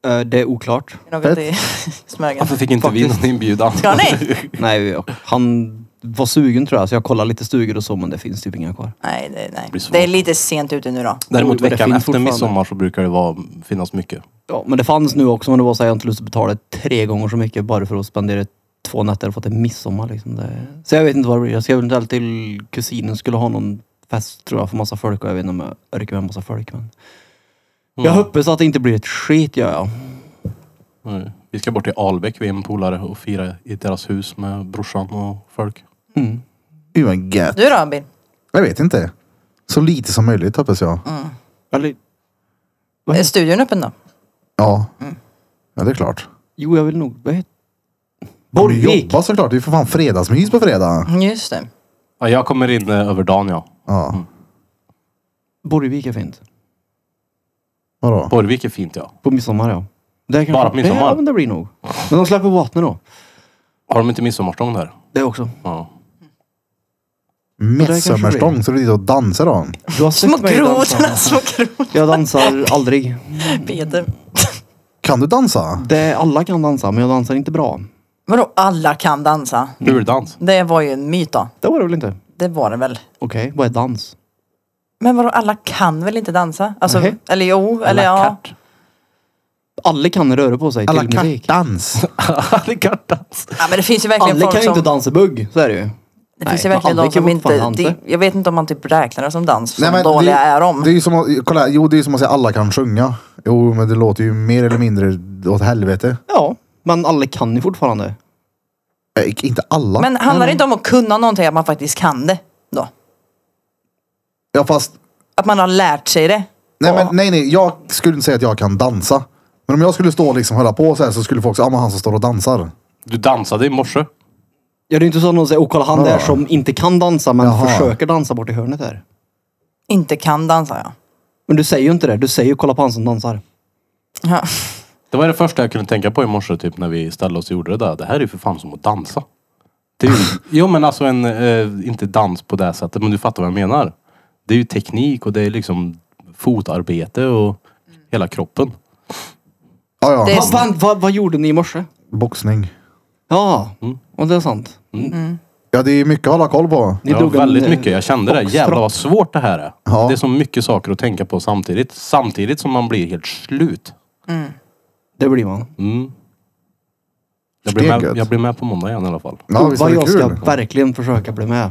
S2: Eh, det är oklart.
S4: Något i smögen.
S3: Varför fick inte vi någon inbjudan?
S4: Ska ni?
S2: Nej, jag- han var sugen tror jag. Så jag kollade lite stugor och så men det finns typ inga kvar.
S4: Nej, det, nej.
S3: blir svårt.
S4: det är lite sent ute nu då.
S3: Däremot
S2: Jo, men det
S3: veckan
S2: finns
S3: efter
S2: fortfarande.
S3: midsommar så brukar det vara, finnas mycket.
S2: Ja, men det fanns nu också men det var såhär, jag har inte lust att betala tre gånger så mycket bara för att spendera två nätter och få till midsommar liksom. Det... Så jag vet inte vad det blir. Jag ska eventuellt till kusinen skulle ha någon fest tror jag för massa folk och jag vet inte om jag orkar med massa folk men. Jag hoppas att det inte blir ett skit gör jag.
S3: Nej. Vi ska bort till Albäck, vi är en polare, och fira i deras hus med brorsan och folk.
S1: Gud vad gött.
S4: Du då Abin?
S1: Jag vet inte. Så lite som möjligt hoppas jag.
S4: Mm.
S2: Eller,
S4: Är studion öppen då?
S1: Ja.
S4: Mm.
S1: Ja, det är klart.
S2: jo jag vill nog, vad heter
S1: Vi
S2: Borgvik!
S1: jobbar såklart. Vi får fan fredagsmys på fredag.
S4: Just det.
S3: Ja, jag kommer in eh, över dagen ja.
S1: Ja.
S2: Borgvik är fint.
S1: Vadå?
S3: Borgvik är fint ja.
S2: På midsommar ja. Det kanske-
S3: Bara på midsommar.
S2: Ja, men det blir nog. Men de släpper vattnet då.
S3: Har de inte midsommarstång där?
S2: Det också.
S3: Ja.
S2: det kanske
S1: Midsommarstång,
S2: blir.
S1: så du är dit och dansar då?
S2: Du har sett
S4: Små
S2: mig dansa.
S4: grodorna, små grodorna.
S2: Jag dansar aldrig.
S4: Peter.
S1: Kan du dansa?
S2: Det, alla kan dansa, men jag dansar inte bra.
S4: Vadå alla kan dansa?
S3: Burdans.
S4: Det var ju en myt då.
S2: Det var det väl inte?
S4: Det var det väl.
S2: Okej, vad är dans?
S4: Men vadå alla kan väl inte dansa? Alltså,
S2: Nej.
S4: eller jo, eller
S3: Alla
S4: ja.
S3: kart.
S2: Alla kan röra på sig
S1: Alla
S2: till musik.
S1: kartdans.
S3: Alla kartdans.
S4: ja. men det finns ju verkligen
S2: Alla
S4: folk
S2: kan ju
S4: som...
S2: inte dansa bugg, så är det ju.
S4: Det finns ju
S2: Nej,
S4: verkligen
S2: alla
S4: de
S2: kan
S4: som
S2: ju fan
S4: inte...
S2: dansa.
S4: Det, jag vet inte om man typ räknar det som dans, som
S1: Nej, men
S4: dåliga
S1: det,
S4: är de.
S1: Det är ju som att, kolla, här, jo, det är ju som att säga alla kan sjunga. Jo, men det låter ju mer eller mindre åt helvete.
S2: Ja, men alla kan ju fortfarande.
S1: Nej, Eh, inte alla.
S4: Men handlar det inte om att kunna någonting, att man faktiskt kan det då?
S1: Ja, fast,
S4: Att man har lärt sig det?
S1: nej,
S4: Ja.
S1: men, nej, nej, jag skulle inte säga att jag kan dansa. Men om jag skulle stå och liksom hålla på så här så skulle folk säga, ja men han som står och dansar.
S3: Du dansade i morse.
S2: Ja, det är inte så att någon säger, åh kolla han där som inte kan dansa men
S1: Jaha.
S2: försöker dansa bort i hörnet där.
S4: Inte kan dansa ja.
S2: Men du säger ju inte det. Du säger ju kolla på han som dansar.
S4: ja.
S3: Det var det första jag kunde tänka på i morse typ när vi ställde oss och gjorde det där. Det här är ju för fan som att dansa. Det är ju, jo men alltså en, eh, inte dans på det sättet men du fattar vad jag menar. Det är ju teknik och det är liksom fotarbete och hela kroppen.
S1: Ja, ja.
S4: Det är-
S2: Vad fan, vad, vad gjorde ni i morse?
S1: Boxning.
S2: Ja, och det är sant.
S1: Ja, det är mycket att hålla koll på.
S2: Ni
S3: ja,
S2: drog en,
S3: väldigt
S2: eh,
S3: mycket. Jag kände det.
S2: boxtropp.
S3: Jävlar vad svårt det här är.
S1: Ja.
S3: Det är så mycket saker att tänka på samtidigt. Samtidigt som man blir helt slut.
S2: Det blir man.
S3: Mm. Jag, blir
S1: Steget.
S3: med, jag blir med på måndag igen i alla fall.
S1: Ja,
S2: och
S1: visst var
S2: vad
S1: det
S2: jag ska
S1: kul?
S2: verkligen försöka bli med.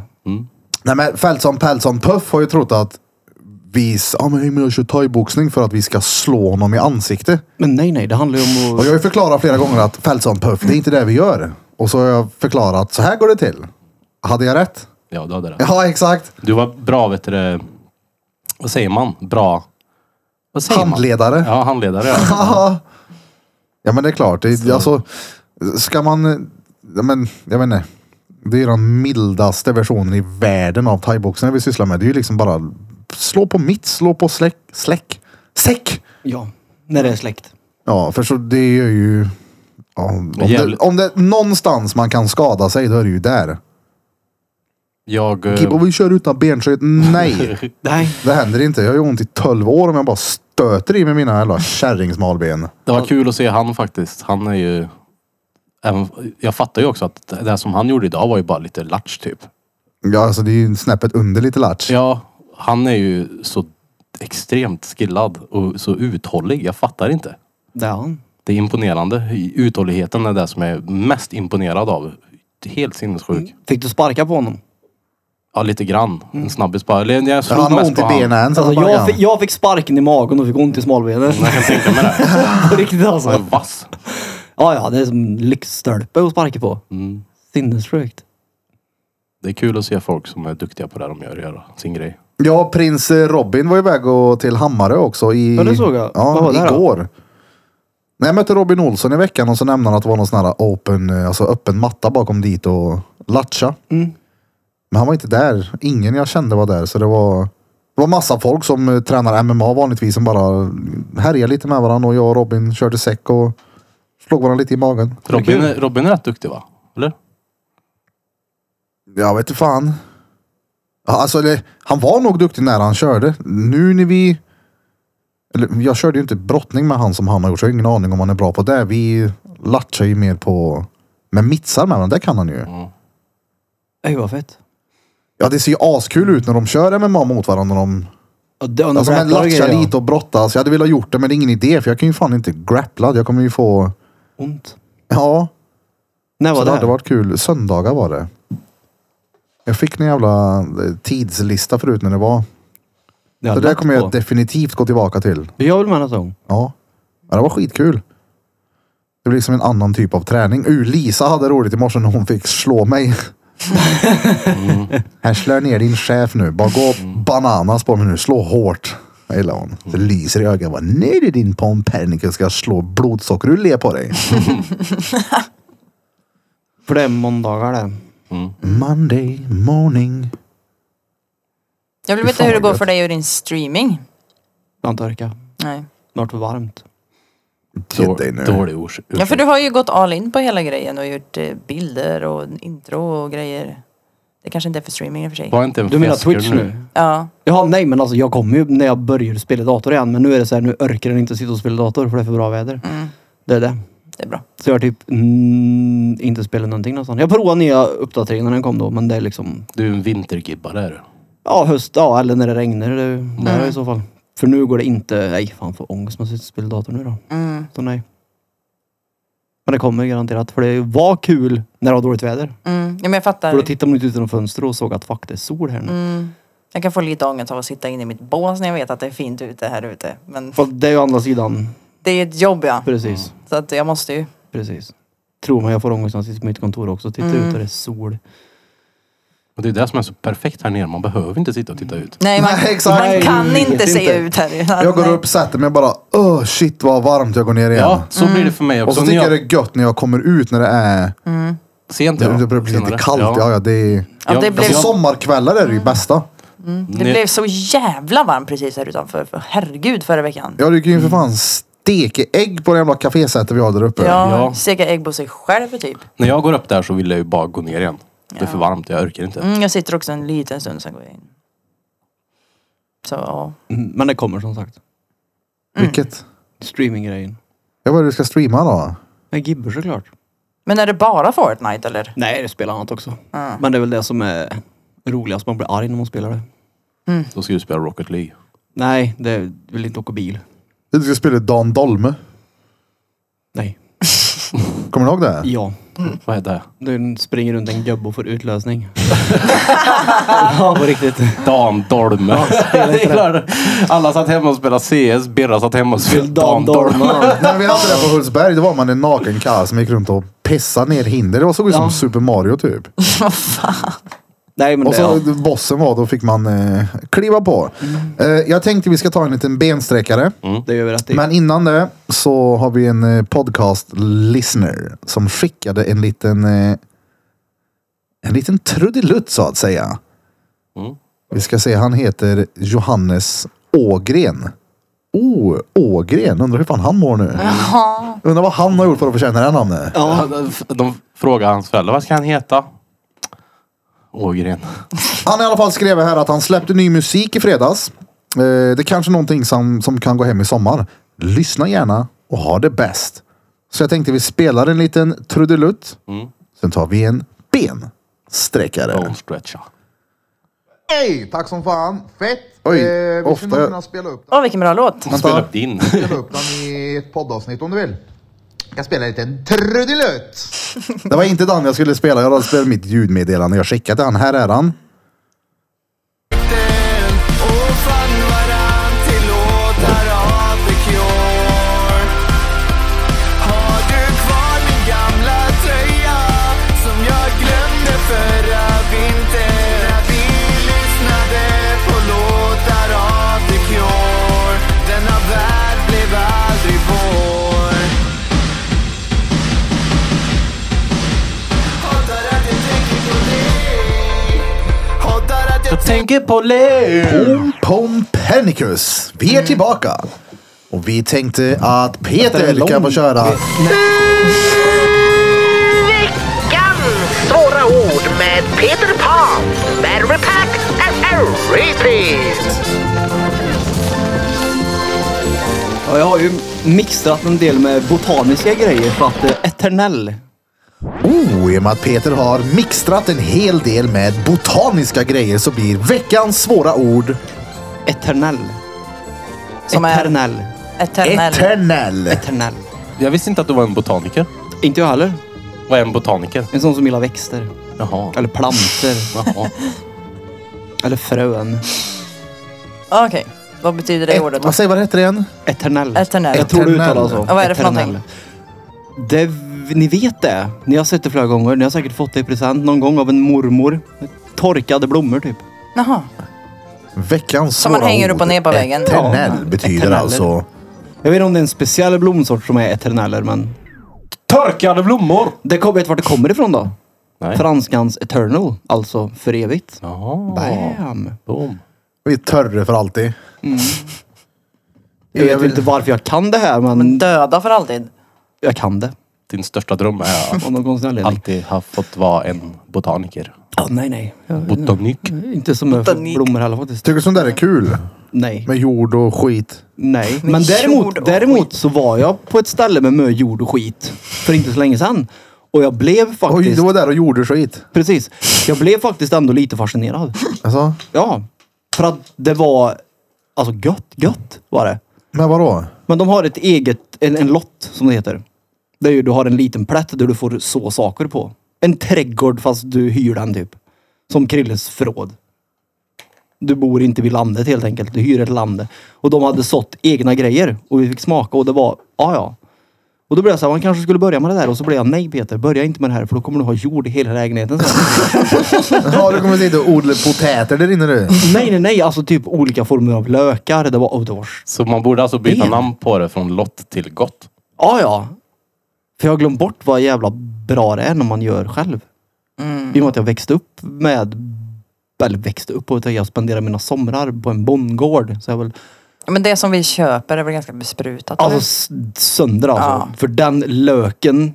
S1: Nej men Feltson Peltson Puff har ju trott att vi, s- ja men jag kör thaiboxning för att vi ska slå honom i ansikte.
S2: Men nej, nej, det handlar ju om
S1: Och
S2: att...
S1: jag har ju förklarat flera gånger att Feltson Puff, det är inte det vi gör. Och så har jag förklarat, så här går det till. Hade jag rätt?
S3: Ja, du hade rätt.
S1: Ja, exakt.
S3: Du var bra, vet du det- Vad säger man? Bra... Vad säger
S1: Handledare.
S3: man? Ja, handledare. Ja.
S1: Ja. ja men det är klart. Det, alltså, ska man... ja, Men, jag vet inte. Det är den mildaste versionen i världen av thaiboxning vi sysslar med. Det är ju liksom bara slå på mitt, slå på släck. Släck? Säck!
S2: Ja, när det är släkt.
S1: Ja, för så det är ju... Ja, om, det,
S3: Jävligt.
S1: om det är någonstans man kan skada sig, då är det ju där.
S3: Jag... eh,
S1: Kippa, vi kör utan benskydd. Nej,
S2: Nej,
S1: det händer inte. Jag har ju ont i 12 år om jag bara stöter i med mina jävla kärringsmalben.
S3: Det var kul att se han faktiskt. Han är ju... även- Jag fattar ju också att det som han gjorde idag var ju bara lite latch typ.
S1: Ja, alltså det är ju snäppet under lite latch.
S3: Ja, han är ju så extremt skillad och så uthållig. Jag fattar inte.
S2: det är han.
S3: Det är imponerande. Uthålligheten är det som jag är mest imponerad av. Helt sinnessjuk.
S1: Mm.
S2: Fick du sparka på honom?
S3: Ja, lite grann. En snabbis bara. Eller Jag
S1: Ja,
S3: slog
S1: han Mm. har
S3: mest
S1: ont i
S3: på han.
S1: benen än. Så
S2: Alltså,
S1: bara,
S2: jag,
S1: ja.
S2: fick, jag fick sparken i magen och fick ont i smalbenet.
S3: Jag kan tänka mig det.
S2: På riktigt alltså.
S3: Han är vass.
S2: Ja, ja, det är som lyxstolpe att sparka på. Sinnessjukt.
S3: Det är kul att se folk som är duktiga på det de gör, göra sin grej.
S1: ja, prins eh, Robin var iväg och till Hammarö också. I,
S2: Ja, det såg jag.
S1: Ja,
S2: Vad var det här då?
S1: igår. När jag mötte Robin Olsson i veckan och så nämnde han att det var någon sån här open, eh, alltså öppen matta bakom dit och latcha.
S2: Mm.
S1: Men han var inte där. Ingen jag kände var där. Så det var, det var massa folk som eh, tränar MMA vanligtvis som bara härjade lite med varandra. Och jag och Robin körde säck och slog varandra lite i magen.
S3: Robin, är- Robin är rätt duktig va? Eller?
S1: Jag vet inte fan. Ja, Alltså, det, han var nog duktig när han körde. Nu när vi... Eller, jag körde ju inte brottning med han som han har gjort, så jag har ingen aning om han är bra på det. Vi latchar ju mer på... Med mittsar med varandra, det kan han ju.
S2: Ej, vad fett.
S1: Ja, det ser ju askul ut när de kör MMA mot varandra. De,
S2: Ja, det- om de
S1: alltså, men
S2: grapplar och
S1: latchar
S2: grejer, ja.
S1: lite och brottas. Jag hade velat gjort det, men det är ingen idé, för jag kan ju fan inte grappla. Jag kommer ju få...
S2: Ont.
S1: Ja,
S2: När
S1: så
S2: var
S1: det
S2: Alltså, det?
S1: hade
S2: här?
S1: varit kul. Söndagar var det. Jag fick en jävla eh, tidslista förut när det var.
S2: Det har
S1: Så det där
S2: lagt
S1: kommer jag
S2: på.
S1: definitivt gå tillbaka till.
S2: Jag vill med nästa gång.
S1: Ja. ja, det var skitkul. Det blir som en annan typ av träning. Uh, Lisa hade roligt i morse när hon fick slå mig.
S3: Mm.
S1: Här slår jag ner din chef nu. Bara gå bananas på mig nu. Slå hårt. Jag gillar hon. Det
S3: Mm.
S1: lyser i ögonen. Bara, Nej du din Pompernicus ska jag slå blodsocker ur le på dig.
S2: För det är måndagar det.
S1: Monday morning.
S4: Jag vill
S1: Fy
S4: veta
S1: fan
S4: hur det
S1: vad
S4: går
S1: gött.
S4: för dig och din streaming.
S2: Jag har inte orkat.
S4: Nej.
S2: Snart för varmt.
S1: Ge Typ dig nu.
S3: dålig ors- ursäkt.
S4: Ja för du har ju gått all in på hela grejen och gjort eh, bilder och intro och grejer. Det kanske inte är för streaming i och för sig.
S3: Var inte en
S2: Du menar
S3: fiasker
S2: Twitch nu?
S4: Ja.
S2: Ja, nej men alltså jag kommer ju när jag börjar spela dator igen. Men nu är det så här, nu orkar den inte sitta och spela dator för det är för bra väder. Det är det.
S4: mm. Det är bra.
S2: Så jag har typ mm, inte spelat någonting nästan. Jag provade nya uppdateringen när den kom då, men det är liksom...
S3: Du är en vintergibba där.
S2: Ja, höst, ja eller när det regnar det är ju nära i så fall. För nu går det inte... Nej, fan får ångest när jag sitter och spelar dator nu då.
S4: Mm.
S2: Så nej. Men det kommer garanterat, för det var kul när det var dåligt väder.
S4: Mm. Ja men jag fattar.
S2: För då tittade man ut genom fönstret och såg att fuck det är sol här nu.
S4: Mm. Jag kan få lite ångest av att sitta inne i mitt bås när jag vet att det är fint ute här ute. Men
S2: Fast det är ju andra sidan.
S4: det är ju ett jobb ja.
S2: Precis.
S4: Så att jag måste ju.
S2: Precis. Tror man jag får ångest när jag sitter på mitt kontor också. Tittar ut och det är sol.
S3: Och det är det som är så perfekt här nere. Man behöver inte sitta och titta ut.
S4: Nej man,
S1: Nej, exakt.
S4: man kan
S2: Nej,
S4: inte
S2: vet
S4: se
S2: inte.
S4: ut här.
S1: Jag går upp, sätter mig och bara, oh, shit vad varmt jag går ner igen.
S3: Ja, så blir det för mig
S1: Mm.
S3: också.
S1: och så
S3: När
S1: tycker jag
S3: jag-
S1: det är gött när jag kommer ut när det är,
S3: Sent
S1: det,
S3: ja.
S1: det börjar bli lite
S3: Senare.
S1: kallt. Ja, ja, det är,
S4: Ja, det blev-
S1: alltså, sommarkvällar är det ju bästa.
S4: Det blev så jävla varmt precis här utanför. För herregud förra veckan.
S1: Jag rycker ju för fan stekeägg på det jävla kafésätet vi har där uppe.
S4: Ja,
S3: Ja.
S4: steka ägg på sig själv typ.
S3: När jag går upp där så vill jag ju bara gå ner igen. Det är för varmt, jag orkar inte.
S4: Mm, jag sitter också en liten stund sen går jag in. Så ja.
S2: Mm, Men det kommer som sagt.
S1: Vilket?
S2: Streaminggrejen.
S1: Ja, vad är det du ska streama då?
S2: Men Gibber såklart.
S4: Men är det bara Fortnite eller?
S2: Nej, det spelar annat också. Men det är väl det som är roligast. Man blir arg när man spelar det.
S3: Då ska du spela Rocket League.
S2: Nej, det är- vill inte åka bil.
S1: Du ska spela Dan Dolme.
S2: Nej.
S1: Kommer du ihåg det?
S2: Ja.
S3: Vad är det?
S2: Du springer runt en gubbe och får utlösning. ja, på riktigt.
S3: Dan Dolme. Det är klart. Alla satt hemma och spelade CS, Birra satt hemma och spelade Dan Dolme.
S1: Nej, vi hade det på Hultsberg. Då var man en naken karl som gick runt och pissade ner hinder. Det var såg ut som
S2: Ja.
S1: Super Mario typ.
S2: Nej, men
S1: Och
S2: det,
S1: så
S2: ja.
S1: bossen var, då fick man eh, kliva på. Eh, jag tänkte vi ska ta en liten bensträckare.
S2: det gör vi rätt i.
S1: Men innan det så har vi en eh, podcast listener som skickade en liten eh, en liten trudelutt så att säga. Vi ska se, han heter Johannes Ågren. Oh, Ågren, undrar hur fan han mår nu. Undrar vad han har gjort för att förtjäna det här namnet.
S3: Ja. De frågade hans föräldrar, vad ska han heta? Ågren.
S1: Han i alla fall skrev här att han släppte ny musik i fredags. Eh, det är kanske någonting som, som kan gå hem i sommar. Lyssna gärna och ha det bäst. Så jag tänkte vi spelar en liten trudelutt. Sen tar vi en bensträckare.
S3: Don't stretcha.
S5: Hej! Tack som fan. Fett.
S1: Oj,
S5: eh, vi
S1: ofta-
S5: skulle nog kunna spela upp,
S4: Åh vilken bra låt.
S3: Spela upp din.
S5: spela upp den i ett poddavsnitt om du vill. Jag spelar en liten trudelutt.
S1: Det var inte den jag skulle spela. Jag hade spelat mitt ljudmeddelande. Jag skickade till han. Här är han.
S6: och fann varann till låtar av The Cure. Har du kvar min gamla tröja som jag glömde förra vintern? När vi lyssnade på låtar av The Cure. Denna värld blev aldrig vår. Hatar att jag tänker på dig. Hatar att jag
S3: Tänker på Leo.
S1: Pom Pompernicus. Vi är tillbaka. Och vi tänkte att Peter kan få köra.
S7: Veckans svåra ord med Peter Pan, Battery Pack and Repeat.
S2: Ja, jag har ju mixtrat en del med botaniska grejer för att eh, eternell
S1: Oh, i och med att Peter har mixtrat en hel del med botaniska grejer så blir veckans svåra ord
S2: Eternell.
S4: Som är-
S2: Eternell.
S4: Eternal.
S1: eternell.
S2: Eternell.
S3: Jag visste inte att du var en botaniker.
S2: Inte jag heller.
S3: Vad är en botaniker?
S2: En sån som gillar växter.
S3: Jaha.
S2: Eller planter.
S3: Jaha.
S2: eller frön.
S4: Okej. Vad betyder det ordet
S1: Et,
S4: då?
S1: vad säger vad heter det igen?
S2: Eternell.
S4: Eternell.
S2: Jag tror du uttalar så.
S4: Ja, vad är det för
S2: Eternell.
S4: någonting?
S2: Det, ni vet det. Ni har sett det flera gånger. Ni har säkert fått det i present någon gång av en mormor. Torkade blommor typ.
S4: Jaha.
S1: Veckans
S4: Som
S1: svåra
S4: man hänger upp och
S1: ord.
S4: ner på väggen.
S1: Eternell
S2: Ja.
S1: betyder
S2: Eterneller.
S1: alltså.
S2: Jag vet inte om det är en speciell blomsort som är eterneller men
S3: Torkade blommor!
S2: Det kom, vet du vart det kommer ifrån då?
S3: Nej.
S2: Franskans eternal, alltså för evigt.
S3: Jaha.
S2: Bam!
S3: Boom.
S1: Vi är törre för alltid.
S2: Jag vet inte varför jag kan det här
S1: Mm.
S2: men
S4: Döda för alltid.
S2: jag kan det.
S3: Din största dröm är att
S2: Av någon konstig anledning.
S3: alltid ha fått vara en botaniker.
S2: Ja, nej, nej. Jag,
S3: Botanik.
S2: inte som jag
S4: Botanik.
S2: blommor heller faktiskt.
S1: Tycker du sånt där är kul?
S2: Nej.
S1: Med jord och skit.
S2: Nej, men
S4: jord
S2: däremot,
S4: och
S2: däremot så var jag på ett ställe med mö, jord och skit för inte så länge sedan. Och jag blev
S1: Oj,
S2: faktiskt,
S1: du var där och gjorde skit.
S2: precis, jag blev faktiskt ändå lite fascinerad.
S1: Alltså,
S2: Ja, för att det var, alltså gött, gött var det.
S1: men vadå?
S2: Men de har ett eget, en, en lott som det heter. Det är ju, du har en liten plätt där du får så saker på. En trädgård fast du hyr den typ. Som Krilles förråd. Du bor inte vid landet helt enkelt. Du hyr ett land. Och de hade sått egna grejer. Och vi fick smaka och det var, ja ja. Och då blev jag såhär, man kanske skulle börja med det där. Och så blev jag, nej Peter, börja inte med det här för då kommer du ha jord i hela lägenheten. Så.
S1: Ja, du kommer sitta och odla potäter där inne du.
S2: nej, nej, nej. Alltså typ olika former av lökar. Det var, oh, det var
S3: Så man borde alltså byta
S2: Ben.
S3: namn på det från lott till gott.
S2: Ja, ja. För jag har glömt bort vad jävla bra det är när man gör själv. I och med att jag växte upp med, eller växte upp och jag spenderade mina somrar på en bondgård. Så jag väl,
S4: Men det som vi köper är väl ganska besprutat?
S2: alltså
S4: eller?
S2: s- sönder alltså.
S4: Ja.
S2: För den löken,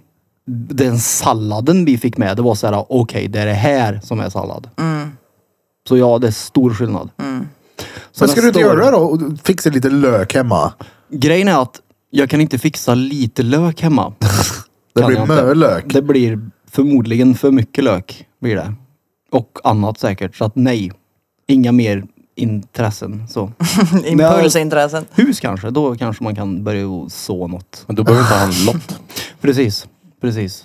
S2: den salladen vi fick med, det var så här: okej det är det här som är sallad. Så ja, det är stor skillnad. Så
S1: Men ska du inte
S2: nästa år-
S1: göra det då? Och Fixa lite lök hemma?
S2: Grejen är att jag kan inte fixa lite lök hemma.
S1: Det
S2: Kan
S1: blir
S2: jag inte.
S1: mölök.
S2: Det blir förmodligen för mycket lök. Blir det. Och annat säkert. Så att nej. Inga mer intressen. Så.
S4: Impulsintressen.
S2: Hus kanske. Då kanske man kan börja och så något.
S3: Men du behöver inte ha en
S1: Ah.
S3: lott.
S2: Precis. Precis.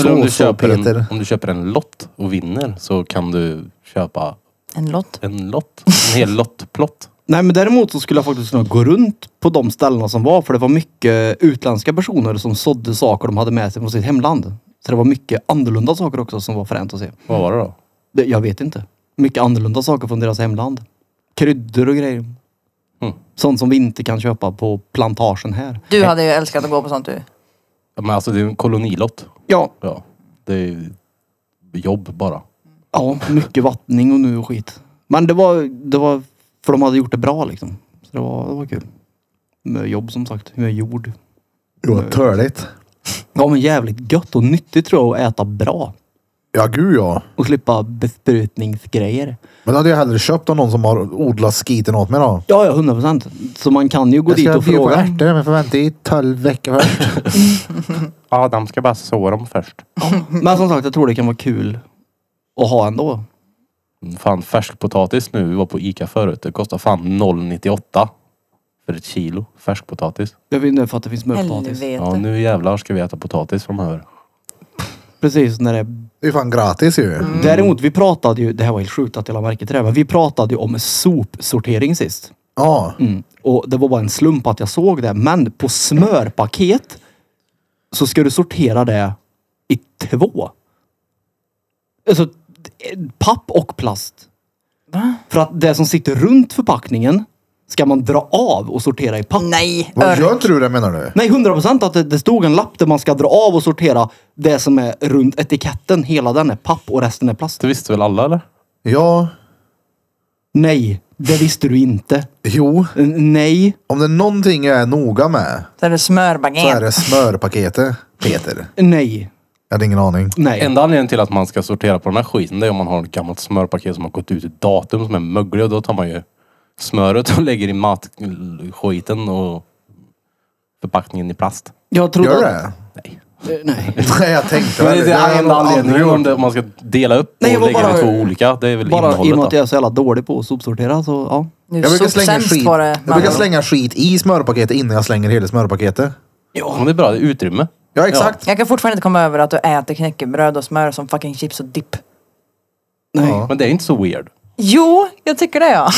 S3: Eller om
S1: Så,
S3: du,
S1: så
S3: köper en,
S1: Peter.
S3: om du köper en lott och vinner så kan du köpa
S4: En lott.
S3: en lott. En hel lottplott.
S2: Nej men däremot så skulle jag faktiskt kunna gå runt på de ställena som var. För det var mycket utländska personer som sådde saker de hade med sig från sitt hemland. Så det var mycket annorlunda saker också som var fränt att se.
S3: Vad var det då?
S2: Det, jag vet inte. Mycket annorlunda saker från deras hemland. Kryddor och grejer.
S1: Mm.
S2: Sånt som vi inte kan köpa på plantagen här.
S4: Du hade ju älskat att gå på sånt du.
S3: Ja, Men alltså det är en kolonilott.
S2: Ja,
S3: Ja. Det är jobb bara.
S2: ja mycket vattning och nu och skit. Men det var, det var, för de hade gjort det bra liksom. Så det var, det var kul. Med jobb som sagt, med jord.
S1: Jo,
S3: Mm.
S1: törligt.
S2: Ja men jävligt gött och nyttigt tror jag att äta bra.
S1: Ja, gud ja.
S2: Och slippa besprutningsgrejer.
S1: Men då hade jag hellre köpt av någon som har odlat skiten åt mig då.
S2: Ja, ja, 100 procent. Så man kan ju gå
S1: Jag
S2: dit
S1: ska
S2: och
S1: bjuda på
S2: fråga.
S1: ärtor, men får vänta i tolv veckor först.
S3: Adam ska bara så dem först.
S2: Men som sagt, jag tror det kan vara kul att ha ändå.
S3: Mm, Fan färskpotatis nu. Vi var på Ica förut. Det kostar fan 0,98 för ett kilo färskpotatis.
S2: Jag vet inte för att det finns mörkpotatis.
S3: Ja
S4: Helvete.
S3: nu jävlar ska vi äta potatis framöver.
S2: Precis när det...
S4: Mm.
S1: Det är fan gratis ju.
S2: Däremot, vi pratade ju, det här var helt sjukt att jag la märke till det, här, men vi pratade ju om sopsortering sist.
S1: Ja.
S2: Och det var bara en slump att jag såg det. Men på smörpaket så ska du sortera det i två. Alltså eh, papp och plast.
S4: Va?
S2: För att det som sitter runt förpackningen ska man dra av och sortera i papp.
S4: Nej,
S1: Vad
S4: örk.
S1: gör inte du det menar du?
S2: Nej, 100 procent att det, det stod en lapp där man ska dra av och sortera det som är runt etiketten. Hela den är papp och resten är plast.
S3: Det visste väl alla eller?
S1: Ja.
S2: Nej, det visste du inte.
S1: Jo.
S2: N- Nej,
S1: Om det är någonting jag är noga med
S4: Så är det
S1: så är
S4: smörbaguette.
S1: det smörpaketet. Peter.
S2: nej,
S1: Jag hade ingen aning.
S2: nej.
S3: Enda anledningen till att man ska sortera på den här skiten det är om man har ett gammalt smörpaket som har gått ut i datum som är möglig och då tar man ju smöret och lägger i matskiten och förpackningen i plast.
S2: Jag trodde
S1: Gör
S2: att-
S1: det?
S2: Eh, Nej.
S1: Nej, jag tänkte
S3: Men det är
S1: Jag har
S3: det
S1: nog
S3: enda
S1: aldrig
S3: anledningen
S1: gjort.
S3: om det, man ska dela upp
S2: Nej, jag var
S3: och lägga det
S2: bara-
S3: i två olika. Det är väl
S2: Bara i och med
S3: innehållet
S2: att
S3: då.
S2: jag är så jävla dålig på att sopsortera så ja.
S4: Nu
S1: Jag brukar,
S4: såg
S1: slänga
S4: sämst
S1: skit.
S4: var det.
S1: jag brukar
S4: Mannen.
S1: slänga skit i smörpaketet innan jag slänger hela smörpaketet.
S3: Ja, men det är bra. Det är utrymme.
S1: Ja, exakt.
S4: Jag kan fortfarande inte komma över att du äter knäckebröd och smör som fucking chips och dipp.
S2: Nej.
S1: Ja.
S3: Men det är inte så weird.
S4: Jo, jag tycker det ja.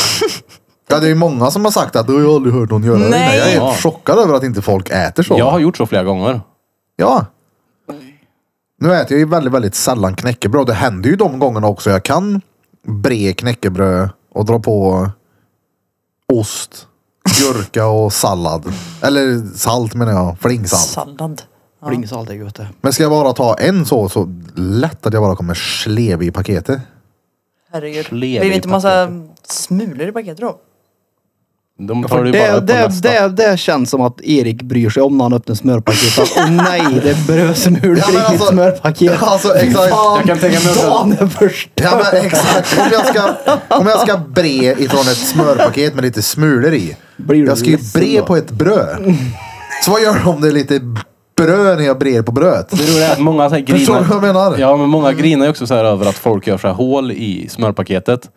S1: Ja, det är ju många som har sagt att du har ju aldrig hört någon göra det.
S4: Nej.
S1: Jag är
S3: Ja.
S1: helt chockad över att inte folk äter så.
S3: Jag har gjort så flera gånger.
S1: Ja. Nu äter jag ju väldigt, väldigt sällan knäckebröd. Det händer ju de gångerna också jag kan bre knäckebröd och dra på ost, gurka och sallad. Eller salt menar jag, flingsalt.
S4: Sallad.
S2: Flingsalt är gött det.
S1: Men ska jag bara ta en så, så lätt att jag bara kommer slev i paketet.
S4: Herregud.
S3: Slev
S4: Blir
S3: i
S4: det inte massa smulor i paketet då?
S3: De
S2: För
S3: tar
S2: det,
S3: det, ju
S2: det,
S3: bara upp på
S2: det,
S3: nästa.
S2: det, känns som att Erik bryr sig om när han öppnar smörpaketet. Åh nej, det brös en ur i mitt smörpaket.
S1: Alltså, exakt.
S3: Jag kan tänka mig att-
S2: Fan, är först.
S1: Ja, men exakt. Om jag, ska, om jag ska bre ifrån ett smörpaket med lite smulor i.
S2: Blir du
S1: jag ska ju
S2: ledsen
S1: bre
S2: då?
S1: på ett bröd. Så vad gör du om det är lite bröd när jag brer på bröd?
S3: Det roliga är att många så här grinar.
S1: Förstår du vad jag menar?
S3: Ja, men många grinar ju också så här över att folk gör så här hål i smörpaketet.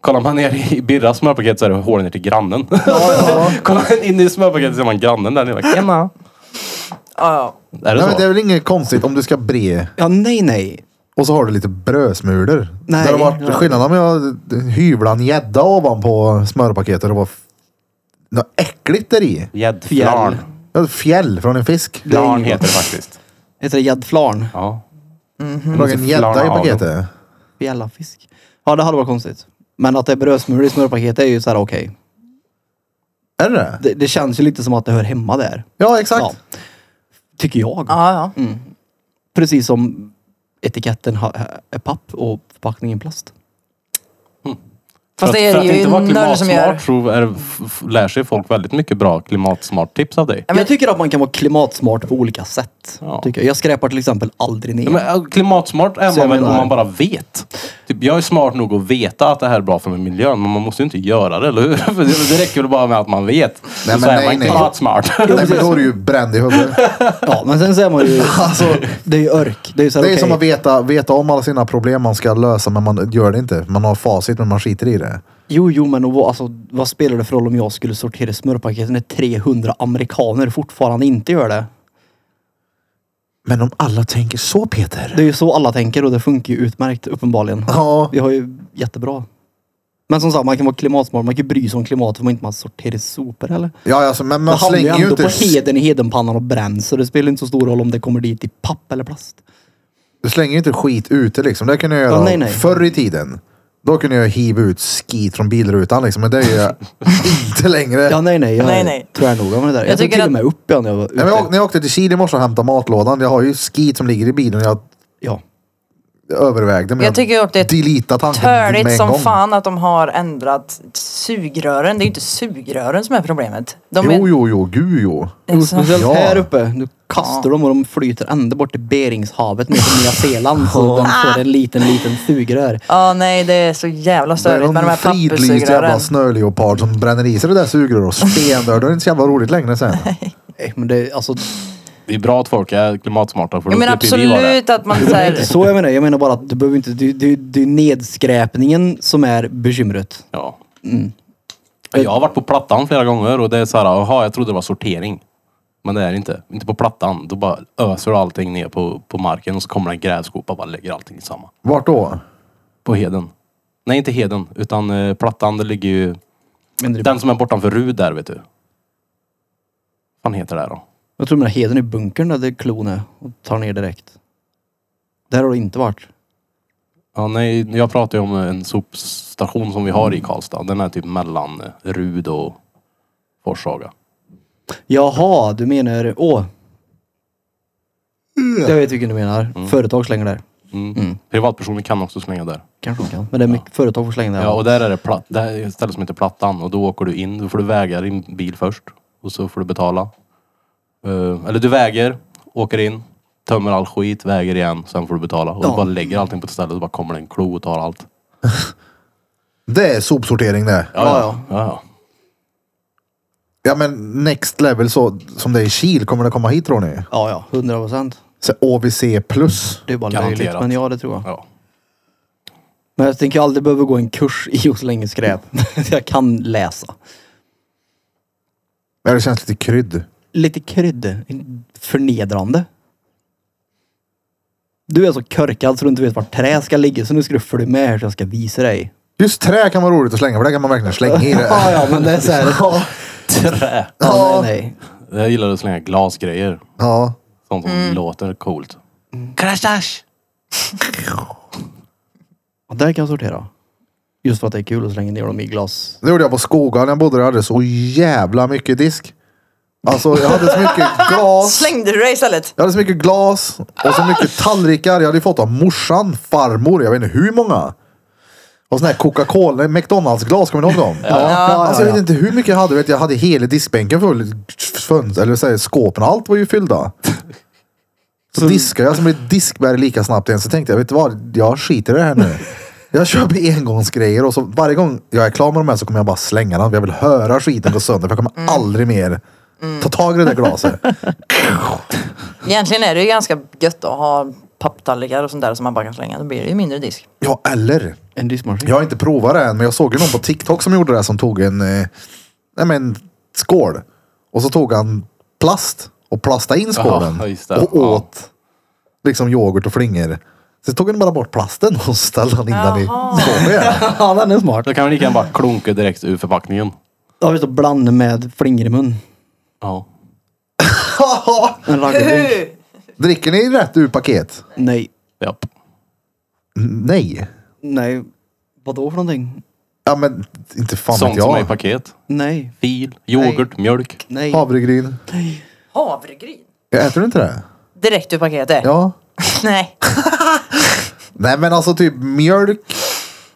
S3: Kollar man ner i Birras smörpaket så är det hål ner till grannen. Kollar man in i smörpaketet så är man grannen där nere. Tjena!
S4: Ja, ja.
S3: Är
S1: Nej,
S3: det så?
S1: men det är väl inget konstigt om du ska bre
S2: Ja, nej, nej.
S1: och så har du lite brödsmulor.
S2: Nej.
S1: Det hade varit skillnad om jag hyvlade en gädda ovanpå smörpaketet och var f- något äckligt där i.
S3: Gäddflarn.
S1: Jag hade Fjäll från en fisk.
S3: Flarn heter det faktiskt.
S2: Heter det gäddflarn?
S3: Ja.
S1: Jag lagade en gädda i
S3: Flarn av dem.
S1: paketet.
S2: Bjällafisk. Ja, det hade varit konstigt. Men att det är brödsmulor i smörpaketet är ju så här okej.
S1: Är det det?
S2: Det, det känns ju lite som att det hör hemma där.
S1: Ja, exakt.
S2: Ja. Tycker jag.
S4: ja, ja.
S1: Mm.
S2: Precis som etiketten ha, är papp och förpackningen plast.
S4: Fast
S3: För
S4: det
S3: att-
S4: är
S3: för
S4: det
S3: att
S4: ju
S3: inte vara
S4: nördar som gör.
S3: klimatsmart så är, det- f- f- lär sig folk väldigt mycket bra klimatsmart tips av dig.
S4: men-
S2: Jag tycker att man kan vara klimatsmart på olika sätt.
S3: Ja.
S2: Tycker jag. jag skräpar till exempel aldrig ner.
S3: Ja, men, äh, klimatsmart är
S2: Så
S3: man
S2: jag
S3: väl om
S2: menar-
S3: man bara vet. Typ, jag är smart nog att veta att det här är bra för miljön, men man måste ju inte göra det, eller hur? För det, det räcker väl bara med att man vet.
S1: Nej,
S3: så
S1: men
S3: är
S1: nej,
S3: man
S1: nej.
S3: klimatsmart.
S1: Nej, men då är du ju bränd i huvudet.
S2: Ja, men sen så är man ju... alltså, det är ju örk. Det är ju så här,
S1: Det är som
S2: okej.
S1: att veta, veta om alla sina problem man ska lösa men man gör det inte. Man har facit men man skiter i det.
S2: Jo, jo, men och vad, alltså, vad spelar det för roll om jag skulle sortera smörpaketen när 300 amerikaner fortfarande inte gör det?
S1: Men om alla tänker så Peter.
S2: Det är ju så alla tänker och det funkar ju utmärkt uppenbarligen.
S1: Ja,
S2: Vi har ju jättebra. Men som sagt, man kan vara klimatsmart. Man kan ju bry sig om klimatet för man inte man sorterar sopor eller?
S1: ja alltså, men
S2: Man
S1: man
S2: det hamnar ju
S1: slänger ju inte...
S2: ändå på heden i hedenpannan och bränns. Så det spelar inte så stor roll om det kommer dit i papp eller plast.
S1: Du slänger ju inte skit ute liksom. Det kunde jag göra
S2: Ja, nej, nej.
S1: förr i tiden. Då kunde jag hiva ut skit från bilrutan liksom. Men det gör jag inte längre.
S2: Ja, nej, nej. Jag
S4: Nej,
S2: nej,
S4: nej.
S2: nej. tvärnoga med det där. Jag, tog
S4: tycker
S2: till
S4: att-
S2: och med upp jag när jag var
S1: Nej, men jag,
S2: ute.
S1: när jag åkte till Chile i morse och hämtade matlådan. Jag har ju skit som ligger i bilen. Jag
S2: Ja.
S1: övervägde men
S4: Jag tycker ju att det är
S1: deletade tanken med
S4: Törligt
S1: en
S4: som
S1: gång.
S4: fan att de har ändrat sugrören. Det är ju inte sugrören som är problemet. De är...
S1: Jo, jo, jo. Gud jo.
S2: Jo,
S4: Alltså,
S2: speciellt
S1: Ja.
S2: här uppe. Du kastar dem och de flyter ända bort till Beringshavet ner till Nya Zeeland. Så de får en liten, liten sugrör.
S4: Ja, nej det är så jävla
S1: Det är
S4: störigt med de
S1: någon
S4: här
S1: fridlyst jävla
S4: papperssugrören.
S1: snöleopard som bränner i sig det där sugröret och stendör. Då är det inte så jävla roligt längre sen.
S2: Nej, Men det, alltså,
S3: Det är bra att folk är klimatsmarta, för
S4: Ja,
S3: då
S4: men
S3: slipper vi vara det.
S4: absolut att man
S2: det är inte
S4: säger
S2: så jag menar. Jag menar bara att du behöver inte... Det, det, det är nedskräpningen som är bekymret.
S3: Ja.
S4: Mm.
S3: Jag har varit på Plattan flera gånger och det är så här, jaha, jag trodde det var sortering. Men det är det inte. Inte på Plattan. Då bara öser du allting ner på, på marken och så kommer det en grävskopa och bara lägger allting i samma.
S1: Vart då?
S3: På Heden. Nej, inte Heden, utan eh, Plattan, det ligger ju...
S2: Men det,
S3: Den som är bortanför Rud där, vet du. Vad fan heter det här då?
S2: Jag tror den här heden i bunkern där det är klon är och tar ner direkt. Där har det inte varit.
S3: Ja, nej, jag pratar ju om en sopstation som vi har i Karlstad. Den är typ mellan eh, Rud och Forshaga.
S2: Jaha, du menar... Åh. Jag vet vilken du menar. Företag slänger där.
S3: Mm. Privatpersoner kan också slänga där.
S2: Kanske de kan. Men det är mycket företag får slänga där.
S3: Ja, och där är det, platt, det här är ett ställe som heter Plattan och då åker du in. Då får du väga din bil först och så får du betala. Eh, eller du väger, åker in, tömmer all skit, väger igen, sen får du betala. Och du
S2: Ja.
S3: bara lägger allting på ett ställe och så bara kommer det en klo och tar allt.
S1: Det är sopsortering det.
S2: Ja, ja.
S3: ja, ja.
S1: Ja men next level så som det är i Kil kommer det komma hit tror ni?
S2: Ja, ja. 100 procent.
S1: Så OVC plus.
S2: Det är bara
S3: Garanterat.
S2: löjligt. Men ja, det tror jag.
S3: ja.
S2: Men jag tänker jag aldrig behöver gå en kurs i att slänga skräp. jag kan läsa.
S1: Ja, det känns lite krydd.
S2: Lite krydd. Förnedrande. Du är så körkad så du inte vet vart trä ska ligga. Så nu ska du följa med här så jag ska visa dig.
S1: Just trä kan vara roligt att slänga för det kan man verkligen slänga i det.
S2: Ja, ja, men det är så här. Ja,
S3: Trä.
S2: nej, nej.
S3: Jag gillar att slänga glasgrejer.
S1: Ja.
S3: Sånt som låter coolt.
S2: Och där kan jag sortera. Just för att det är kul att slänga ner dem i glas.
S1: Det gjorde jag på Skogan när jag bodde där. Jag hade så jävla mycket disk. Alltså jag hade så mycket glas.
S4: Slängde du det istället?
S1: Jag hade så mycket glas och så mycket tallrikar. Jag hade ju fått av morsan, farmor, jag vet inte hur många. Och sån här Coca-Cola, McDonalds-glas, kommer ni ihåg dem? ja. Alltså, jag vet inte hur mycket jag hade. Vet, jag jag hade hela diskbänken full. Föns, eller så här, skåpen, allt var ju fyllda. Så, diskade jag som ett diskberg lika snabbt igen. Så tänkte jag, vet du vad? Jag skiter i det här nu. Jag köper engångsgrejer och så varje gång jag är klar med de här så kommer jag bara slänga dem. Jag vill höra skiten gå sönder för jag kommer aldrig mer ta tag i det där glaset.
S4: Egentligen är det ju ganska gött att ha papptallrikar och sånt där som man bara kan slänga. Då blir det ju mindre disk.
S1: Ja, eller?
S2: En diskmaskin.
S1: Jag har inte provat det än, men jag såg ju någon på TikTok som gjorde det som tog en, eh, nej men, skål. Och så tog han plast och plastade in skålen.
S3: Ja, just det.
S1: och
S3: Ja.
S1: åt liksom yoghurt och flingor. Så tog han bara bort plasten och ställde han in den i skålen igen.
S2: Ja, den är smart.
S3: Då kan man lika gärna bara klunka direkt ur förpackningen.
S2: Ja, visst. Och blanda med flingor i mun.
S3: Ja.
S2: En raggardrink.
S1: Dricker ni rätt ur paket?
S2: Nej.
S3: Japp.
S1: N- Nej.
S2: Nej. Vadå för någonting?
S1: Ja men inte fan
S3: Sånt
S1: vet
S3: som är i
S1: jag.
S3: paket.
S2: Nej.
S3: Fil, yoghurt, mjölk.
S2: Nej.
S1: Havregryn.
S4: Havregryn?
S1: Äter du inte det?
S4: Direkt ur paketet?
S1: Ja.
S4: Nej.
S1: Nej men alltså typ mjölk.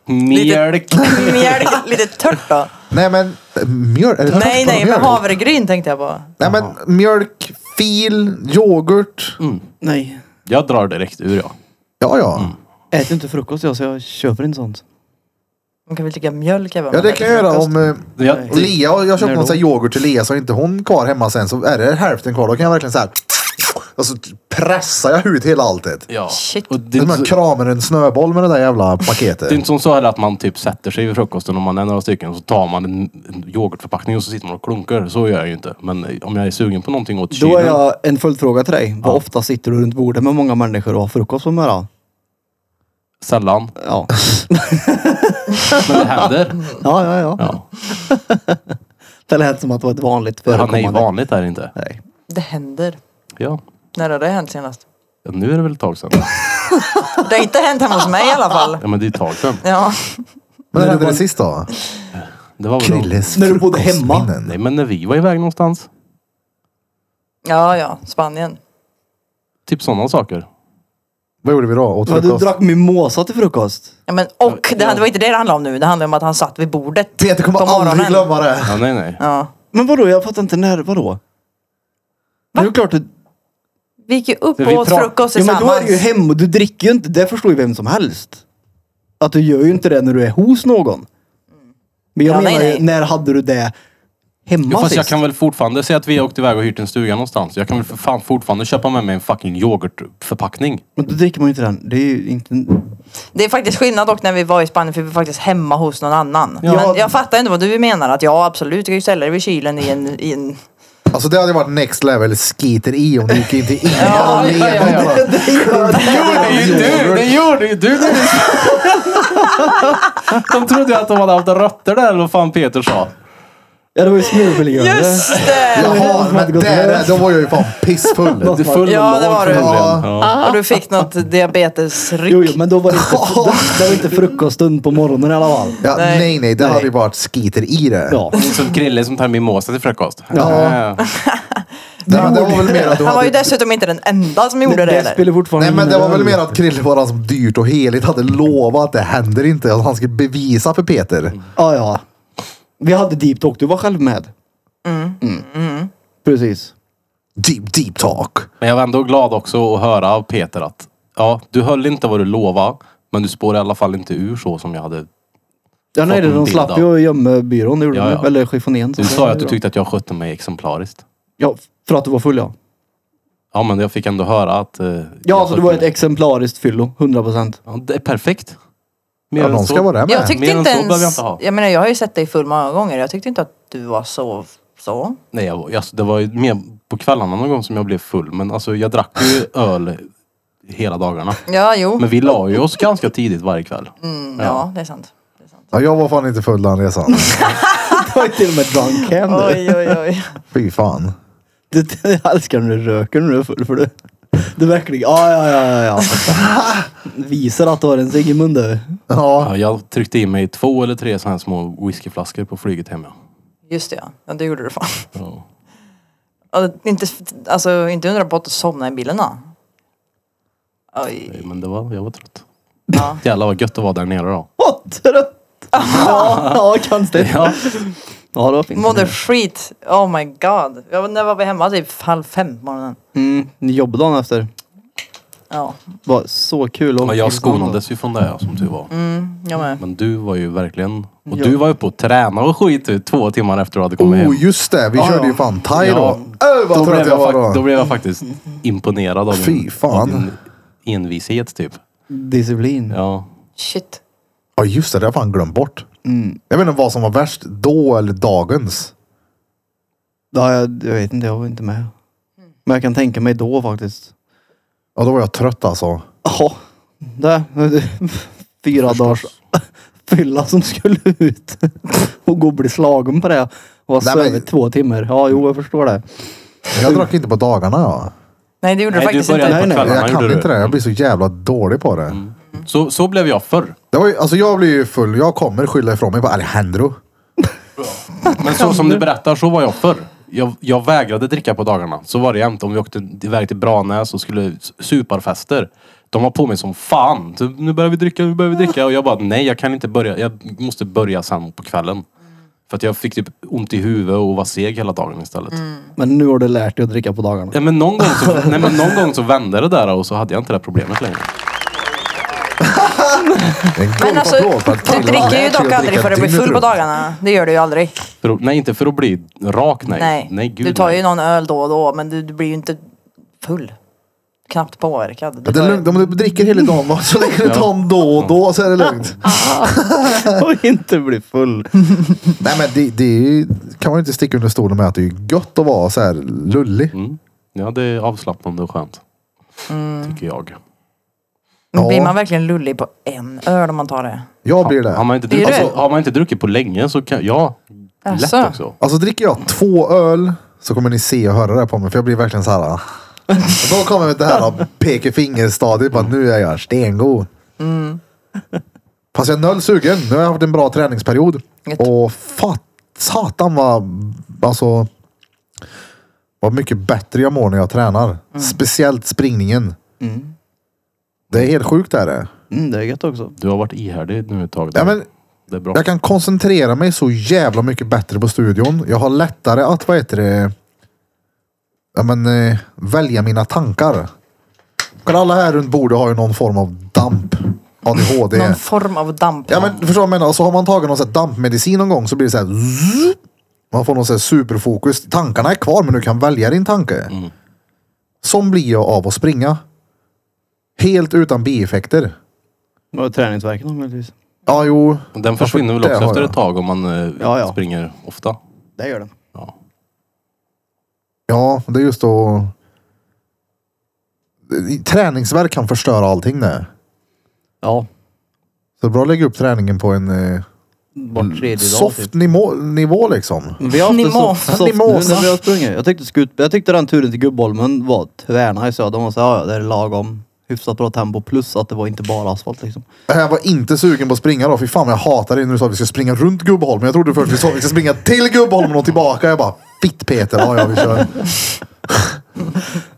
S3: Mjölk.
S4: Mjölk, lite tört då?
S1: Nej men mjölk. Är det torrt på
S4: Nej, nej, men
S1: mjölk?
S4: havregryn tänkte jag på.
S1: Nej men mjölk, fil, yoghurt.
S2: Nej.
S3: Jag drar direkt ur ja.
S1: Ja ja.
S2: Äter inte frukost jag så jag köper inte sånt.
S4: Man kan väl dricka mjölk även om
S1: Ja det
S4: man
S1: kan
S4: äter
S1: jag göra
S4: frukost.
S1: om eh,
S3: Jag,
S1: Lea, och jag köpte
S2: När
S1: någon
S2: då?
S1: sån här yoghurt till Lea så har inte hon kvar hemma sen så är det hälften kvar. Då kan jag verkligen så här. Alltså pressar jag ut hela alltet.
S3: ja.
S4: Shit.
S3: Och
S1: Det
S3: det,
S1: är
S3: är
S1: som att
S3: inte
S1: man
S3: så,
S1: kramar en snöboll med det där jävla paketet.
S3: det är inte som så här att man typ sätter sig vid frukosten om man är några stycken och så tar man en, en yoghurtförpackning och så sitter man och klunkar. Så gör jag ju inte. Men eh, om jag är sugen på någonting åt kylen.
S2: Då är jag en följdfråga till dig. Vad ofta sitter du runt bordet med många människor och har frukost på morgonen?
S3: Sällan.
S2: Ja.
S3: Men det händer.
S2: Ja, ja, ja.
S3: Ja.
S2: Det lät som att det var ett vanligt
S3: Han är
S2: förekommande.
S3: ju vanligt här inte.
S2: Nej.
S4: Det händer.
S3: Ja.
S4: När har det hänt senast?
S3: ja. Nu är det väl ett tag sedan.
S4: Det har inte hänt hemma hos mig i alla fall.
S3: Ja men det är ett tag sedan.
S4: Ja.
S1: Men när hände det sist då?
S3: Det var väl då.
S1: Krilles
S2: När du bodde hemma.
S1: frukostminnen.
S3: Nej men när vi var iväg någonstans.
S4: ja, ja, Spanien.
S3: Typ sådana saker.
S1: Vad gjorde vi då? Åt
S2: Ja, du
S1: frukost?
S2: drack mimosa till frukost.
S4: Ja, men, och det, det var inte det det handlade om nu. Det handlade om att han satt vid bordet
S1: Peter kommer
S4: på
S1: aldrig
S4: morgonen.
S1: glömma det.
S3: Ja, nej nej.
S4: Ja.
S2: Men vadå, jag fattar inte när, vadå? Det är ju klart du...
S4: Vi gick ju upp
S3: Vi
S4: och åt
S3: pra-
S4: frukost
S2: Ja, men
S4: tillsammans.
S2: då är du ju hemma, du dricker ju inte, det förstår ju vem som helst. Att du gör ju inte det när du är hos någon. Men jag
S4: Ja, nej,
S2: menar
S4: nej.
S2: ju, när hade du det hemma
S3: Jo, fast jag
S2: sist?
S3: kan väl fortfarande säga att vi har åkt iväg och hyrt en stuga någonstans. Jag kan väl för fan fortfarande köpa med mig en fucking yoghurtförpackning.
S2: Men då dricker man ju inte den. Det är ju inte...
S4: Det är faktiskt skillnad dock när vi var i Spanien för vi var faktiskt hemma hos någon annan.
S2: Ja.
S4: Men jag fattar inte vad du menar. Att ja absolut, du kan ju ställa dig vid kylen i en... I en...
S1: Alltså det hade varit next level skiter i om du gick in till Ingvar
S4: Ja,
S1: och
S4: ja, ja,
S1: Lea.
S4: ja.
S1: och bara,
S3: Det gjorde ju du! De trodde ju att de hade haft rötter där eller vad fan Peter sa.
S2: Ja, det var ju smulfiliggörande.
S4: Just det!
S1: Jaha, men där, då var jag ju fan pissfull.
S3: Du full
S4: Ja, det var du.
S3: Ja. Ja.
S4: Och du fick något diabetesryck.
S2: Jo, jo, men då var det inte, det, det var inte frukoststund på morgonen i alla fall.
S1: Ja,
S4: Nej.
S1: nej, nej, det hade ju varit skiter i det.
S2: Ja.
S3: Det är Som Krille som tar mimosa till frukost.
S1: Ja. Nej, men det var väl mer att du
S4: Han var ju
S1: hade
S4: dessutom inte den enda som gjorde
S2: Det,
S4: det.
S2: det
S4: heller.
S2: spelar fortfarande
S1: Nej men det
S2: ingen
S1: var väl
S2: roll.
S1: mer att Krille var han som dyrt och heligt hade lovat att det händer inte. Att han skulle bevisa för Peter.
S2: Ja, ja. Vi hade deep talk, du var själv med. Mm. Precis.
S1: Deep, deep talk.
S3: Men jag var ändå glad också att höra av Peter att ja, du höll inte vad du lovade. Men du spår i alla fall inte ur så som jag hade.
S2: Ja, nej,
S3: Fått en
S2: de
S3: bild
S2: slapp
S3: av.
S2: ju gömmebyrån, det gjorde
S3: Ja,
S2: de.
S3: ja.
S2: Eller chiffonén.
S3: Du sa ju att du tyckte att jag skötte mig exemplariskt.
S2: Ja, för att du var full ja.
S3: Ja men jag fick ändå höra att... eh, jag
S2: Ja, alltså det
S3: skötte
S2: var
S3: mig.
S2: ett exemplariskt fyllo. 100 procent.
S3: Ja, det är perfekt. Mer
S1: Ja,
S3: än
S1: någon
S3: så.
S1: ska vara där
S4: Jag
S1: med.
S4: tyckte
S3: Mer än så
S4: inte ens...
S3: behöver jag inte ha.
S4: Jag menar jag har ju sett dig full många gånger. Jag tyckte inte att du var så... Så?
S3: Nej, jag, var- alltså, det var ju mer på kvällarna någon gång som jag blev full. Men alltså jag drack ju öl hela dagarna.
S4: Ja, jo.
S3: Men vi la ju oss ganska tidigt varje kväll.
S4: Mm, ja. det är sant. Det är sant.
S1: Ja, jag var fan inte full den resan.
S2: Det var ju till och med drunk hem du.
S4: Oj, oj, oj.
S1: Fy fan.
S2: Det- Jag älskar när du röker när du är full för du. Du verkligen, ja ja ja ja. ja. Visar att du har en cigg i munnen.
S1: Ja,
S3: Ja, jag tryckte i mig två eller tre sådana här små whiskyflaskor på flyget hem. Ja.
S4: Just det ja. ja, det gjorde du fan.
S3: Ja.
S4: Ja, Inte, alltså, inte undra på att du somnade i bilen då. Oj.
S3: Nej, Men det var, jag var trött.
S4: Ja.
S3: Jävlar vad gött att vara där nere då.
S2: var trött. Ja, ja konstigt. Ja. ja, det var fint.
S4: Mådde skit. Oh my god. Jag, när var vi hemma? Typ halv fem på morgonen.
S2: Mm, jobbdagen efter.
S4: Ja,
S2: Var så kul. och-
S3: Men jag skonades ju från det ja, som tur var.
S4: jag med.
S3: Men du var ju verkligen... Och
S2: Ja.
S3: du var ju på att träna och skit du, två timmar efter du hade kommit hem.
S1: Oh just det, vi körde ju fan thai då. Öh vad
S3: då,
S1: trött
S3: blev
S1: jag
S3: jag
S1: var
S3: fak- då
S1: då.
S3: blev jag faktiskt imponerad av din,
S1: Fy fan.
S3: av din envishet typ.
S2: Disciplin.
S3: Ja.
S4: Shit.
S1: Ja just det, det har jag fan glömt bort. Jag vet inte vad som var värst, då eller dagens.
S2: Ja, jag, jag vet inte, jag var inte med. Men jag kan tänka mig då faktiskt.
S1: Ja då var jag trött alltså.
S2: Jaha. Där. Fyra dagars fylla som skulle ut. Och gå och bli slagen på det. Och ha
S1: Nej,
S2: sovit
S1: men-
S2: två timmar. Ja, jo, jag förstår det.
S1: Jag drack inte på dagarna ja.
S4: Nej det gjorde
S3: Nej,
S4: du
S3: du
S4: faktiskt
S3: började
S4: inte.
S3: på
S2: Nej, nej,
S3: kvällarna,
S1: Jag
S3: gjorde
S1: kan
S3: du.
S1: inte det, jag blir så jävla dålig på det.
S3: Så, så blev jag förr.
S1: det var ju, alltså jag blir ju full, jag kommer skylla ifrån mig på Alejandro.
S3: Men så som du berättar, så var jag förr. Jag, jag vägrade dricka på dagarna. Så var det jämt. Om vi åkte iväg till Branäs och skulle s- suparfester. De var på mig som fan. Så, Nu börjar vi dricka, nu börjar vi dricka. Och jag bara, nej jag kan inte börja. Jag måste börja sen på kvällen. För att jag fick typ ont i huvudet och var seg hela dagen istället.
S2: Men nu har du lärt dig att dricka på dagarna.
S3: Ja, men någon, gång så, nej, men någon gång så vände det där och så hade jag inte det här problemet längre.
S1: En
S4: Men alltså,
S1: golfapplåd för att
S4: du
S1: killen har
S4: dricker ju
S1: lärt sig
S4: dock
S1: att
S4: aldrig
S1: dricka
S4: för att bli
S1: dygnet
S4: full på
S1: runt.
S4: dagarna. Det gör du ju aldrig.
S3: För att, nej, inte för att bli rak nej.
S4: Nej.
S3: gud,
S4: du tar
S3: nej.
S4: ju någon öl då och då men du, du blir ju inte full. Knappt påverkad. Du
S1: Ja, Det är
S4: tar-
S1: lugnt, om du dricker hela dagen va, så länge du tar en då och då så är det lugnt.
S2: Och inte bli full.
S1: Nej men det, det är ju, kan man ju inte sticka under stolen med att det är gött att vara så här lullig.
S3: Ja, det är avslappnande och skönt.
S1: Mm.
S3: Tycker jag.
S4: Men Blir
S1: Ja.
S4: man verkligen lullig på en öl om man tar det?
S1: Jag blir det.
S3: Har man inte,
S4: Blir
S3: druckit,
S4: du?
S3: alltså, har man inte druckit på länge så kan... Ja.
S4: Alltså.
S3: Lätt också.
S1: Alltså dricker jag två öl så kommer ni se och höra det här på mig för jag blir verkligen så här. ah. Då kommer det här ah, pekfingerstadiet. Bara nu är jag stengod. Fast jag är noll sugen. Nu har jag haft en bra träningsperiod.
S4: Gött.
S1: Och fat, satan vad, alltså, vad mycket bättre jag mår när jag tränar. Speciellt springningen. Det är helt sjukt det här är.
S2: Mm, det är gött också.
S3: Du har varit ihärdig nu ett tag.
S1: Ja, men
S3: det är bra.
S1: Jag kan koncentrera mig så jävla mycket bättre på studion. Jag har lättare att, vad heter det, ja, men, eh, välja mina tankar. För alla här runt bordet har ju någon form av damp. ADHD.
S4: Någon form av damp.
S1: Ja men förstår du vad jag menar? Alltså, har man tagit någon sån här dampmedicin någon gång så blir det så här. zzz. Man får någon sån här superfokus. Tankarna är kvar men du kan välja din tanke.
S3: Mm.
S1: Som blir jag av att springa. Helt utan bieffekter.
S2: Och träningsvärken då möjligtvis.
S1: Ja jo.
S3: Den försvinner väl
S1: det
S3: också
S1: har
S3: efter
S1: jag.
S3: ett tag om man eh,
S2: Ja, ja.
S3: springer ofta.
S2: Det gör den.
S3: Ja.
S1: Ja, det är just då. Träningsvärk kan förstöra allting det.
S2: Ja.
S1: Så det är bra att lägga upp träningen på en eh,
S2: Var tredje dag
S1: soft
S2: typ.
S1: nivå, nivå liksom.
S2: Vi har haft en
S4: Nivå.
S2: soft, soft nu
S1: Nivå.
S2: när vi har sprungit. Jag tyckte, skut, jag tyckte den turen till Gubbholmen var tvärnice. Ja, de var så här, ja, ja, det är lagom. Hyfsat bra tempo plus att det var inte bara asfalt liksom.
S1: Jag var inte sugen på att springa då. Fy fan vad jag hatar det när du sa att vi ska springa runt Gubbholmen. Jag trodde först vi sa att vi ska springa till Gubbholmen och tillbaka. Jag bara, fitt Peter. Ja, ja, vi kör.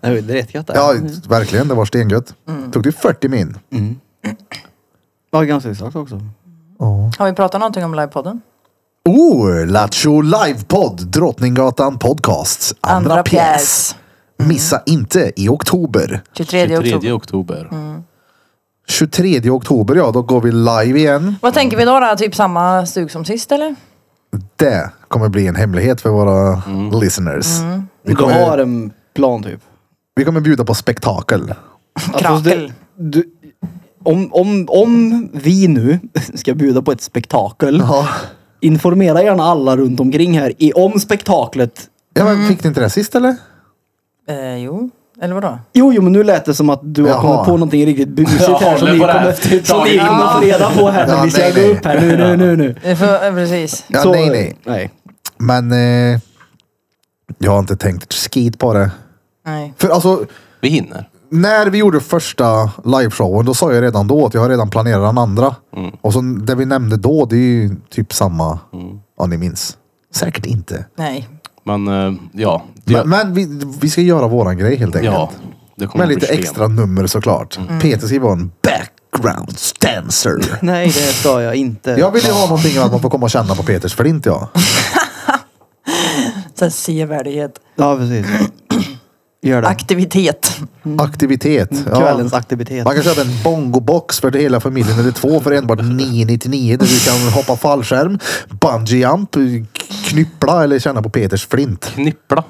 S2: Det var rätt det.
S1: Ja, verkligen. Det var stengött. Tog det 40 min.
S2: ja, ganska exakt också.
S4: Har vi pratat någonting om livepodden?
S1: Oh, Lattjo Livepodd, Drottninggatan Podcast. Andra, pjäs. Mm. Missa inte i oktober.
S4: 23,
S3: 23
S4: oktober.
S3: oktober.
S1: Mm. 23 oktober, ja, då går vi live igen.
S4: Vad tänker vi då? då? Typ samma stug som sist eller?
S1: Det kommer bli en hemlighet för våra listeners. Vi,
S2: Mm. Du
S1: kommer,
S2: har en plan typ.
S1: vi kommer bjuda på spektakel.
S2: Alltså,
S4: Krakel.
S2: det, du, om, om, om vi nu ska bjuda på ett spektakel.
S1: Ja.
S2: Informera gärna alla runt omkring här i, om spektaklet.
S1: Ja, men
S2: Mm.
S1: Fick ni inte det sist eller?
S4: Eh, jo, eller vadå?
S2: Jo, jo, men nu lät det som att du har
S1: Jaha.
S2: kommit på någonting riktigt busigt
S3: Jag
S2: här som
S3: håller
S2: ni
S3: på det här
S2: kommer,
S3: till
S2: som ni
S3: dagen.
S2: kommer få reda på här när
S1: Ja,
S2: vi ska
S1: nej,
S2: gå
S1: nej.
S2: upp här. Nu, nu, nu, nu.
S4: Eh, För, eh, precis.
S1: Ja,
S2: Så,
S1: nej, nej.
S2: nej.
S1: Men eh, jag har inte tänkt ett skit på det.
S4: Nej.
S1: För alltså,
S3: Vi hinner.
S1: när vi gjorde första liveshowen, då sa jag redan då att jag har redan planerat den andra.
S2: Mm.
S1: Och så det vi nämnde då, det är ju typ samma.
S2: Mm.
S1: Ja, ni minns. Säkert inte.
S4: Nej.
S3: Men eh, ja. Det,
S1: Men, men vi, vi ska göra våran grej helt enkelt.
S3: ja. Det kommer
S1: Med
S3: Mm. bli
S1: lite
S3: sten.
S1: extra nummer såklart. Peter ska ju vara en back background dancer.
S2: Nej, det ska jag inte.
S1: Jag vill ju ha någonting att man får komma och känna på Peters flint ja.
S4: Sen sevärdhet.
S2: Ja, precis. Gör det.
S4: Aktivitet.
S3: Mm.
S1: Aktivitet. Ja.
S2: Kvällens aktivitet.
S1: Man kan köpa en bongobox för hela familjen eller två för enbart 999 där du kan hoppa fallskärm, bungee jump, knyppla eller känna på Peters flint.
S3: Knippla.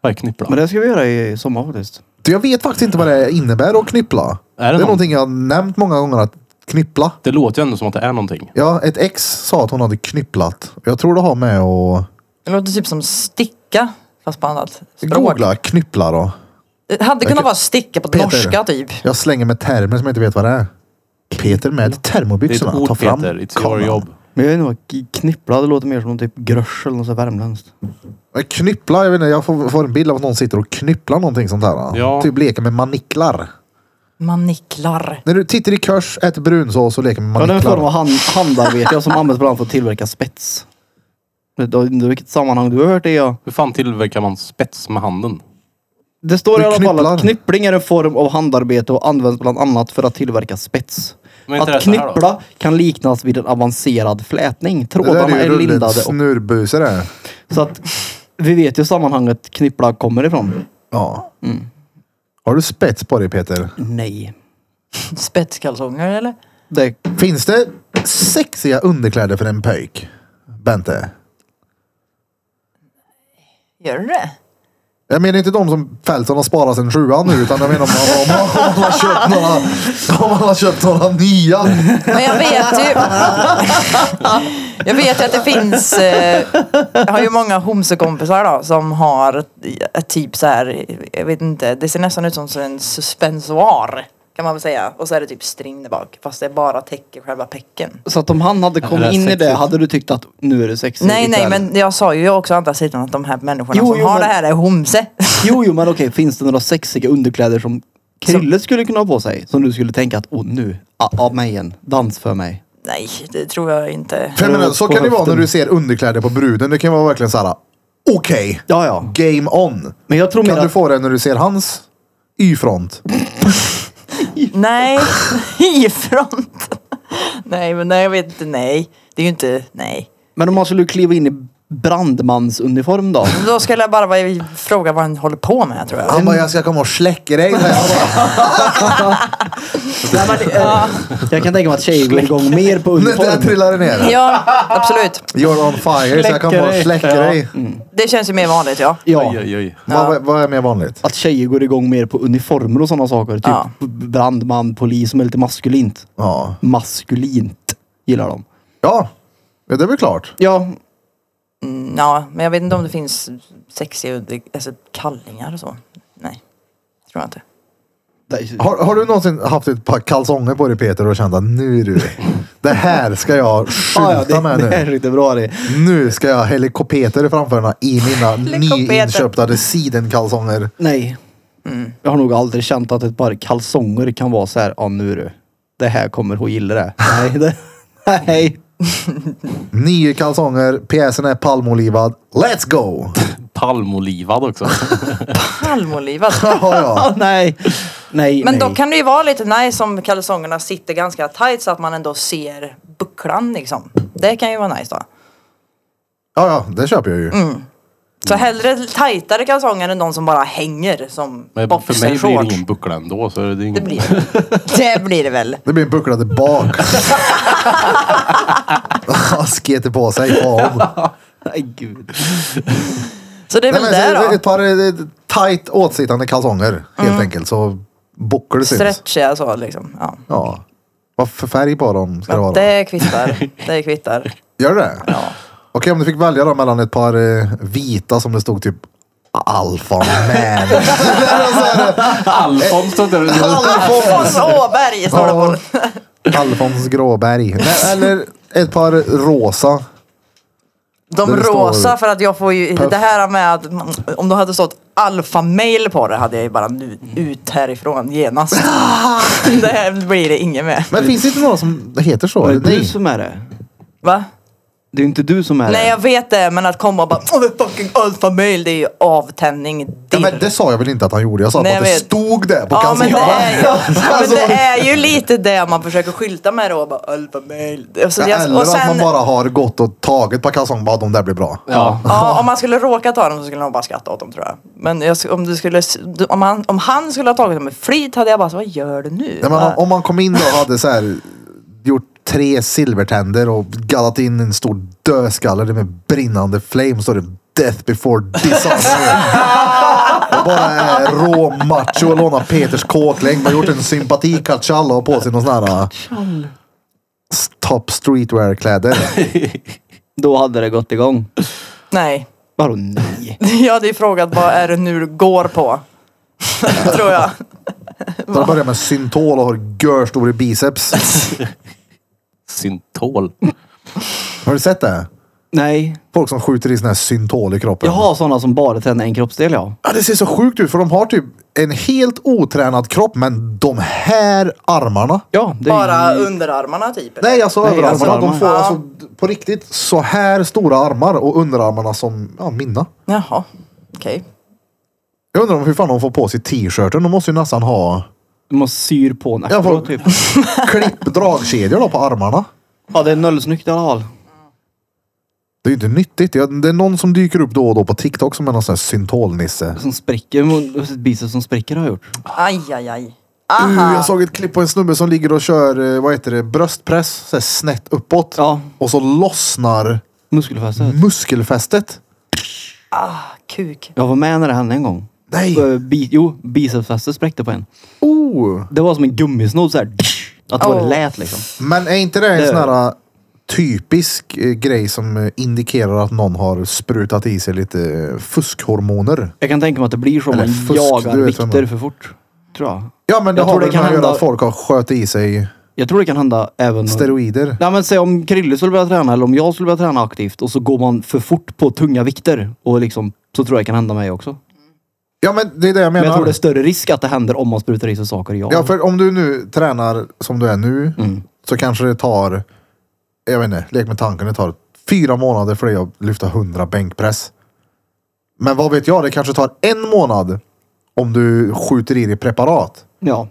S3: Vad är knippla?
S2: Men det ska vi göra i sommar faktiskt.
S1: Du, jag vet faktiskt inte vad det innebär att knyppla.
S3: Är det någon-
S1: någonting jag har nämnt många gånger att knyppla.
S3: Det låter ju ändå som att det är någonting.
S1: Ja, ett ex sa att hon hade knypplat. Jag tror det har med att
S4: Det låter typ som sticka. Fast på annat språk.
S1: googla knyppla då.
S4: Det hade kunnat vara sticka på
S1: Peter.
S4: norska typ.
S1: Jag slänger med termer som jag inte vet vad det är. Peter med
S3: Det är ett
S1: termobyxorna. Ta
S3: ord
S1: fram
S3: Peter. It's your
S1: kameran.
S3: job.
S2: Men jag vet inte vad knippla, det låter mer som någon typ grösch eller något så här värmländskt.
S1: Men Knyppla, jag vet inte, jag får, får en bild av att någon sitter och knypplar någonting sånt här.
S3: Ja.
S1: Typ leker med maniklar.
S4: Maniklar.
S1: När du tittar i kurs, äter brunsås och leker med
S2: Ja, det är en
S1: maniklar.
S2: form av hand, handarbete som används bland annat för att tillverka spets. Jag vet inte vilket sammanhang du har hört det ja.
S3: Hur fan tillverkar man spets med handen?
S2: Det står i
S1: Du
S2: alla fall
S1: knypplar.
S2: att knyppling är en form av handarbete och används bland annat för att tillverka spets.
S3: Men inte
S2: Att
S3: det så här då?
S2: knyppla kan liknas vid en avancerad flätning.
S1: det där
S2: Trådarna
S1: är
S2: är,
S1: ju rulligt
S2: lindade. Och,
S1: snurrbuse det.
S2: så att vi vet ju sammanhanget knyppla kommer
S1: Mm.
S2: ifrån.
S1: Ja.
S3: Mm.
S1: Har du spets på dig Peter?
S2: Nej.
S4: Spetskalsonger eller?
S2: Det,
S1: Finns det sexiga underkläder för en pöjk? Bente?
S4: Gör du det?
S1: Jag menar inte de som Felton har sparat sen sjuan nu utan jag menar om man, om man, om man har köpt några, om man har köpt några nya.
S4: Men jag vet ju. jag vet ju att det finns. Eh, jag har ju många homsekompisar då som har ett typ så här. Jag vet inte. Det ser nästan ut som en suspensoar. Kan man väl säga. Och så är det typ string där bak. Fast det bara täcker själva pecken.
S2: så att om han hade
S3: Det
S2: kommit
S3: är
S2: in i det
S3: sexigt.
S2: hade du tyckt att nu är det sexigt.
S4: Nej nej
S2: ikväll.
S4: men jag sa ju också å andra sidan att de här människorna
S2: Jo,
S4: som
S2: jo,
S4: har
S2: men-
S4: det här är homse.
S2: Jo, jo, men okej. Finns det några sexiga underkläder som Krille skulle kunna ha på sig? Som du skulle tänka att, åh nu, ah, av mig igen. Dans för mig.
S4: nej det tror jag inte.
S1: För jag menar, så
S2: På
S1: kan det vara när
S2: höften.
S1: du ser underkläder på bruden. Det kan vara verkligen så här. okej,
S2: Ja, ja.
S1: game on.
S2: Men jag tror mer
S1: Kan du
S2: att...
S1: få det när du ser hans Y-front?
S4: Nej. I front. nej men nej jag vet inte. Nej. Det är ju inte. Nej.
S2: Men om man skulle kliva in i brandmansuniform då?
S4: Då skulle jag bara vara- fråga vad han håller på med tror jag.
S1: Han bara, jag ska komma och släcka dig.
S2: Jag kan tänka mig att tjejer går igång mer på
S1: Nej, Där
S2: uniform.
S1: trillar det ner.
S4: Ja, absolut.
S1: You're on fire, så jag kan
S2: Släcker
S1: bara
S2: dig.
S1: släcka
S2: Ja.
S1: dig.
S4: Det känns ju mer vanligt ja.
S2: Ja.
S3: Oj, oj, oj.
S1: Vad, vad är mer vanligt?
S2: Att tjejer går igång mer på uniformer och sådana saker. Typ
S4: Ja.
S2: brandman, polis som är lite maskulint.
S1: Ja.
S2: Maskulint gillar de.
S1: ja, Ja, det är väl klart.
S2: Ja,
S4: Mm, Ja, men jag vet inte om det finns sexiga under- alltså, kallingar och så. Nej, tror jag inte.
S2: det-
S1: Har, har du någonsin haft ett par kalsonger på dig Peter och känt att nu du, det här ska jag
S2: Ah, ja,
S1: skjuta
S2: det,
S1: med
S2: det är
S1: nu.
S2: riktigt bra det.
S1: Nu ska jag ha helikopter framför mig i mina
S4: Helikopter.
S1: nyinköpta sidenkalsonger.
S2: Nej.
S4: Mm.
S2: Jag har nog aldrig känt att ett par kalsonger kan vara så här, ja nu du. Det här kommer hon gilla det. Nej, det, nej.
S1: Nio kalsonger, pjäsen är palmolivad. Let's go!
S3: Palmolivad också.
S4: Palmolivat.
S1: Ja, ja.
S2: Ah, nej. Nej,
S4: alltså. Men
S2: nej.
S4: då kan det ju vara lite nice om kalsongerna sitter ganska tight så att man ändå ser bucklan liksom. Det kan ju vara nice då.
S1: Ja, ja, det köper jag ju.
S2: Mm.
S4: Så hellre tajtare kalsonger än de som bara hänger som
S3: Men för mig blir det
S4: boxershorts.
S3: ingen buckla ändå. Så det, är ingen...
S4: Det blir det. Det blir det väl.
S1: Det blir en buckla där bak. Han Sketer på sig. Fan.
S2: Nej, gud.
S4: Så det är
S1: Nej,
S4: väl
S1: men,
S4: det
S1: så,
S4: då.
S1: ett par eh, tight åtsittande kalsonger
S2: Mm.
S1: helt enkelt. Så bucklar det syns.
S4: Stretchiga så liksom. Ja.
S1: Ja. Vad för färg på dem ska det vara?
S4: Men
S1: då?
S4: det kvittar. Det kvittar.
S1: Gör det? Ja. Okej, om du fick välja då mellan ett par eh, vita som det stod typ Alfa Man.
S3: Alfons stod där och...
S1: Alfons.
S4: Fons Åberg står det på.
S1: Alfons Gråberg. Nej, eller ett par rosa.
S4: De
S1: Där det står-
S4: rosa för att jag får ju det här med att man- om du hade stått alfamail på det hade jag ju bara nu ut härifrån genast. det här blir det inget med.
S1: Men finns det inte några som heter så?
S2: Var
S1: Eller
S2: det du
S1: nej?
S2: som är det?
S4: Va?
S2: Det är ju inte du som är
S4: Nej
S2: det.
S4: jag vet det, men att komma och bara oh, fucking alfa male, det är ju avtändning
S1: Ja,
S4: dirr.
S1: men det sa jag väl inte att han gjorde. Jag sa
S4: Nej,
S1: bara att det
S4: jag vet.
S1: stod där på
S4: Ja men, det
S1: kalsongerna.
S4: är, ju- ja, men
S1: Alltså,
S4: det är ju lite det man försöker skylta med då. Bara, Alfa male. Och så, jag,
S1: Eller
S4: och
S1: att man
S4: sen,
S1: bara har gått och tagit på kalsongerna. Bara de där blir bra.
S3: Ja.
S4: ja, om man skulle råka ta dem så skulle man bara skratta åt dem tror jag. Men jag, sk- om, du skulle, s- du- om, han, om han skulle ha tagit dem med flit hade jag bara så vad gör du nu?
S1: Nej, men om,
S4: Bara,
S1: om man kom in då och hade så här, gjort tre silvertänder och gaddat in en stor dödskalle med brinnande flame så är det Death before disaster. och bara är rå macho och lånar Peters kåklängd. Man har gjort en sympatikatschall och har på sig någon sån här äh, s- top streetwear-kläder.
S2: Då hade det gått igång.
S4: Nej.
S2: Vadå nej?
S4: Jag hade ju frågat vad är det nu du går på? tror jag.
S1: De börjar med syntol och har görstora biceps.
S3: Syntol.
S1: Har du sett det?
S2: Nej.
S1: Folk som skjuter i sån här syntol i kroppen.
S2: Jag har sådana som bara tränar en kroppsdel ja.
S1: Ja, det ser så sjukt ut för de har typ en helt otränad kropp men de här armarna.
S2: Ja, det är
S4: Bara
S2: ju...
S4: underarmarna typ. eller?
S1: Nej, alltså
S2: Nej,
S1: överarmarna.
S2: överarmar.
S1: De får
S4: Ja.
S1: alltså på riktigt så här stora armar och underarmarna som ja, mina.
S4: Jaha, okej.
S1: Jag undrar om hur fan de får på sig t-shirten. De måste ju nästan ha
S2: Du måste syr på en
S1: Ja,
S2: efteråt,
S1: folk-
S2: typ.
S1: klipp dragkedjor då på armarna.
S2: Ja, det är nollsnyggt i alla fall.
S1: Det är ju inte nyttigt. Jag- Det är någon som dyker upp då och då på TikTok som är någon sån här syntolnisse.
S2: Som spricker, mot- sitt biceps som spricker har jag gjort.
S4: Aj, aj, aj.
S1: Uh,
S4: Aha.
S1: jag såg ett klipp på en snubbe som ligger och kör, eh, vad heter det, bröstpress så här snett uppåt.
S2: Ja.
S1: Och så lossnar
S2: Muskelfästet.
S1: muskelfästet.
S4: Ah, Kuk.
S2: Jag var med när det hände en gång.
S1: Nej.
S2: Eh, Bi jo, bicepsfästet spräckte på en.
S1: Oh.
S2: Det var som en gummisnodd såhär. Att det var det
S4: Oh.
S2: lät liksom.
S1: Men är inte det en
S2: Det-
S1: sån här eh, typisk eh, grej som eh, indikerar att någon har sprutat i sig lite eh, fuskhormoner?
S2: Jag kan tänka mig att det blir så om
S1: Eller
S2: man
S1: fusk,
S2: jagar
S1: du vet vem
S2: vikter
S1: man-
S2: för fort. Tror jag.
S1: Ja men det Mm.
S2: Jag
S1: har
S2: tror
S1: väl
S2: det kan
S1: med att göra
S2: hända-
S1: att folk har sköt i sig
S2: Jag tror det kan hända även... om-
S1: steroider.
S2: Nej men säg om Krille skulle börja träna eller om jag skulle börja träna aktivt och så går man för fort på tunga vikter. Och liksom, så tror jag det kan hända mig också. Men
S1: Ja men det är det jag menar.
S2: jag tror det är större risk att det händer om man sprutar i sig saker. Ja.
S1: Ja för om du nu tränar som du är nu så kanske det tar, jag vet inte, lek med tanken, det tar fyra månader för dig att lyfta 100 bänkpress. Men vad vet jag, det kanske tar en månad om du skjuter i dig preparat.
S2: ja.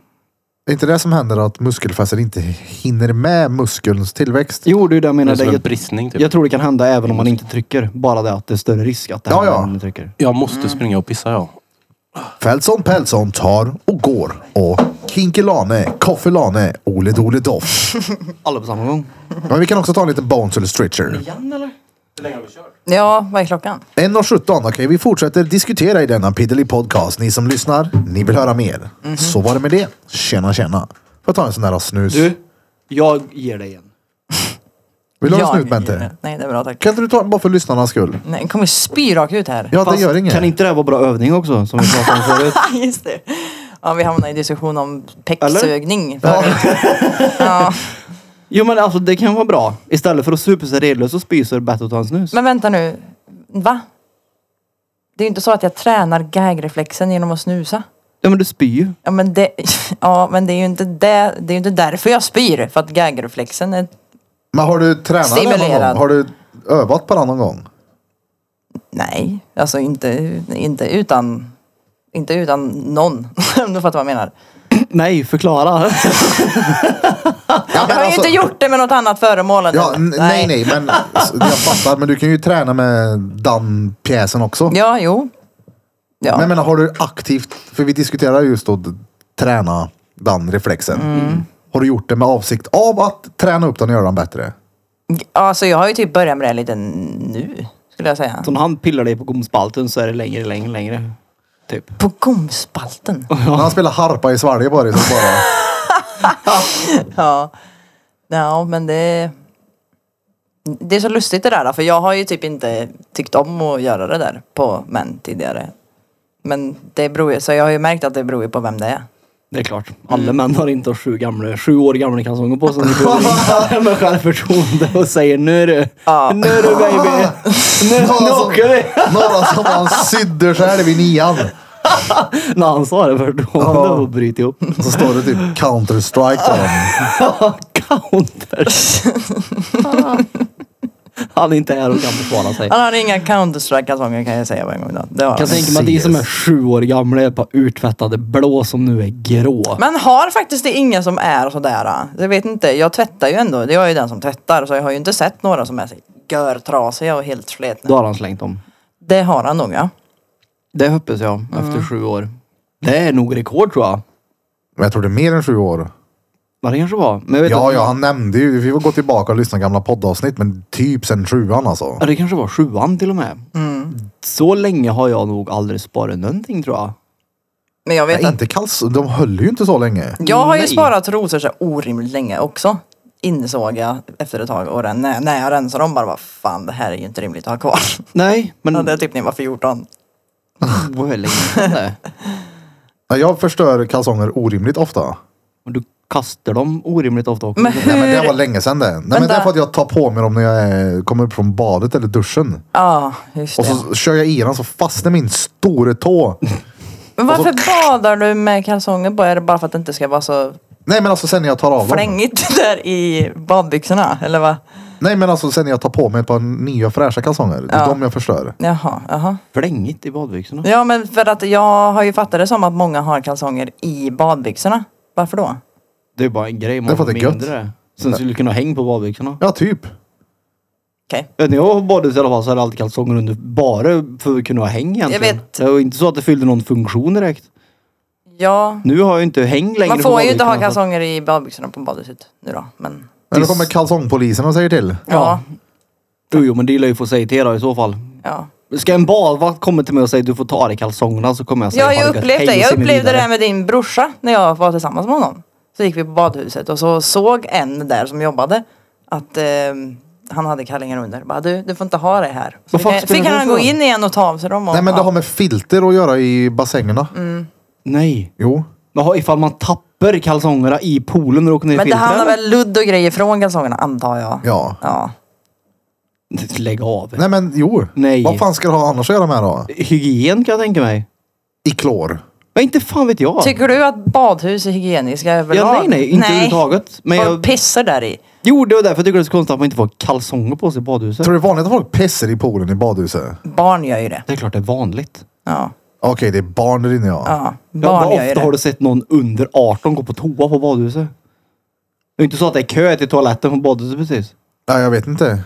S1: Det är inte det som händer att muskelfästet inte hinner med muskelns tillväxt?
S2: Jo, det är det jag
S3: Det
S2: menar.
S3: är som
S2: Det-
S3: en bristning typ.
S2: Jag tror det kan hända även om man inte trycker. Bara det att det är större risk att det
S1: Ja,
S2: händer
S1: ja.
S2: om man trycker.
S3: Jag måste springa och pissa ja.
S1: Fältson Pältson tar och går och Kinkelane, Koffelane, Ole Dole Doff.
S2: Alla på samma gång.
S1: Men vi kan också ta en liten Bones eller Stretcher.
S4: Ja, vad är klockan?
S1: 1.17, okej vi fortsätter diskutera i denna piddly podcast. Ni som lyssnar, ni vill höra mer.
S4: Mhm.
S1: Så var det med det. Tjena tjena. Får jag ta en sån där snus?
S2: Du, jag ger dig en.
S1: vill du ha en
S4: Jag-
S1: snus Bente?
S4: Nej, det är bra tack.
S1: Kan inte du ta en bara för lyssnarnas skull?
S4: Nej, den kommer spy rakt ut här.
S1: Ja,
S2: Fast
S1: det gör inget.
S2: kan inte det här vara bra övning också? Som vi pratade om förut.
S4: Just det. Ja, vi hamnade i diskussion om
S2: Eller?
S4: pecksugning. förut. Ja.
S2: Jo men alltså det kan vara bra. Istället för att supa sig redlös och spy så är det bättre att ta en snus.
S4: Men vänta nu. Va? Det är ju inte så att jag tränar gagreflexen genom att snusa.
S2: Ja men du spyr ju.
S4: Ja men, det, ja, men det är ju inte, det, det är ju inte därför jag spyr. För att gagreflexen är...
S1: Men har du tränat det någon gång?
S4: Stimulerad.
S1: Har du övat på det någon gång?
S4: Nej, alltså inte, inte utan... Inte utan någon. Om du fattar vad jag menar.
S2: Nej, förklara.
S1: Ja, alltså-
S4: Jag har ju inte gjort det med något annat föremål. än
S1: Ja,
S4: den.
S1: n- nej, nej, men s- jag fattar. Men du kan ju träna med den pjäsen också.
S4: Ja, jo. Ja.
S1: Men jag menar, har du aktivt, för vi diskuterar just att träna den reflexen. Mm. Har du gjort det med avsikt av att träna upp den och göra den bättre?
S4: Alltså jag har ju typ börjat med det lite nu, skulle jag säga.
S2: Så när han pillar dig på gomspalten så är det längre, längre, längre. Typ.
S4: På gomspalten.
S1: När han spelar harpa i Sverige bara, så bara
S4: Ja. ja, men det... Det är så lustigt det där, för jag har ju typ inte tyckt om att göra det där på män tidigare. Men det beror ju, så jag har ju märkt att det beror ju på vem det är.
S2: Det är klart. Alla
S1: Mm.
S2: män har inte sju, gamla, sju år gamla kalsonger på sig. De går in med självförtroende och säger nu du.
S1: Ah.
S2: Nu du baby. Nu, nu
S1: alltså.
S2: åker vi.
S1: några som han sydde själv i nian.
S2: När han sa det först då höll jag på att bryta ihop.
S1: Så står det typ Counter-Strike på dem.
S2: Counters. han inte är här och kan försvara sig.
S4: Han har inga Counter-Strike-kalsonger kan jag säga på en gång. Då. Det har
S2: Jag kan
S4: han.
S2: tänka mig att de som är sju år gamla är på urtvättade blå som nu är grå.
S4: Men har faktiskt det inga som är sådär. ah. Jag vet inte, jag tvättar ju ändå. Jag är ju den som tvättar så jag har ju inte sett några som är så görtrasiga och helt sletna.
S2: Då har han slängt dem.
S4: Det har han nog ja.
S2: Det hoppas jag, efter sju år. Det är nog rekord tror jag.
S1: Men jag tror det är mer än sju år.
S2: Vad det kanske var. Men jag vet
S1: Ja,
S2: inte.
S1: ja, han nämnde ju. Vi får gå tillbaka och lyssna på gamla poddavsnitt. Men typ sen sjuan alltså.
S2: Ja, det kanske var sjuan till och med. Mm. Så länge har jag nog aldrig sparat någonting tror jag.
S4: Men jag vet
S1: Nej,
S4: att
S1: inte kalls... De höll ju inte så länge.
S4: jag har ju
S2: Nej.
S4: sparat rosor så orimligt länge också. Insåg jag efter ett tag och den, när, när jag rensade dem bara, vad fan det här är ju inte rimligt att ha kvar.
S2: Nej, men...
S4: Hade jag typ när jag var 14.
S2: Det var länge sedan det.
S1: Ja, Jag förstör kalsonger orimligt ofta.
S2: Men du kastar dem orimligt ofta också.
S4: Men
S1: Nej, men
S4: hur?
S1: det var länge sedan det. Nej, men det
S4: Vänta.
S1: är för att jag tar på mig dem när jag är, kommer upp från badet eller duschen.
S4: Ja, just
S1: Och
S4: det.
S1: så kör jag i den så fastnar min store tå.
S4: Men varför badar du med kalsonger på? Är det bara för att det inte ska vara så
S1: Nej men alltså sen när jag tar av dem.
S4: flängigt där i badbyxorna? Eller vad?
S1: Nej men alltså sen när jag tar på mig ett par nya fräscha kalsonger. Det är
S4: Ja.
S1: de jag förstör.
S4: Jaha, jaha.
S2: Flängigt i badbyxorna.
S4: Ja men för att jag har ju fattat det som att många har kalsonger i badbyxorna. Varför då?
S2: Det är bara en grej man
S1: Därför att det är gött.
S2: mindre. Sen skulle du kunna hänga på badbyxorna.
S1: Ja typ.
S4: Okej.
S2: När jag var badhus i alla fall så hade jag alltid kalsonger under bara för att kunna ha häng egentligen.
S4: Jag vet.
S2: Det var inte så att det fyllde någon funktion direkt.
S4: Ja.
S2: Nu har jag inte häng längre
S4: Man
S2: på
S4: får ju inte ha
S2: badbyxorna, alltså. så att-
S4: kalsonger i badbyxorna på badhuset nu då. Men
S1: Men då kommer kalsongpolisen och säger till.
S4: ja.
S2: Jo, jo, men det lär ju få säga till då i så fall.
S4: ja.
S2: Ska en badvakt komma till mig och säga du får ta av dig kalsongerna så kommer jag säga
S4: Jag har
S2: "Ha
S4: ju
S2: gött,
S4: upplevt
S2: hej",
S4: det.
S2: och
S4: Jag
S2: se mig
S4: upplevde det
S2: vidare.
S4: här med din brorsa när jag var tillsammans med honom. Så gick vi på badhuset och så såg en där som jobbade att eh, han hade kallingar under. Bara, du, du får inte ha det här. Så
S2: Vad fan
S4: fick,
S2: spelar
S4: fick
S2: det
S4: han
S2: för
S4: gå
S2: roll?
S4: in igen och ta av sig dem. Och,
S1: Nej men det
S4: ja. Mm.
S1: har med filter att göra i bassängerna.
S2: Nej.
S1: Jo.
S2: Jaha, ifall man tappar kalsongerna i poolen när du åker ner i
S4: men det
S2: filtret?
S4: handlar väl ludd och grejer från kalsongerna antar jag.
S1: Ja.
S4: Ja.
S2: Lägg av.
S1: Nej men jo.
S2: Nej.
S1: Vad fan ska du ha annars att göra med då?
S2: Hygien kan jag tänka mig.
S1: I klor.
S2: Men inte fan vet jag.
S4: Tycker du att badhus är hygieniska överlag?
S2: ja, nej, nej. Inte överhuvudtaget. Men
S4: Folk
S2: jag...
S4: pissar där i.
S2: Jo, det var därför jag tycker det är så konstigt att man inte får kalsonger på sig i badhuset.
S1: Tror du det är vanligt att folk pissar i poolen i badhuset?
S4: Barn gör ju det.
S2: Det är klart det är vanligt.
S4: Ja.
S1: Okej det är barn där inne ja.
S4: ja.
S2: Ja,
S4: Barn
S2: vad
S4: gör ju
S2: ofta
S4: det.
S2: har du sett någon under 18 gå på toa på badhuset? Det är inte så att det är kö till toaletten på badhuset precis.
S1: Nej jag vet inte.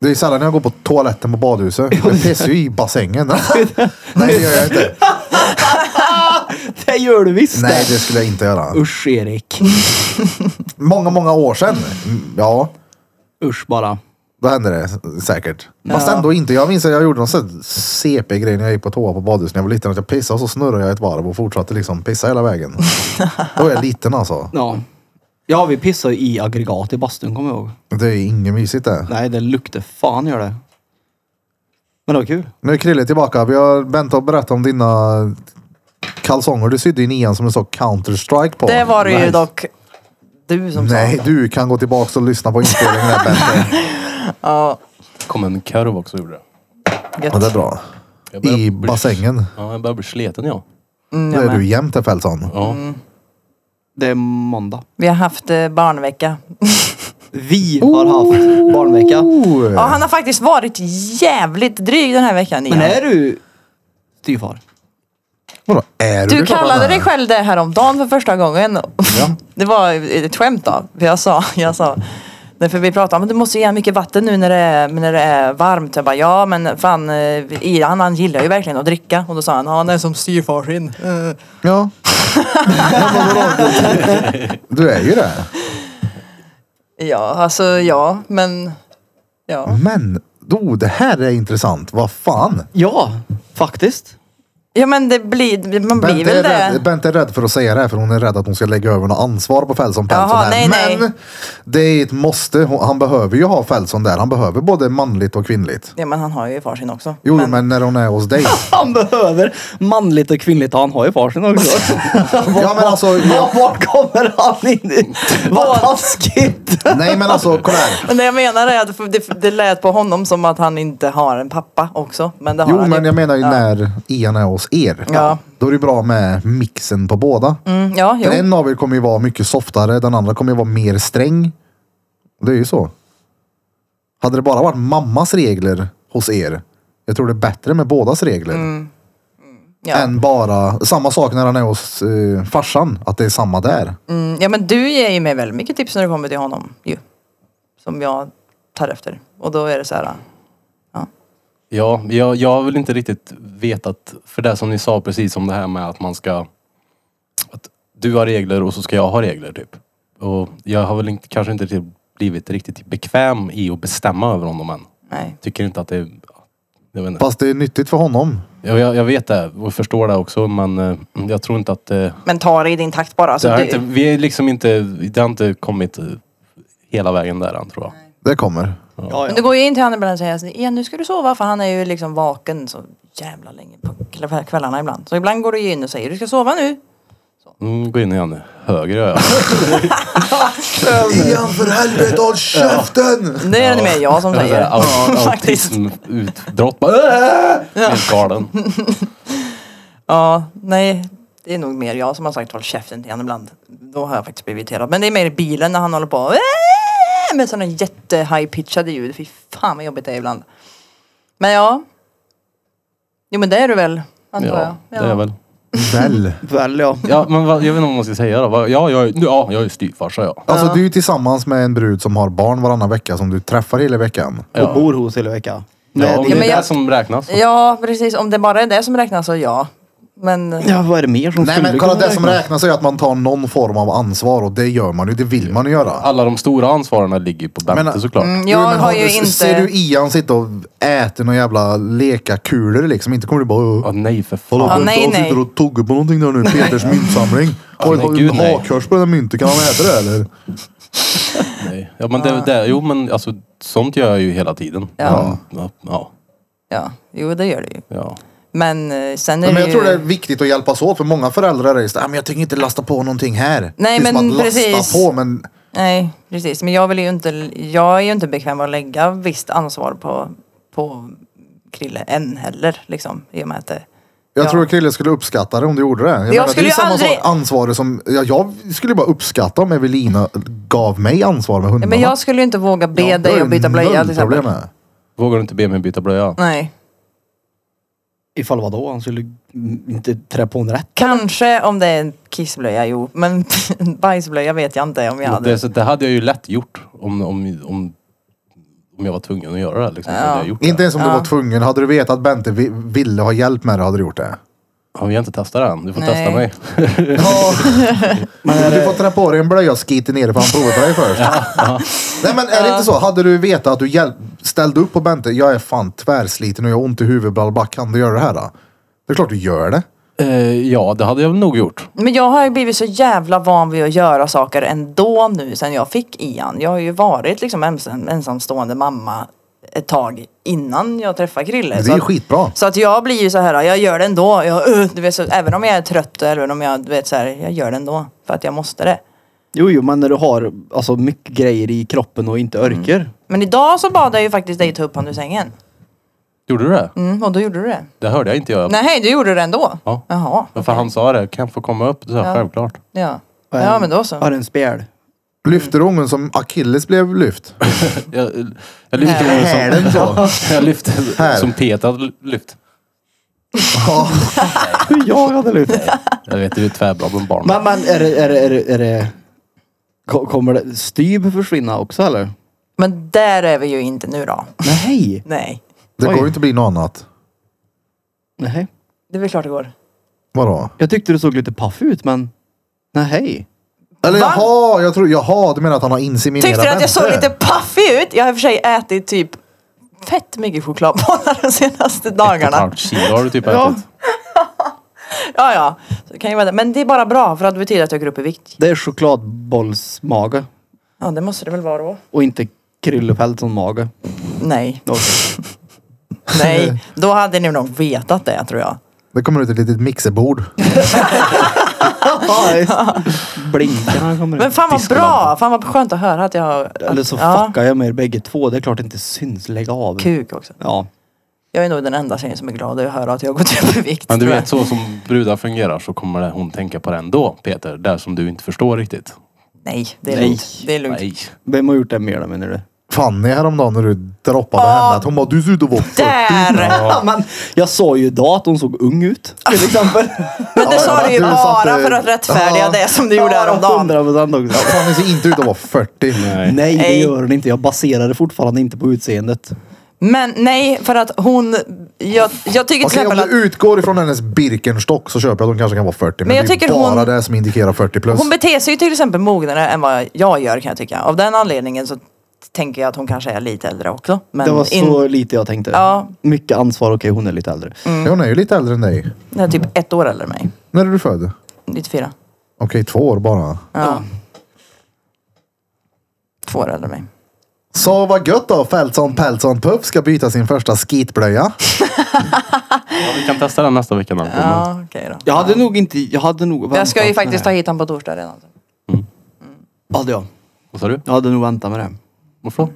S1: Det är sällan jag går på toaletten på badhuset. Jag pissar ju i bassängen. Nej det gör jag inte.
S2: Det gör du visst
S1: Nej
S2: det.
S1: det skulle jag inte göra.
S2: Usch Erik.
S1: Många, många år sedan. Mm, Ja,
S2: Usch bara.
S1: då hände det s- säkert. Fast ändå inte. Jag minns att jag gjorde någon sån här CP-grej när jag gick på toa på badhuset när jag var liten. Att jag pissade och så snurrade jag ett varv och fortsatte liksom pissa hela vägen. Då var jag liten alltså.
S2: Ja. Ja, vi pissar ju i aggregat i bastun kommer jag ihåg.
S1: Det är inget mysigt det.
S2: Nej, det luktar fan gör det. Men det var kul.
S1: Nu är Krille tillbaka. Vi har Bente och berättat om dina kalsonger du sydde i nian som det stod Counter-Strike på.
S4: Det var det ju
S2: Nice.
S4: dock du som
S1: Nej,
S4: sa.
S1: du kan gå tillbaka och lyssna på inspelningen där Bente.
S4: Ja,
S3: kom en korv också gjorde det.
S4: gött.
S1: Ja, det är bra.
S3: Jag börjar
S1: I
S3: bli-
S1: bassängen.
S3: Ja, jag börjar bli sliten jag.
S4: Mm,
S1: Då
S4: jag
S1: är du
S4: med.
S1: jämt där Fältson.
S3: Ja.
S2: Det är måndag.
S4: Vi har haft eh, barnvecka.
S2: Vi har haft barnvecka.
S1: Oh.
S4: Ja, han har faktiskt varit jävligt dryg den här veckan.
S2: Men
S4: Ian.
S2: är du styvfar?
S1: Vadå, är du
S4: Du
S1: klart
S4: kallade
S1: han är?
S4: dig själv det här om dagen för första gången. Det var ett skämt då. För jag sa, jag sa Nej, för vi pratade om att du måste ge mycket vatten nu när det är, när det är varmt. Jag bara, ja men fan eh, Ian han gillar ju verkligen att dricka. Och då sa han, "Ja, han är som styvfar sin. Eh.
S1: Ja. Ja, men vadå? du är ju det.
S4: Ja, alltså ja, men ja.
S1: Men, oh, det här är intressant. Vad fan?
S2: Ja, faktiskt.
S4: Ja men det blir, man blir
S1: Bente är,
S4: väl
S1: rädd,
S4: det.
S1: Bente är rädd för att säga det här för hon är rädd att hon ska lägga över något ansvar på Fältson. Fältson
S4: Jaha,
S1: här.
S4: nej, nej.
S1: Men det är ett måste. Hon- Han behöver ju ha Fältson där. Han behöver både manligt och kvinnligt.
S4: Ja men han har ju far sin också.
S1: Jo, men, när hon är hos dig.
S2: Han behöver manligt och kvinnligt och han har ju farsen också.
S1: ja, men alltså,
S2: Var-
S1: ja,
S2: Vart kommer han in? i? Vad taskigt!
S1: nej, men alltså, kolla här.
S4: Men det jag menar är att det, det lät på honom som att han inte har en pappa också. Men det har
S1: Jo,
S4: han
S1: men
S4: ju.
S1: jag menar ju när Ian är hos er.
S4: Ja.
S1: Då är det bra med mixen på båda.
S4: Mm, ja, jo.
S1: För en av er kommer ju vara mycket softare, den andra kommer ju vara mer sträng. Det är ju så. Hade det bara varit mammas regler hos er, jag tror det är bättre med bådas regler.
S4: Mm, Ja.
S1: Än bara, samma sak när han är hos eh, farsan, att det är samma där.
S4: Mm, ja men du ger ju mig väldigt mycket tips när det kommer till honom ju. Som jag tar efter. Och då är det så här.
S3: Ja, jag, jag har väl inte riktigt vetat, för det som ni sa precis om det här med att man ska... Att du har regler och så ska jag ha regler typ. Och jag har väl inte, kanske inte riktigt blivit riktigt bekväm i att bestämma över honom än.
S4: Nej.
S3: Tycker inte att det är... Jag vet inte.
S1: Fast det är nyttigt för honom.
S3: Jag, jag, jag vet det och förstår det också men eh, jag tror inte att... eh,
S4: Men ta det i din takt bara.
S3: det
S4: Alltså,
S3: har
S4: du,
S3: inte, vi är liksom inte... Det har inte kommit eh, hela vägen där än tror jag.
S1: Det kommer.
S2: Ja,
S4: Men du
S2: ja.
S4: går ju in till honom ibland och säger så, ja, nu ska du sova för han är ju liksom vaken så jävla länge på kla- kvällarna ibland. Så ibland går du ju in och säger du ska sova nu.
S3: Mm, gå in igen nu. Höger gör jag.
S1: Ian för helvete, håll käften!
S4: Det är det mer jag som säger. Faktiskt.
S3: Autismutbrott. Bara, "Äh!" Helt galen.
S4: Ja, nej. Det är nog mer jag som har sagt håll käften till honom ibland. Då har jag faktiskt blivit irriterad. Men det är mer i bilen när han håller på "Äh!" med sådana jätte-high-pitchade ljud. Fy fan vad jobbigt det är ibland. Men ja. Jo men det är du väl? Antar
S3: Ja, det
S4: jag.
S3: är väl.
S1: Väl.
S2: Väl ja.
S3: Ja, men vad, jag vet inte vad man ska säga då. Vad- Ja, jag, är- ja, jag är styvfarsa ja.
S1: Alltså du är ju tillsammans med en brud som har barn varannan vecka som du träffar hela veckan.
S3: Ja.
S2: Och bor hos hela veckan.
S3: Ja, om
S2: Men-
S3: det är
S4: men jag-
S3: det som räknas.
S4: Ja, precis. Om det bara är det som räknas så ja. Men
S2: Ja, vad är det mer som
S1: Nej
S2: skulle
S1: men kolla
S2: kunna
S1: det som räknas är ju att man tar någon form av ansvar och det gör man ju. Det vill man ju göra.
S3: Alla de stora ansvaren ligger ju på Bente
S1: Men- mm.
S3: såklart.
S4: Mm, jag har ju inte...
S1: Ser du Ian sitta och äta några jävla lekakulor liksom? Inte kommer du bara...
S3: Ja, nej för fan.
S1: Hallå,
S4: Ja,
S1: vänta,
S4: nej,
S1: han sitter
S4: nej.
S1: och tuggar på någonting där nu. Peters myntsamling. Oj,
S3: nej,
S1: har du
S3: gud, nej.
S1: hakkors på den här myntet? Kan han äta det eller?
S3: Nej. Ja, men det, det, jo men alltså sånt gör jag ju hela tiden.
S4: Ja.
S3: Ja, ja.
S4: Ja, jo det gör det ju.
S3: ja.
S4: Men eh, sen är
S1: Men
S4: det
S1: jag
S4: ju...
S1: tror det är viktigt att hjälpas åt för många föräldrar är just "Ah, men jag tänker inte lasta på någonting här.
S4: Nej,
S1: det är
S4: men
S1: som att
S4: precis.
S1: lasta på men
S4: Nej, precis. Men jag vill ju inte... Jag är ju inte bekväm med att lägga visst ansvar på, på Krille än heller liksom. I och med att det...
S1: Jag
S4: Ja.
S1: tror att Krille skulle uppskatta det om du gjorde det. Jag, menar, det
S4: skulle
S1: är
S4: ju
S1: samma
S4: aldrig-
S1: sak ansvar som... Ja, jag skulle bara uppskatta om Evelina gav mig ansvar med
S4: Ja,
S1: hundarna.
S4: Men jag skulle ju inte våga be
S1: Ja, då är
S4: dig att
S1: det
S4: byta blöja
S1: noll
S4: till exempel.
S1: problem med.
S3: Vågar du inte be mig byta blöja?
S4: Nej.
S2: Ifall vadå? Han skulle mm, inte trä på en rätt.
S4: Kanske om det är en kissblöja, jo. Men bajsblöja vet jag inte om jag hade.
S3: Det, så det hade jag ju lätt gjort om, om, om, om jag var tvungen att göra det. Liksom, så hade jag gjort
S1: Inte
S3: det.
S1: ens om du var tvungen. Hade du vetat att Bente vi- ville ha hjälp med det hade du gjort det.
S3: Ja, vi har inte testat det än. Du får
S4: Nej.
S3: testa mig.
S1: du får trä på dig en blöja och skita ner dig för han provar på dig först. Nej men är det inte så? Hade du vetat att du hjälp, ställde upp på Bente. Jag är fan tvärsliten och jag har ont i huvudet. Bla, bla, bla. Kan du göra det här då? Det är klart du gör det.
S3: Eh, ja, det hade jag nog gjort.
S4: Men jag har ju blivit så jävla van vid att göra saker ändå nu sen jag fick Ian. Jag har ju varit liksom ensam, ensamstående mamma ett tag innan jag träffade Krille.
S1: Det
S4: Så
S1: är
S4: att-
S1: skitbra.
S4: Så att jag blir ju så här, jag gör det ändå. Jag, uh, du vet, så, även om jag är trött eller även om jag, du vet så här, jag gör det ändå. För att jag måste det.
S2: Jo, jo, men när du har alltså, mycket grejer i kroppen och inte orkar.
S4: Men idag så bad jag ju faktiskt dig ta upp honom ur sängen.
S3: Gjorde du det?
S4: Mm, och då gjorde du det.
S3: Det hörde jag inte jag.
S4: Nej, du gjorde det ändå?
S3: Ja.
S4: Jaha.
S3: Men för han sa det. Kan jag få komma upp? Så, ja. Självklart.
S4: Ja. ja, men då
S2: Har
S4: så.
S2: en spjäl.
S1: Lyfter ungen som Achilles blev lyft? Liksom.
S3: Jag, jag lyfte honom som... jag lyfte
S1: Här.
S3: som Peter hade lyft.
S1: Ja.
S2: jag hade lyft.
S3: Jag vet, du är tvärbra med barn.
S2: Men, men är det, är det, är det, är det ko- kommer det styv försvinna också eller?
S4: Men där är vi ju inte nu då.
S2: Nej.
S4: Nej.
S1: Det
S2: Oj.
S1: går ju inte att bli något annat.
S2: Nej.
S4: Det är väl klart det går.
S1: Vadå?
S2: Jag tyckte du såg lite paff ut men nej.
S1: Eller
S4: Va?
S1: jaha, jag tror, jaha, du menar att han har inseminerat
S4: Tyckte du att jag såg
S1: Bente?
S4: lite paffig ut? Jag har i och för sig ätit typ fett mycket chokladbollar de senaste
S3: Ett och ett
S4: dagarna.
S3: halvt kilo har du typ
S2: Ja.
S3: ätit.
S4: Ja, ja. Så det kan ju vara det. Men det är bara bra för att det betyder att jag går upp i vikt.
S2: Det är chokladbollsmage
S4: Ja, det måste det väl vara då.
S2: och inte kryllepält som mage.
S4: Nej,
S2: Okej.
S4: nej. Då hade ni nog vetat det tror jag.
S1: Det kommer ut ett litet mixerbord.
S2: Blinkar när han kommer
S4: Men
S2: in.
S4: fan vad bra! Fan vad skönt att höra att jag har... Att,
S2: Eller så
S4: ja,
S2: fuckar jag med er bägge två. Det är klart det inte syns. Lägg av.
S4: Kuk också.
S2: Ja.
S4: Jag är nog den enda tjejen som är glad att höra att jag har gått upp i vikt.
S3: Men du
S4: tror jag.
S3: vet, så som brudar fungerar så kommer det, hon tänka på det ändå, Peter. Där som du inte förstår riktigt.
S4: Nej, det är
S2: Nej.
S4: lugnt. Det är lugnt.
S3: Nej.
S2: Vem har gjort det mer då menar du?
S1: Fanny häromdagen när du droppade henne. Att hon bara, du ser ut att vara 40.
S4: Där!
S2: Ja, men jag sa ju idag att hon såg ung ut till exempel.
S4: Men det sa du ju
S1: du sa att
S4: bara
S1: det-
S4: för att rättfärdiga
S1: Ja.
S4: det som du gjorde häromdagen.
S2: 100% också.
S1: Fanny ser inte ut att vara 40.
S2: Nej, det
S4: Nej.
S2: gör hon inte. Jag baserar det fortfarande inte på utseendet.
S4: Men nej, för att hon... Jag, jag tycker till
S1: Okej, Alltså, om
S4: exempel
S1: du
S4: att
S1: utgår ifrån hennes Birkenstock så köper jag att hon kanske kan vara 40. Men,
S4: Men jag
S1: det är
S4: tycker
S1: bara
S4: hon-
S1: det som indikerar 40 plus.
S4: hon beter sig ju till exempel mognare än vad jag gör kan jag tycka. Av den anledningen så tänker jag att hon kanske är lite äldre också. Men
S2: Det var så
S4: in,
S2: lite jag tänkte.
S4: Ja.
S2: Mycket ansvar. Okej, hon är lite äldre.
S1: Ja, Hon är ju lite äldre än dig.
S4: hon är typ ett år äldre än mig.
S1: När är du född? Okej,
S4: 94.
S1: två år bara.
S4: Ja. Två år äldre än mig.
S1: Så vad gött då. Feltson Peltson Puff ska byta sin första skitblöja.
S3: Ja, vi kan testa den nästa vecka. När den kommer.
S4: Ja, okej då.
S2: Jag hade nog inte... Jag hade nog väntat.
S4: Jag ska ju
S2: med
S4: faktiskt ta
S2: det.
S4: hit honom på torsdag redan.
S2: Ja, det jag.
S3: Vad sa du?
S2: Jag hade nog väntat med det.
S3: Varför då?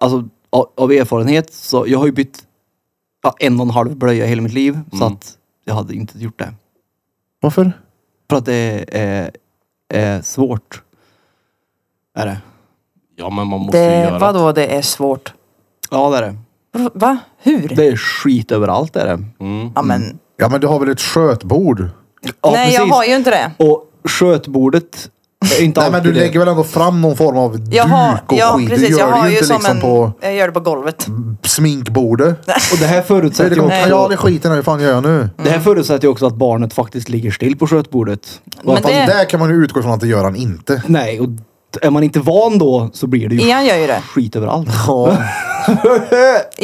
S2: Alltså, av, av erfarenhet så... Jag har ju bytt ja, en och en halv blöja i hela mitt liv. Så
S4: Mm.
S2: att jag hade inte gjort det.
S1: Varför?
S2: För att det är, är svårt. Är det?
S3: Ja, men man måste ju
S4: Det,
S3: göra
S4: vadå det är svårt?
S2: Ja, det är det.
S4: Va? Hur?
S2: Det är skit överallt är det.
S1: Mm.
S4: Ja, men,
S1: Ja, men du har väl ett skötbord?
S2: Ja,
S4: nej, jag
S2: precis.
S4: har ju inte det.
S2: Och skötbordet är inte
S1: Nej, men
S2: alltid
S1: du lägger väl ändå fram någon form av
S4: Jag har,
S1: duk och
S4: ja,
S1: skit. Du
S4: precis,
S1: gör
S4: jag
S1: det
S4: har
S1: ju
S4: ju
S1: inte
S4: som
S1: liksom
S4: en...
S1: på Mm.
S4: Jag gör det på golvet.
S1: sminkbordet.
S2: det. Och det här
S1: Så
S2: förutsätter
S1: det
S2: ju
S1: kommer
S2: också...
S1: kanal i skiten här, hur fan gör jag nu?
S2: Det här förutsätter ju också att barnet faktiskt ligger still på skötbordet. Och
S4: Men
S2: att
S1: Fast
S4: det-
S1: där kan man ju utgå från att det gör han inte.
S2: Nej, och är man inte van då så blir det ju
S4: Ian gör ju det.
S2: skit överallt.
S1: Ja. Nu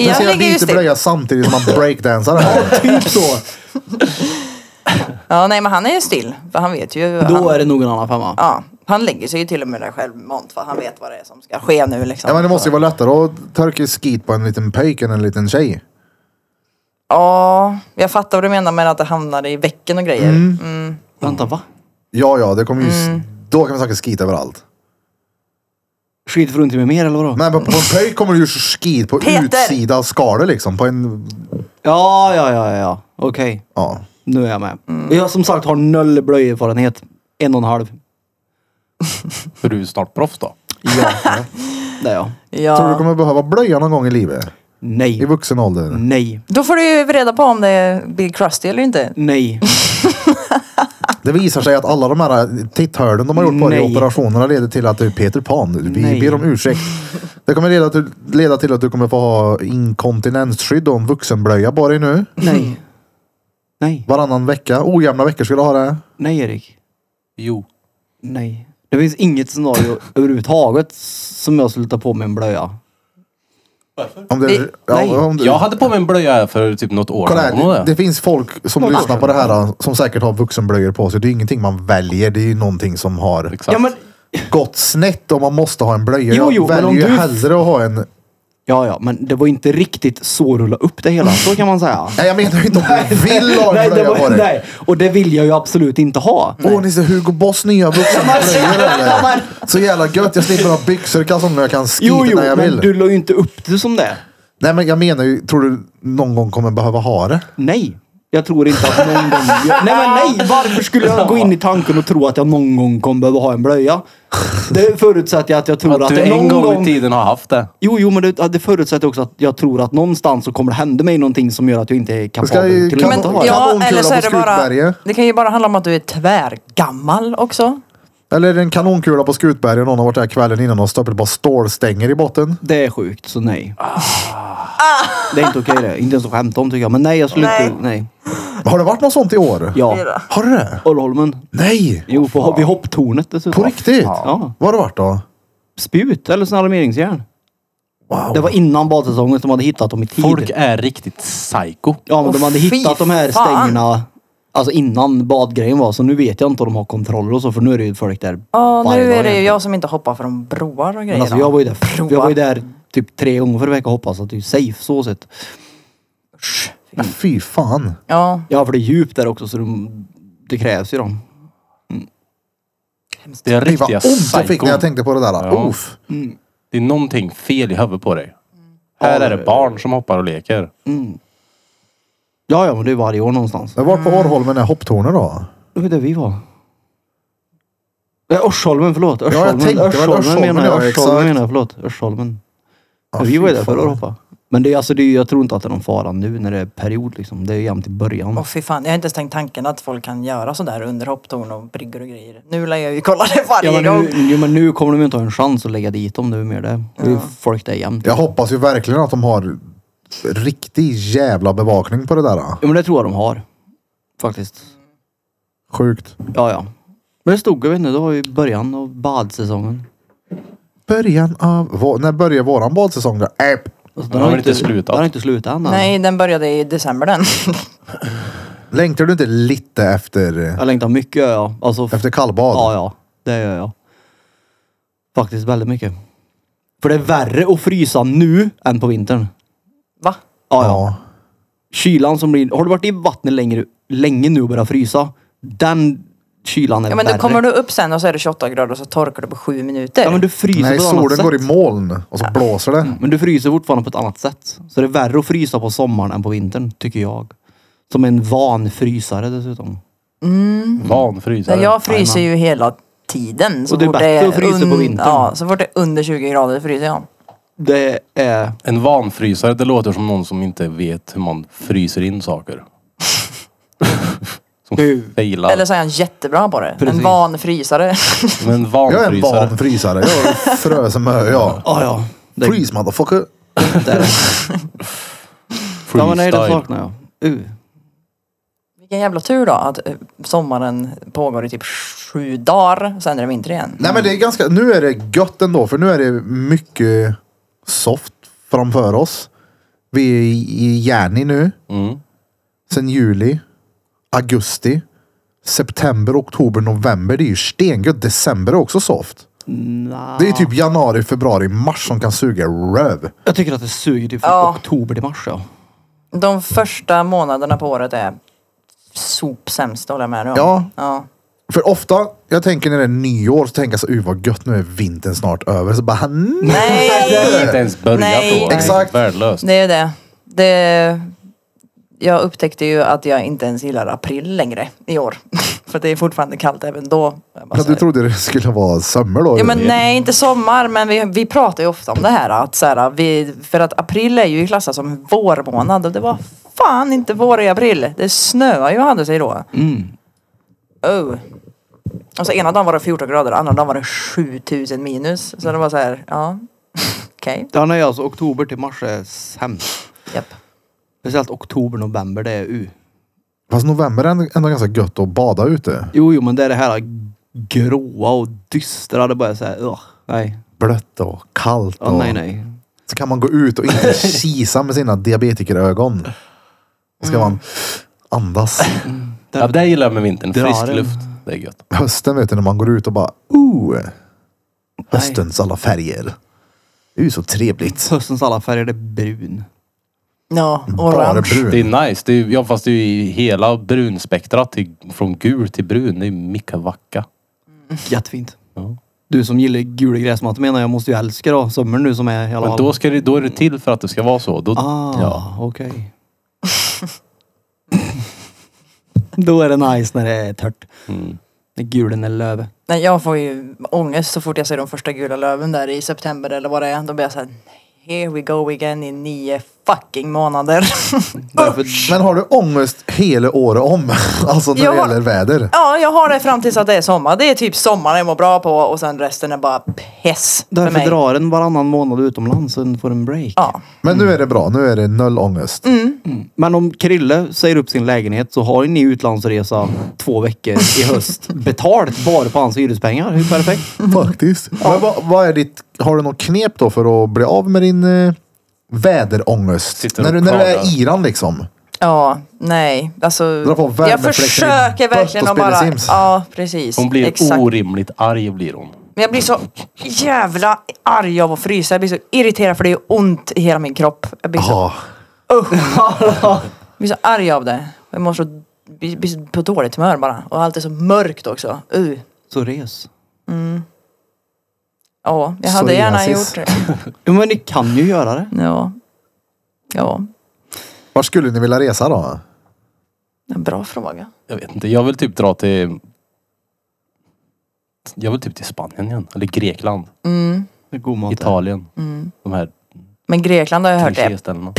S4: Jag
S1: ser jag
S4: ligger ju
S1: byter
S4: still.
S1: blöja samtidigt som man breakdansar här.
S2: typ så.
S4: Ja, nej men han är ju still. För han vet ju.
S2: Då
S4: han,
S2: är det nog en annan femma.
S4: ja, han lägger sig ju till och med där självmant för han vet vad det är som ska ske nu liksom.
S1: Ja, men det måste ju vara lättare att torka skit på en liten pöjk än en liten tjej.
S4: Ja, jag fattar vad du menar med att det hamnar i väcken och grejer. Mm.
S2: Vänta, va?
S1: Ja, ja, det kommer ju... s- Då kan man säkert skit överallt.
S2: Skit för ont i mig mer eller vadå?
S1: Nej, men på en pöjk kommer det ju skit på
S4: Peter!
S1: utsidan av skalet liksom. På en...
S2: Ja, ja, ja, ja, ja. Okej.
S1: Ja.
S2: Nu är jag med. Jag som sagt har noll blöjerfarenhet. En och en halv.
S3: det. För du är ju snart proffs då.
S2: Ja, det är jag.
S4: Ja.
S1: Tror du kommer behöva blöja någon gång i livet? I
S2: Nej.
S1: vuxen ålder?
S2: Nej.
S4: Då får du ju reda på om det blir crusty eller inte.
S2: Nej.
S1: Det visar sig att alla de här titthålen de har gjort på dig i
S2: Nej.
S1: operationerna leder till att du är Peter Pan. Vi
S2: Nej.
S1: ber om ursäkt. Det kommer leda till, leda till att du kommer få ha inkontinensskydd och en vuxenblöja på dig nu.
S2: Nej. Nej.
S1: Varannan vecka. Ojämna veckor ska du ha det.
S2: Nej, Erik.
S3: Jo.
S2: Nej. Det finns inget scenario överhuvudtaget som jag skulle ta på mig en blöja.
S1: Om det,
S4: I-
S2: Eh, nej.
S1: ja, om det,
S3: Jag hade på mig en blöja för typ något år
S1: kolla
S3: Kommer du
S1: här,
S3: ihåg
S1: det, det finns folk som lyssnar på det här eh, som säkert har vuxenblöjor på sig. Det är ingenting man väljer. Det är ju någonting som har
S3: Exakt.
S2: Ja, men...
S1: gått snett om man måste ha en blöja.
S2: Jo,
S1: Jag
S2: jo, men
S1: väljer
S2: om
S1: ju
S2: du-
S1: hellre att ha en...
S2: Ja, ja, men det var inte riktigt så rulla upp det hela. Så kan man säga.
S1: Nej, jag menar ju inte om du vill ha en
S2: nej, det
S1: blöja på
S2: var,
S1: dig.
S2: nej, och det vill jag ju absolut inte ha.
S1: Åh, ni ser Hugo Boss nya vuxenblöjor eller? Så jävla gött. Jag slipper ha byxor, kan som jag kan skita
S2: Jo, jo,
S1: när jag vill.
S2: men du la ju inte upp det som det.
S1: Nej, men jag menar ju, tror du någon gång kommer behöva ha det?
S2: Nej. Jag tror inte att någon gång... Jag, nej, men nej! Varför skulle jag gå in i tanken och tro att jag någon gång kommer behöva ha en blöja? Det förutsätter jag att jag tror att,
S3: Att du
S2: det någon
S3: en gång,
S2: gång
S3: i tiden har haft det.
S2: Jo, jo, men det, ja, det förutsätter också att jag tror att någonstans så kommer det hända mig någonting som gör att jag inte är
S1: Ska
S2: kapabel
S1: ju-
S2: till
S1: kan man-
S2: att inte ha det.
S1: kan-
S4: ja,
S1: kanonkula
S4: eller så
S1: på
S4: är det bara...
S1: Skutberget.
S4: Det kan ju bara handla om att du är tvärgammal också.
S1: Eller är det en kanonkula på Skutberget och någon har varit där kvällen innan och stoppat ett par stålstänger i botten?
S2: Det är sjukt, så nej. Det är inte okej det. Inte ens att skämta om tycker jag. Men nej, jag skulle
S4: Nej.
S2: inte... Nej.
S1: Har det varit något sånt i år?
S2: Ja.
S1: Har det det?
S2: Orrholmen.
S1: Nej!
S2: Jo, på, vid hopptornet dessutom.
S1: På riktigt?
S2: Ja.
S1: Vad har det varit då?
S2: Spjut eller sån alarmeringsjärn.
S1: Wow.
S2: Det var innan badsäsongen som hade hittat dem i tid.
S3: Folk är riktigt psycho.
S2: Ja, men
S4: Åh,
S2: de hade
S4: fy
S2: hittat de här
S4: fan.
S2: stängerna alltså innan badgrejen var. Så nu vet jag inte om de har kontroller och så. För nu är det ju folk där
S4: Ja,
S2: varje dag
S4: nu är det ju
S2: egentligen.
S4: jag som inte hoppar från broar och grejer.
S2: Men alltså,
S4: då.
S2: jag var ju där,
S4: Broar.
S2: jag var ju där typ tre gånger för vecka och hoppas att det är safe så sett.
S1: Ja, Fy fan.
S4: Ja,
S2: Ja, för det är djupt där också så de, det krävs ju dem.
S3: Det är
S1: Fy vad
S3: riktiga
S1: ont jag fick
S3: psycho.
S1: när jag tänkte på det där.
S3: Ja.
S1: Uff.
S3: Det är någonting fel i huvudet på dig. Här är det barn som hoppar och leker.
S2: Ja, ja, men det är varje år någonstans.
S1: Jag var på Orrholmen är hopptornet då?
S2: Det var där vi var. Nej, Örsholmen, förlåt. Örsholmen,
S1: jag tänkte väl
S2: Örsholmen,
S1: Örsholmen,
S2: menar jag.
S1: ja,
S2: Örsholmen
S1: exakt.
S2: menar jag, förlåt. Örsholmen. vi var ju där förra året hoppa. Men det är, alltså, det är, jag tror inte att det är någon fara nu när det är period liksom. Det är jämt i början.
S4: Åh fy fan, jag har inte ens tänkt tanken att folk kan göra sådär under hopptorn och bryggor och grejer. Nu lär jag ju kolla det varje
S2: Ja, men
S4: gång.
S2: nu, jo, men nu kommer de ju inte ha en chans att lägga dit dem. Det är mer det. Det är ju folk där jämt.
S1: Jag hoppas ju verkligen att de har riktig jävla bevakning på det där.
S2: Ja, men det tror jag de har. Faktiskt.
S1: Sjukt.
S2: Ja, ja. Men det stod, jag vet inte, det var ju början av badsäsongen.
S1: Början av... vå- När börjar våran badsäsong då? Äh,
S2: Alltså,
S3: Den har väl inte slutat?
S2: Den har inte slutat än. alltså.
S4: Nej, den började i december den.
S1: Längtar du inte lite efter, eh,
S2: Jag längtar mycket gör jag. Alltså, f-
S1: efter kallbad?
S2: ja, ja. Det gör jag. Faktiskt väldigt mycket. För det är värre att frysa nu än på vintern.
S4: Va?
S2: Ja, ja. Kylan som blir... Har du varit i vattnet längre, länge nu och börjat frysa? Den kylan är
S4: Ja men
S2: värre.
S4: då kommer du upp sen och så är det 28 grader och så torkar du på 7 minuter.
S2: Ja, men du fryser
S1: Nej,
S2: på ett annat
S1: solen
S2: sätt. Mm.
S1: går i moln och så blåser det.
S2: Men du fryser fortfarande på ett annat sätt. Så det är värre att frysa på sommaren än på vintern, tycker jag. Som en van frysare dessutom.
S3: Vanfrysare.
S4: Nej, jag fryser ju hela tiden. Så
S2: Och det är
S4: fort
S2: bättre att frysa på
S4: un-
S2: vintern.
S4: Ja, så fort det är under 20 grader fryser jag.
S2: Det är...
S3: En vanfrysare, det låter som någon som inte vet hur man fryser in saker. som failar.
S4: Eller så är han jättebra på det.
S2: Precis.
S4: En van frysare.
S3: Men en
S1: Jag är en
S3: vanfrysare.
S1: van frysare. Jag är frusen med ja.
S2: Ja, ja. Det,
S1: Freeze motherfucker.
S2: ja, men nej, det
S3: Freestyle.
S2: saknar jag. Uh.
S4: Vilken jävla tur då att eh, sommaren pågår i typ sju dagar, sen är det vinter igen.
S1: Nej men det är ganska, nu är det gött ändå för nu är det mycket soft framför oss. Vi är i- i Järni nu.
S3: Mm.
S1: Sen juli, augusti, september, oktober, november. Det är ju stengött. December är också soft. Det är typ januari, februari, mars som kan suga röv.
S2: Jag tycker att det suger typ från
S4: Ja.
S2: oktober till mars. Ja.
S4: De första månaderna på året är sopsämst, håller jag med dig om.
S1: Ja.
S4: ja.
S1: För ofta, jag tänker när det är nyår så tänker jag så "Uh, vad gött nu är vintern snart över. Så bara nej.
S4: Nej!
S3: Jag har inte ens börjat
S4: Nej.
S3: då. Det är
S1: Exakt.
S3: Värdelöst.
S4: Det är det. det. Jag upptäckte ju att jag inte ens gillar april längre i år. För det är fortfarande kallt även då.
S1: Ja,
S4: Jag bara så
S1: Alltså, Du
S4: här-
S1: trodde det skulle vara sommar då?
S4: Ja, men nej, inte sommar, men vi, vi pratar ju ofta om det här. Att så här vi, för att april är ju klassad som vårmånad och det var fan inte vår i april. Det snöar ju hade sig då. Oh. Och så ena dagen var det 14 grader, andra dagen var det 7000 minus. Så det var så här, ja, okej,
S2: Den är alltså oktober till mars är sämst.
S4: japp.
S2: Speciellt oktober, november, det är u.
S1: Fast november är ändå- ändå ganska gött att bada ute.
S2: Jo, jo, men det är det här gråa och dystra. Det bara så här, ugh, nej.
S1: Blött och kallt.
S2: Ja,
S1: och...
S2: nej, nej.
S1: Så kan man gå ut och inte kisa med sina diabetikerögon. Då ska man andas.
S3: Ja, det gillar jag med vintern.
S2: Drar
S3: Frisk
S2: en.
S3: luft. Det är gött.
S1: Hösten vet du när man går ut och bara ooh. Höstens alla färger. Det är ju så trevligt.
S2: Höstens alla färger är brun.
S4: Ja,
S1: Bara
S4: orange.
S3: Det är
S1: brun.
S3: nice. Det är, ja, fast det är ju hela brunspektrat. Till, från gul till brun. Det är micka vacka.
S2: Jättefint.
S3: Ja.
S2: Du som gillar gula gräsmattor menar jag måste ju älska då sommaren nu som är i alla
S3: Men
S2: fall.
S3: då, ska det, då är det till för att det ska vara så. Då,
S2: Ah,
S3: ja.
S2: okej. Då är det nice när det är torrt. När gulen är löv.
S4: Nej, jag får ju ångest så fort jag ser de första gula löven där i september eller vad det är. Då blir jag så här, here we go again i nio fucking månader.
S2: Därför,
S1: Men har du ångest hela året om? Alltså när
S4: Jag
S1: det
S4: har-
S1: gäller väder.
S4: Ja, jag har det fram tills att det är sommar. Det är typ sommar jag mår bra på och sen resten är bara pess för
S2: därför
S4: mig.
S2: drar den varannan månad utomlands så den får en break.
S4: Ja.
S1: Men nu är det bra. Nu är det noll ångest.
S4: Mm.
S2: Men om Krille säger upp sin lägenhet så har ju ni utlandsresa två veckor i höst betalt bara på hans hyrespengar. Hur perfekt?
S4: Mm.
S1: Faktiskt. Men vad, vad är ditt, har du något knep då för att bli av med din eh, väderångest?
S3: Sitter
S1: När
S3: och
S1: du, när du är
S3: klagar.
S1: i den liksom.
S4: ja, nej. Alltså,
S1: Dra på
S4: jag
S1: värmefläkten i
S4: försöker
S1: bött
S4: verkligen
S1: och
S4: att
S1: spela
S4: bara...
S1: Sims.
S4: Ja, precis.
S3: hon blir
S4: Exakt.
S3: orimligt arg blir hon.
S4: Men jag blir så jävla arg av att frysa. Jag blir så irriterad för det gör ont i hela min kropp. Jag blir så,
S1: Ja.
S4: jag blir så arg av det. Jag mår så, blir blir så på dåligt humör bara. Och allt är så mörkt också. Uh.
S2: Så res.
S4: Ja, jag hade gärna gjort
S1: Psoriasis.
S4: det.
S2: Jo, Men ni kan ju göra det.
S4: Ja. Ja,
S1: Var skulle ni vilja resa då?
S4: en bra fråga.
S3: Jag vet inte. Jag vill typ dra till... Jag vill typ till Spanien igen. Eller Grekland.
S2: God mat.
S3: Italien. De här
S4: Men Grekland har jag Mm. hört är
S3: Klichéställena.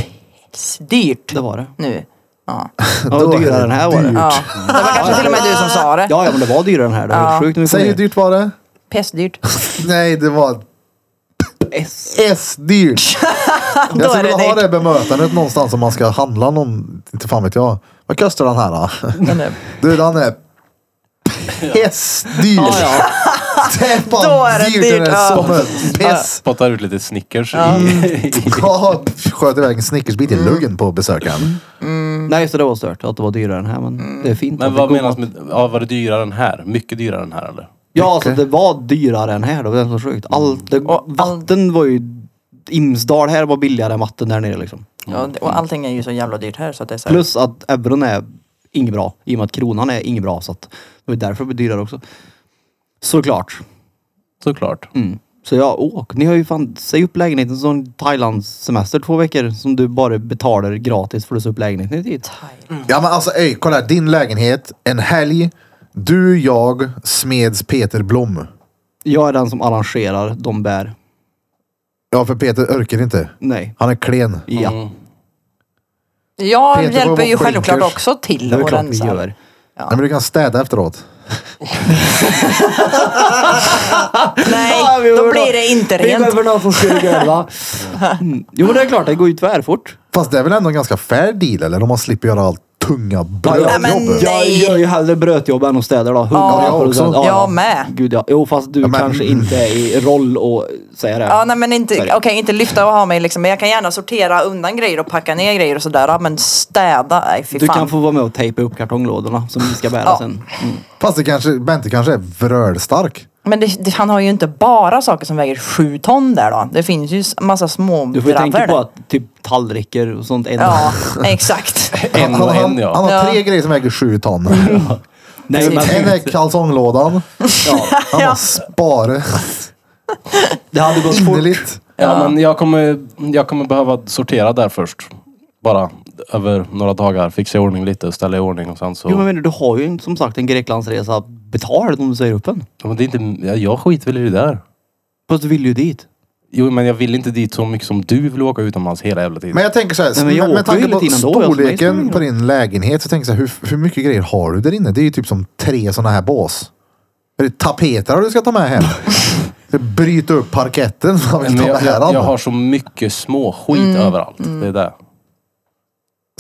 S4: dyrt
S2: Det var det.
S4: nu. Ja.
S2: Ja,
S1: Då är
S2: dyrare
S1: det
S2: den här var det.
S4: ja. Det var kanske till och med du som sa det.
S2: Ja, ja, men det var dyrare den här. Det var helt sjukt. när vi kom
S1: Säg hur
S2: ner.
S1: dyrt var det?
S4: Pestdyrt.
S1: Nej, det var
S2: S.
S1: S-dyrt.
S4: Då
S1: Jag
S4: är
S1: skulle
S4: det
S1: vilja ha
S4: dyrt.
S1: det bemötandet någonstans om man ska handla någon. Inte fan vet jag. Vad kostar den här då?
S4: Men eh, nu-
S1: Du, den är pestdyr.
S2: Ja, ja.
S1: Det är fan
S4: Då är den
S1: dyrt. Den
S4: dyrt,
S1: är
S4: ja.
S1: som ett pest.
S3: Spottar ut lite Snickers i,
S1: Ja, Sköt iväg en snickersbit i
S4: Mm.
S1: luggen på besökaren.
S2: Nej, så det var stört att det var dyrare den här. Men
S4: Mm.
S2: det är fint.
S3: Men
S2: att
S3: vad
S2: det är
S3: menas
S2: god mat.
S3: med, ja, var det dyrare än här? Mycket dyrare än här eller?
S2: Ja, alltså det var dyrare än här. Det var det som var sjukt. Allt, det, vatten var ju... Imsdal här var billigare än vatten där nere liksom.
S4: Ja, och allting är ju så jävla dyrt här så att det är så här.
S2: Plus att euron är inget bra. I och med att kronan är inget bra. Så att det är därför det blir dyrare också. Såklart.
S3: Såklart.
S2: Mm. Så jag åk. Ni har ju fan, säg upp lägenheten som en Thailandssemester två veckor som du bara betalar gratis för att se upp lägenheten i tid.
S1: Ja men alltså ey, kolla här. Din lägenhet, en helg. Du, jag, Smeds Peter Blom.
S2: Jag är den som arrangerar, de bär.
S1: Ja för Peter örker inte.
S2: Nej.
S1: Han är klen.
S2: Ja.
S4: Mm. Jag
S1: Peter, vad
S4: hjälper
S1: var
S4: ju
S1: blinkers?
S4: självklart också till
S2: Det är
S4: att
S2: klart vi
S4: rensa.
S2: gör.
S1: Nej, men du kan städa efteråt.
S4: Nej,
S2: Ja, vi
S4: då
S2: behöver
S4: blir
S2: någon-
S4: det inte
S2: Vi
S4: rent.
S2: behöver någon som skurkar va? Mm. Jo men det är klart, det går ju tvärfort.
S1: Fast det är väl ändå en ganska fair deal eller? Om man slipper göra allt tunga
S4: Nej, men-
S1: brödjobb.
S4: Ja.
S2: Jag
S4: Nej.
S2: gör ju hellre brötjobb än att städa då.
S4: Ja,
S1: jag också.
S4: Jag med.
S2: Gud ja. Jo fast du
S1: Ja, men-
S2: kanske inte är i roll och säga det.
S4: Ja, nej men inte,
S2: Sorry.
S4: okej inte lyfta och ha mig liksom. Men jag kan gärna sortera undan grejer och packa ner grejer och sådär. Men städa, nej fy
S2: du
S4: fan.
S2: kan få vara med och tejpa upp kartonglådorna som vi ska bära
S4: Ja.
S2: sen.
S1: Fast det kanske, Bente kanske är vrölstark.
S4: Men det, det, han har ju inte bara saker som väger sju ton där då. Det finns ju s- massa små
S2: Du får ju
S4: dravel
S2: tänka på
S4: där.
S2: att typ tallrikar och sånt ändå.
S4: Ja, exakt.
S3: En och
S1: han,
S3: en
S1: han
S3: ja.
S1: har
S4: Ja.
S1: tre grejer som väger sju ton.
S2: Nej, men,
S1: en är kalsonglådan. Han har spare
S2: det hade gått fort.
S1: innerligt.
S3: ja men jag kommer, jag kommer behöva sortera där först. Bara över några dagar. Fixa i ordning lite, ställa i ordning och sen så.
S2: Jo, men jag menar, du har ju en- som sagt en Greklandsresa betald om du säger upp en.
S3: Ja, men det är inte, jag, jag skiter väl i det där.
S2: Fast du vill ju dit.
S3: Jo men jag vill inte dit så mycket som du vill åka utomlands hela jävla tiden.
S1: Men jag tänker så här,
S2: Nej, men jag
S1: med, med
S2: åker ju
S1: tanke på
S2: lite innan då, jag som är i
S1: storleken
S2: Spanien.
S1: på din lägenhet så tänker jag så här, hur, hur mycket grejer har du där inne? Det är ju typ som tre sådana här bås. Är det tapeter du ska ta med hem? Ska Bryta upp parketten som man vill ta
S3: Men
S1: med
S3: jag,
S1: här.
S3: jag, jag
S1: Anna?
S3: har så mycket små skit
S2: Mm,
S3: överallt. Det är det.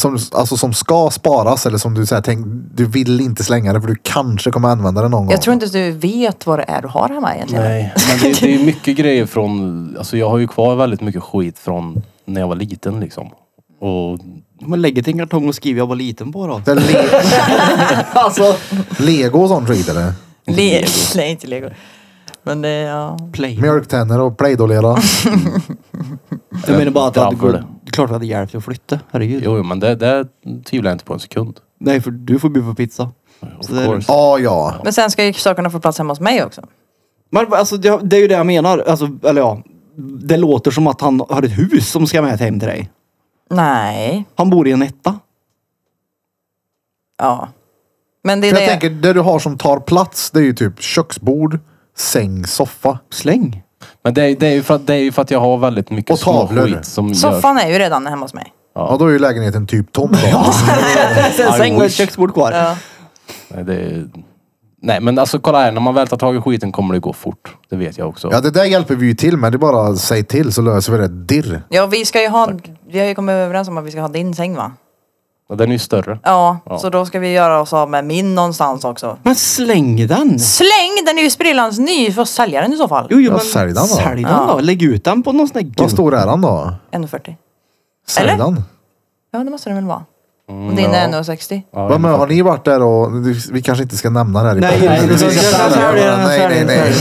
S1: som, alltså, som ska sparas eller som du säger, tänk, du vill inte slänga det för du kanske kommer använda det någon gång.
S4: Jag tror inte ens du vet vad det är du har hemma egentligen.
S3: Nej, men det, det är mycket grejer från... Alltså jag har ju kvar väldigt mycket skit från när jag var liten liksom. Och
S2: Men lägger till en kartong och skriver jag var liten på då.
S1: Det är le-
S4: Alltså.
S1: Lego och sånt skit eller?
S4: Le- nej, inte lego. Men det, ja.
S2: Play.
S1: Mjölktänder och playdolera.
S2: Jag menar bara att det hade
S3: Framför
S2: gått... Det är klart vi hade hjälpt dig att flytta. Herregud.
S3: jo, jo, men det, det tvivlar jag inte på en sekund.
S2: Nej, för du får bjuda på pizza.
S3: Of
S2: Så det är liksom-
S3: course.
S1: Ja, ja.
S4: Men sen ska ju sakerna få plats hemma hos mig också.
S2: Men alltså, det, det är ju det jag menar. Alltså, eller ja. Det låter som att han har ett hus som ska med hem till dig.
S4: Nej,
S2: Han bor i en etta.
S4: ja. Men det är
S1: För
S4: det.
S1: jag tänker, det du har som tar plats det är ju typ köksbord, säng, soffa.
S2: Släng.
S3: Men det är, det, är ju för att, det är ju för att jag har väldigt mycket
S1: Och
S3: små
S1: tavlor.
S3: skit som gör...
S4: Soffan är ju redan hemma hos mig.
S1: Ja, då är ju lägenheten typ tom då.
S2: Sen
S3: I
S2: säng och ett
S3: wish.
S2: köksbord kvar.
S4: Ja.
S3: Nej, det är, nej, men alltså kolla här. När man väl tar tag i skiten kommer det gå fort. Det vet jag också.
S1: Ja, det där hjälper vi ju till med. Det är bara säg till så löser vi det dirr.
S4: Ja, vi ska ju ha, vi har ju kommit överens om att vi ska ha din säng va?
S3: Ja, Den är ju större.
S4: Ja, så då ska vi göra oss av med min någonstans också.
S2: Men släng den!
S4: Släng den är ju sprillans ny, vi får sälja den i så fall.
S2: Jo, jo,
S1: Ja,
S2: men
S1: sälj den då.
S2: Sälj den då. Lägg ut den på någon sån där
S1: Vad
S2: gul-
S1: stor är han då?
S4: 1,40.
S1: Sälj
S4: Eller?
S1: den.
S4: Ja, det måste den väl vara. Om din är 1,60.
S3: Ja,
S1: Vad med, har ni varit där och vi kanske inte ska nämna det här i
S2: Nej,
S1: podden.
S2: nej,
S1: Vi ska
S2: nej,
S1: sälja
S2: nej,
S1: den.
S2: nej,
S1: nej, nej, nej.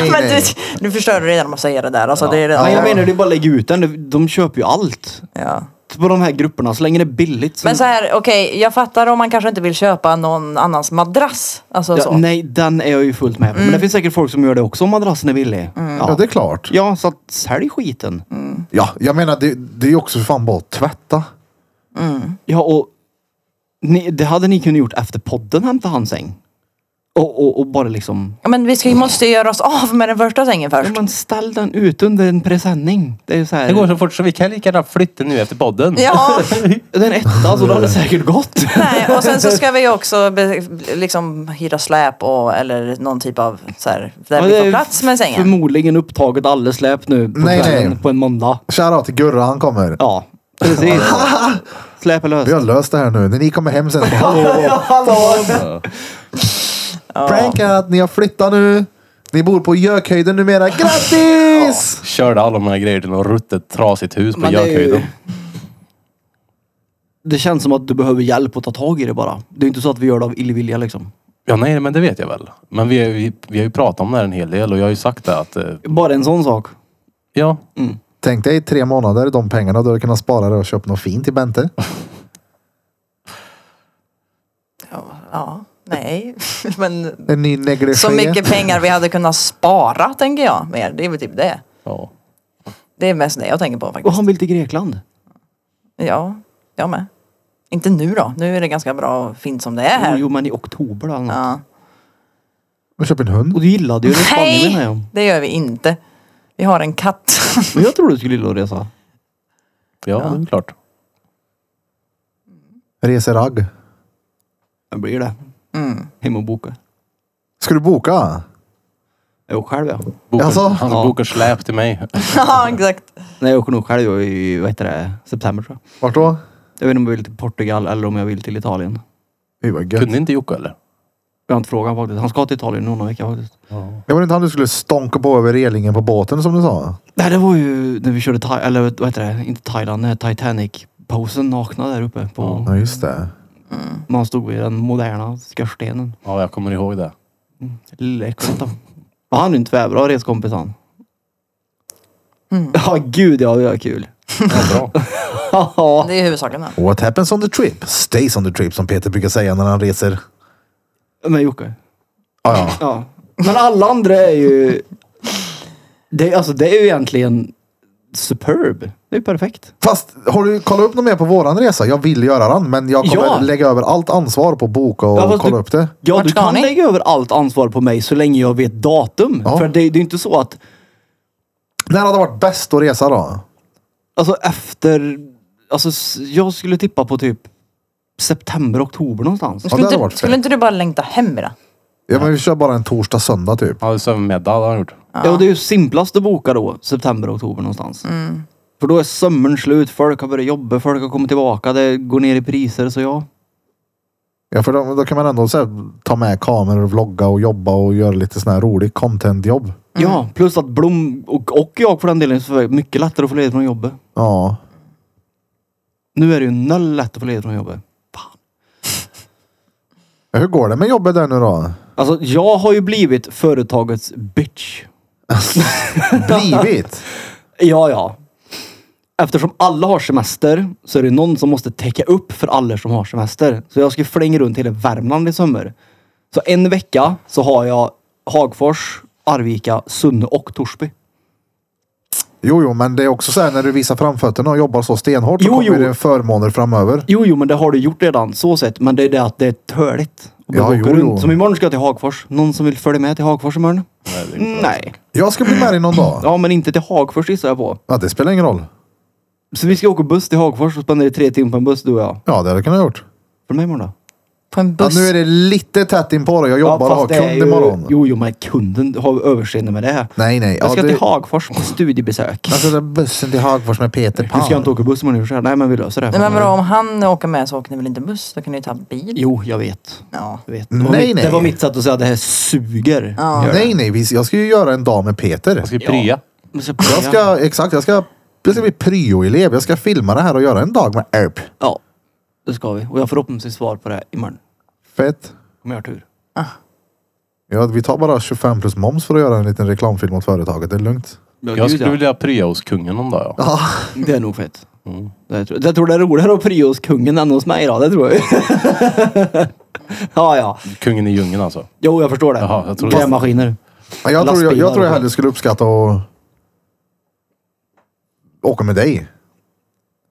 S1: nej,
S4: Men du,
S1: nej.
S4: du förstör det redan om man säger det där. Alltså, det är redan,
S2: Men jag menar, det är bara att lägga ut den. De- De köper ju allt.
S4: ja.
S2: På de här grupperna, så länge det är billigt.
S4: Men så här, okej, jag fattar om man kanske inte vill köpa någon annans madrass. Alltså
S2: ja,
S4: så. Mm.
S2: Nej, den är jag ju fullt med på. Men det finns säkert folk som gör det också om madrassen är billig.
S1: Ja,
S2: Ja.
S1: det är klart.
S2: ja, så att sälj skiten.
S1: Ja, jag menar det, det är ju också för fan bara att tvätta.
S2: Ja, och ni, det hade ni kunnat gjort efter podden, hämta hans säng. Och, och, och bara liksom...
S4: Ja, Men vi ska, måste ju göra oss av med den första sängen
S2: Ja,
S4: först.
S2: men ställ den ut under en presenning. Det är ju så här...
S3: Det går så fort så vi kan lika gärna flytta nu efter podden.
S4: Ja,
S2: Den etta, så då hade det säkert gått.
S4: nej. Och sen så ska vi ju också be, liksom hyra släp och, eller någon typ av så här, där
S2: Ja, det
S4: vi
S2: är
S4: får plats med sängen.
S2: Förmodligen upptaget alldeles släp nu på
S1: Nej,
S2: kvällen
S1: nej.
S2: på en måndag.
S1: Shoutout till Gurra, han kommer.
S2: Ja, precis. släp är löst.
S1: Vi har löst det här nu. När ni kommer hem sen. Hallå! Prankat! Ni har flyttat nu. Ni bor på Gökhöjden numera. Grattis!
S3: Körde alla mina grejer till något ruttet trasigt hus på
S2: Men det är ju-
S3: Gökhöjden.
S2: Det känns som att du behöver hjälp att ta tag i det bara. Det är inte så att vi gör det av illvilja liksom.
S3: Ja, nej, men det vet jag väl. Men vi, vi, vi har ju pratat om det här en hel del och jag har ju sagt det att... eh,
S2: Bara en sån sak.
S3: Ja,
S1: Tänk dig tre månader, de pengarna. Du hade kunnat spara det och köpa något fint till Bente.
S4: Ja, nej. Men
S1: En ny negligé.
S4: så mycket pengar vi hade kunnat spara tänker jag mer. Det är väl typ det.
S3: ja.
S4: Det är mest det jag tänker på
S2: Och
S4: faktiskt.
S2: han vill till Grekland.
S4: Ja, jag med. Inte nu då. Nu är det ganska bra och fint som det är
S2: Jo,
S4: här.
S2: jo men i oktober eller något.
S4: Ja.
S1: Och köpa en hund.
S2: Och du gillade ju det i Spanien menar jag.
S4: Nej, det gör vi inte. Vi har en katt.
S2: Men jag tror du skulle gilla att resa.
S3: Ja, det är klart.
S1: Reseragg.
S2: Det blir det. Hem och boka.
S1: Ska du boka?
S2: Jag åker själv jag.
S3: Bokar,
S1: Jaså?
S3: Han
S2: Alltså- Ja.
S3: bokar släp till mig.
S4: ja, exakt.
S2: Nej jag åker nog själv jag, i, vad heter det, september tror jag.
S1: Vart då?
S2: Jag vet inte om jag vill till Portugal eller om jag vill till Italien.
S1: Fy vad gött.
S3: Kunde inte Jocke eller?
S2: Jag har inte frågat faktiskt. Han ska till Italien någon vecka faktiskt.
S1: Det var inte han du skulle stånka på över relingen på båten som du sa?
S2: Nej det var ju när vi körde, Tha- eller vad heter det, inte Thailand, nej, Titanic-posen nakna där uppe. På,
S1: Ja, just det.
S2: Man stod vid den moderna skorstenen.
S3: Ja, jag kommer ihåg det.
S2: Lilla äcklet då. Och Han är ju en tvärbra reskompis han. Ja gud ja, det var kul.
S3: Ja, bra.
S2: Ja.
S4: Det är huvudsaken. Då.
S1: What happens on the trip stays on the trip som Peter brukar säga när han reser.
S2: Men Jocke.
S1: Ah, ja.
S2: Ja. Men alla andra är ju... Det, är- alltså, det är ju egentligen superb. Det är ju perfekt.
S1: Fast har du kollat upp något mer på våran resa? Jag vill göra den men jag kommer
S2: Ja.
S1: lägga över allt ansvar på att boka och
S2: Ja, fast
S1: kolla
S2: du-
S1: upp det.
S2: Ja,
S4: Vart
S2: du
S4: ska
S2: kan
S4: ni?
S2: lägga över allt ansvar på mig så länge jag vet datum.
S1: Ja.
S2: För det, det är ju inte så att...
S1: När hade varit bäst att resa då?
S2: Alltså efter... Alltså s- jag skulle tippa på typ september, oktober någonstans.
S1: Ja, det
S4: Skulle,
S1: hade varit
S4: inte, skulle
S1: fint.
S4: inte du bara längta hem med det?
S1: Ja, men vi kör bara en torsdag, söndag typ.
S3: Han hade sömnmiddag, hade han gjort.
S2: Ja. och det är ju simplast att boka då, september, oktober någonstans. För då är sommaren slut, folk har börjat jobba, folk har kommit tillbaka, det går ner i priser. Så ja,
S1: Ja, för då, då kan man ändå så här, ta med kameror och vlogga och jobba och göra lite sån här rolig contentjobb.
S2: Ja, plus att Blom och, och jag för den delen är mycket lättare att få ledigt från jobbet.
S1: Ja.
S2: Nu är det ju noll lätt att få ledigt från jobbet. Fan.
S1: Ja, Hur går det med jobbet där nu då?
S2: Alltså jag har ju blivit företagets bitch.
S1: Blivit?
S2: Ja, ja. Eftersom alla har semester så är det någon som måste täcka upp för alla som har semester. Så jag ska flänga runt hela Värmland i sommar. Så en vecka så har jag Hagfors, Arvika, Sunne och Torsby.
S1: Jo, jo, men det är också så här när du visar framfötterna och jobbar så stenhårt så
S2: Jo,
S1: kommer
S2: jo.
S1: det förmåner framöver.
S2: Jo, jo, men det har du gjort redan så sett. Men det är det att det är töligt. att behöva
S1: Ja,
S2: åka
S1: jo,
S2: runt.
S1: jo.
S2: Som imorgon ska jag till Hagfors. Någon som vill följa med till Hagfors imorgon?
S3: Nej, det är inte bra.
S2: Nej.
S1: Jag ska bli med dig någon dag.
S2: Ja, men inte till Hagfors gissar jag på.
S1: Ja, det spelar ingen roll.
S2: Så vi ska åka buss till Hagfors och spendera tre timmar på en buss du och jag.
S1: Ja, det hade jag kunnat gjort.
S2: För mig imorgon då?
S4: På en
S1: Ja,
S4: buss?
S1: nu är det lite tätt in på det. Jag jobbar och har
S2: fast det är
S1: kund imorgon.
S2: Jo, jo, men kunden har överseende med det. här.
S1: Nej, nej.
S2: Jag ska
S1: ja,
S2: till Hagfors på studiebesök.
S1: Alltså den där bussen till Hagfors med Peter
S2: Nu
S1: Pan.
S2: ska jag inte åka buss imorgon. i och för sig. Nej, men vi löser det. här.
S4: Nej, men vadå, om han åker med så åker ni väl inte buss? Då kan ni ju ta bil.
S2: Jo, jag vet.
S4: Ja.
S2: Jag vet. Det, var
S1: Nej,
S2: mitt,
S1: nej.
S2: det var mitt sätt att säga att det här suger. Ja.
S1: Nej, nej. vi- Jag ska ju göra en dag med Peter.
S3: Jag ska ju prya.
S1: Jag ska, exakt, jag ska, jag ska bli pryoelev. Jag ska filma det här och göra en dag med Erp.
S2: Ja, det ska vi. Och jag får förhoppningsvis svar på det här imorgon.
S1: Fett.
S2: Om jag har tur.
S1: Ja, vi tar bara 25 plus moms för att göra en liten reklamfilm åt företaget. Det är lugnt.
S3: Jag skulle vilja prya hos kungen någon dag, ja.
S2: Det är nog fett.
S3: Mm.
S2: Det tror, jag tror det är roligare att prya hos kungen än hos mig idag, det tror jag ju. Ja, ja.
S3: Kungen i djungen alltså.
S2: Jo, jag förstår det.
S3: Jaha, jag trodde-
S2: Grävmaskiner.
S1: Men Jag tror jag,
S2: Lastbilar
S1: jag, tror jag
S2: och-
S1: hellre skulle uppskatta att åka med dig.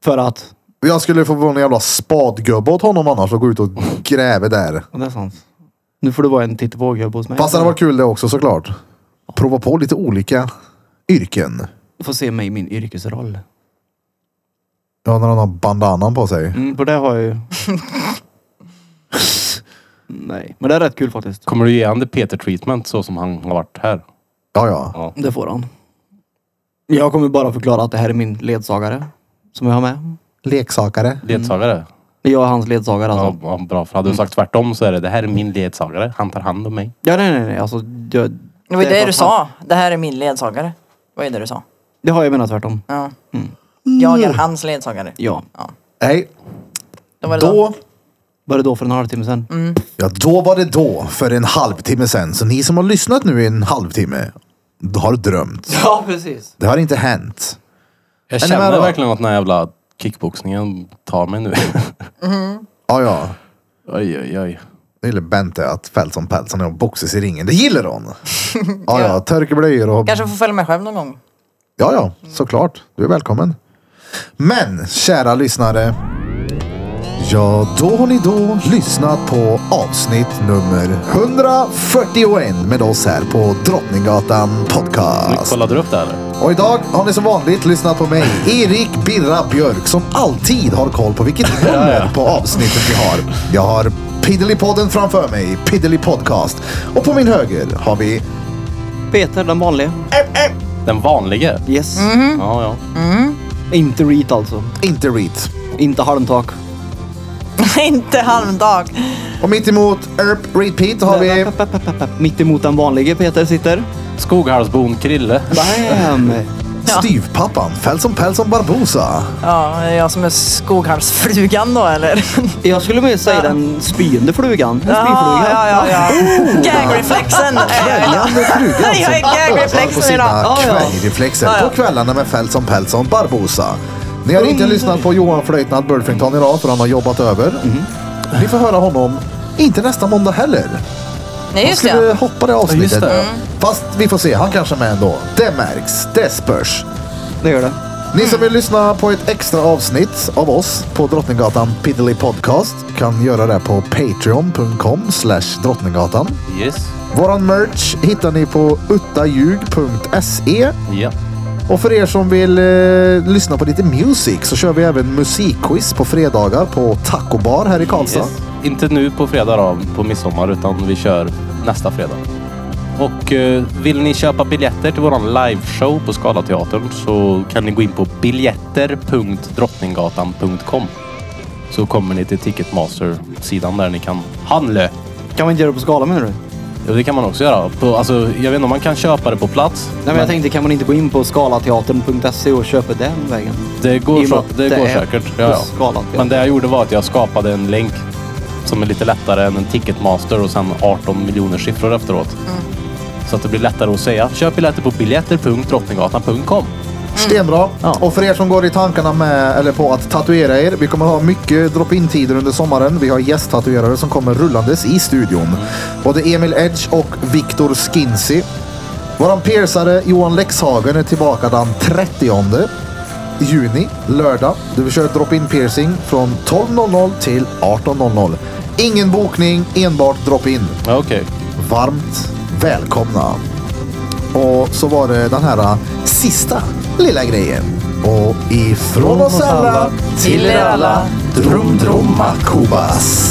S2: För att...
S1: Jag skulle få vara en jävla spadgubbe åt honom annars och gå ut och gräva där.
S2: Ja, det är sant. Nu får du vara en tittvåg här hos mig.
S1: Fast det hade varit kul det också såklart. Prova på lite olika yrken.
S2: Få se mig i min yrkesroll.
S1: Ja, när han har bandanan på sig.
S2: Mm, på det har jag ju... Nej, men det är rätt kul faktiskt.
S3: Kommer du ge han det Peter-treatment så som han har varit här?
S1: Ja, ja.
S2: Det får han. Jag kommer bara förklara att det här är min ledsagare. Som jag har med.
S1: Leksakare.
S3: Ledsagare?
S2: Jag är hans ledsagare alltså.
S3: Ja, Mm. ja, bra. För hade du sagt tvärtom så är det, det här är min ledsagare. Han tar hand om mig.
S2: Ja, nej, nej, nej. Alltså, jag,
S4: Det var ju det
S2: är
S4: du
S2: för att han-
S4: sa. Det här är min ledsagare. Det var ju det du sa.
S2: Det har jag menat tvärtom.
S4: Ja. Jag är hans ledsagare.
S2: Ja.
S1: Nej,
S4: Då var det så.
S1: då...
S2: Var det då för en halvtimme sedan?
S4: Mm.
S1: Ja, då var det då. För en halvtimme sen. Så ni som har lyssnat nu i en halvtimme har drömt.
S2: Ja, precis.
S1: Det har inte hänt.
S3: Jag
S1: Är ni med
S3: känner
S1: då?
S3: verkligen att den här jävla kickboxningen tar mig nu.
S1: Ja, ja.
S3: oj, oj, oj.
S1: Det gillar Bente att Feltson Peltson och boxas i ringen. Det gillar hon! Ja, ja. Törkeblöjor och...
S4: Kanske får följa med själv någon gång.
S1: Ja, ja. Såklart. Du är välkommen. Men, kära lyssnare. Ja, då har ni då lyssnat på avsnitt nummer 141 med oss här på Drottninggatan
S3: Nu
S1: Podcast.
S3: kollade du upp det här eller?
S1: Och idag har ni som vanligt lyssnat på mig, Erik Birra Björk, som alltid har koll på vilket nummer på avsnittet vi har. Jag har Piddly-podden framför mig, Piddly Podcast. Och på min höger har vi...
S2: Peter, den vanliga.
S3: Den vanlige?
S2: Yes.
S4: Mm.
S3: Ja, ja.
S2: Inte Reet alltså.
S1: Inte Reet.
S2: Inte halmtak.
S4: Inte halmdag.
S1: Och mitt emot Erp Repeat har vi...
S2: Mitt emot den vanlige Peter sitter.
S3: Skoghalsbon Krille.
S2: Bam!
S1: Styvpappan, Felson Pelson Barbosa.
S4: Ja, är det jag som är skoghalsflugan då eller?
S2: Jag skulle mer säga den spyende flugan. En
S4: Ja,
S2: spyfluga.
S4: ja, ja. ja. Gagreflexen är jag idag.
S1: Gällande frugan
S4: Jag
S1: som övar
S4: är
S1: på
S4: gagreflexen idag.
S1: sina
S2: Ja, ja.
S1: kvällreflexer
S4: Ja, ja.
S1: på kvällarna med Felson Pelson Barbosa. Ni har inte lyssnat på Johan Flöjtnant Burfington idag för han har jobbat över. Ni får höra honom, inte nästa måndag heller.
S4: Nej, just
S1: Ska vi
S4: det.
S1: hoppa det avsnittet? Mm.
S3: just det, ja.
S1: Fast vi får se, han kanske är med ändå. Det märks, det spörs.
S2: Det gör det.
S1: Ni som vill lyssna på ett extra avsnitt av oss på Drottninggatan Piddly Podcast kan göra det på patreon.com slash drottninggatan.
S3: Yes.
S1: Våran merch hittar ni på uttaljug.se
S3: Ja.
S1: och för er som vill eh, lyssna på lite music så kör vi även musikquiz på fredagar på Taco Bar här i Karlstad.
S3: Yes. Inte nu på fredag då, på midsommar, utan vi kör nästa fredag. Och eh, vill ni köpa biljetter till våran liveshow på Scalateatern så kan ni gå in på biljetter.drottninggatan.com så kommer ni till Ticketmaster-sidan där ni kan handla.
S2: Kan man inte göra det på skala menar du? Nej
S3: Jo, det kan man också göra. På, alltså, jag vet inte om man kan köpa det på plats.
S2: men jag tänkte kan man inte gå in på skalateatern.se E och köpa den vägen?
S3: Det går,
S2: I och
S3: så,
S2: med
S3: det
S2: att det
S3: går
S2: är
S3: säkert. Ja,
S2: på skalan,
S3: ja.
S2: ja.
S3: Men det jag gjorde var att jag skapade en länk som är lite lättare än en Ticketmaster och sen 18 miljoner siffror efteråt.
S2: Mm.
S3: Så att det blir lättare att säga. Köp biljetter på biljetter.drottninggatan.com.
S1: Mm. Stenbra. Och för er som går i tankarna med, eller på att tatuera er. Vi kommer ha mycket drop-in-tider under sommaren. Vi har gästtatuerare som kommer rullandes i studion. Både Emil Edge och Viktor Skinsey. Våran piercare Johan Lexhagen är tillbaka den 30 juni, lördag. Du kör drop-in piercing från 12.00 till 18.00. Ingen bokning, enbart drop-in
S3: Ja, Okej.
S1: varmt välkomna. Och så var det den här äh, sista lilla grejen. Och ifrån oss alla till er alla, Drum Drum Kubas.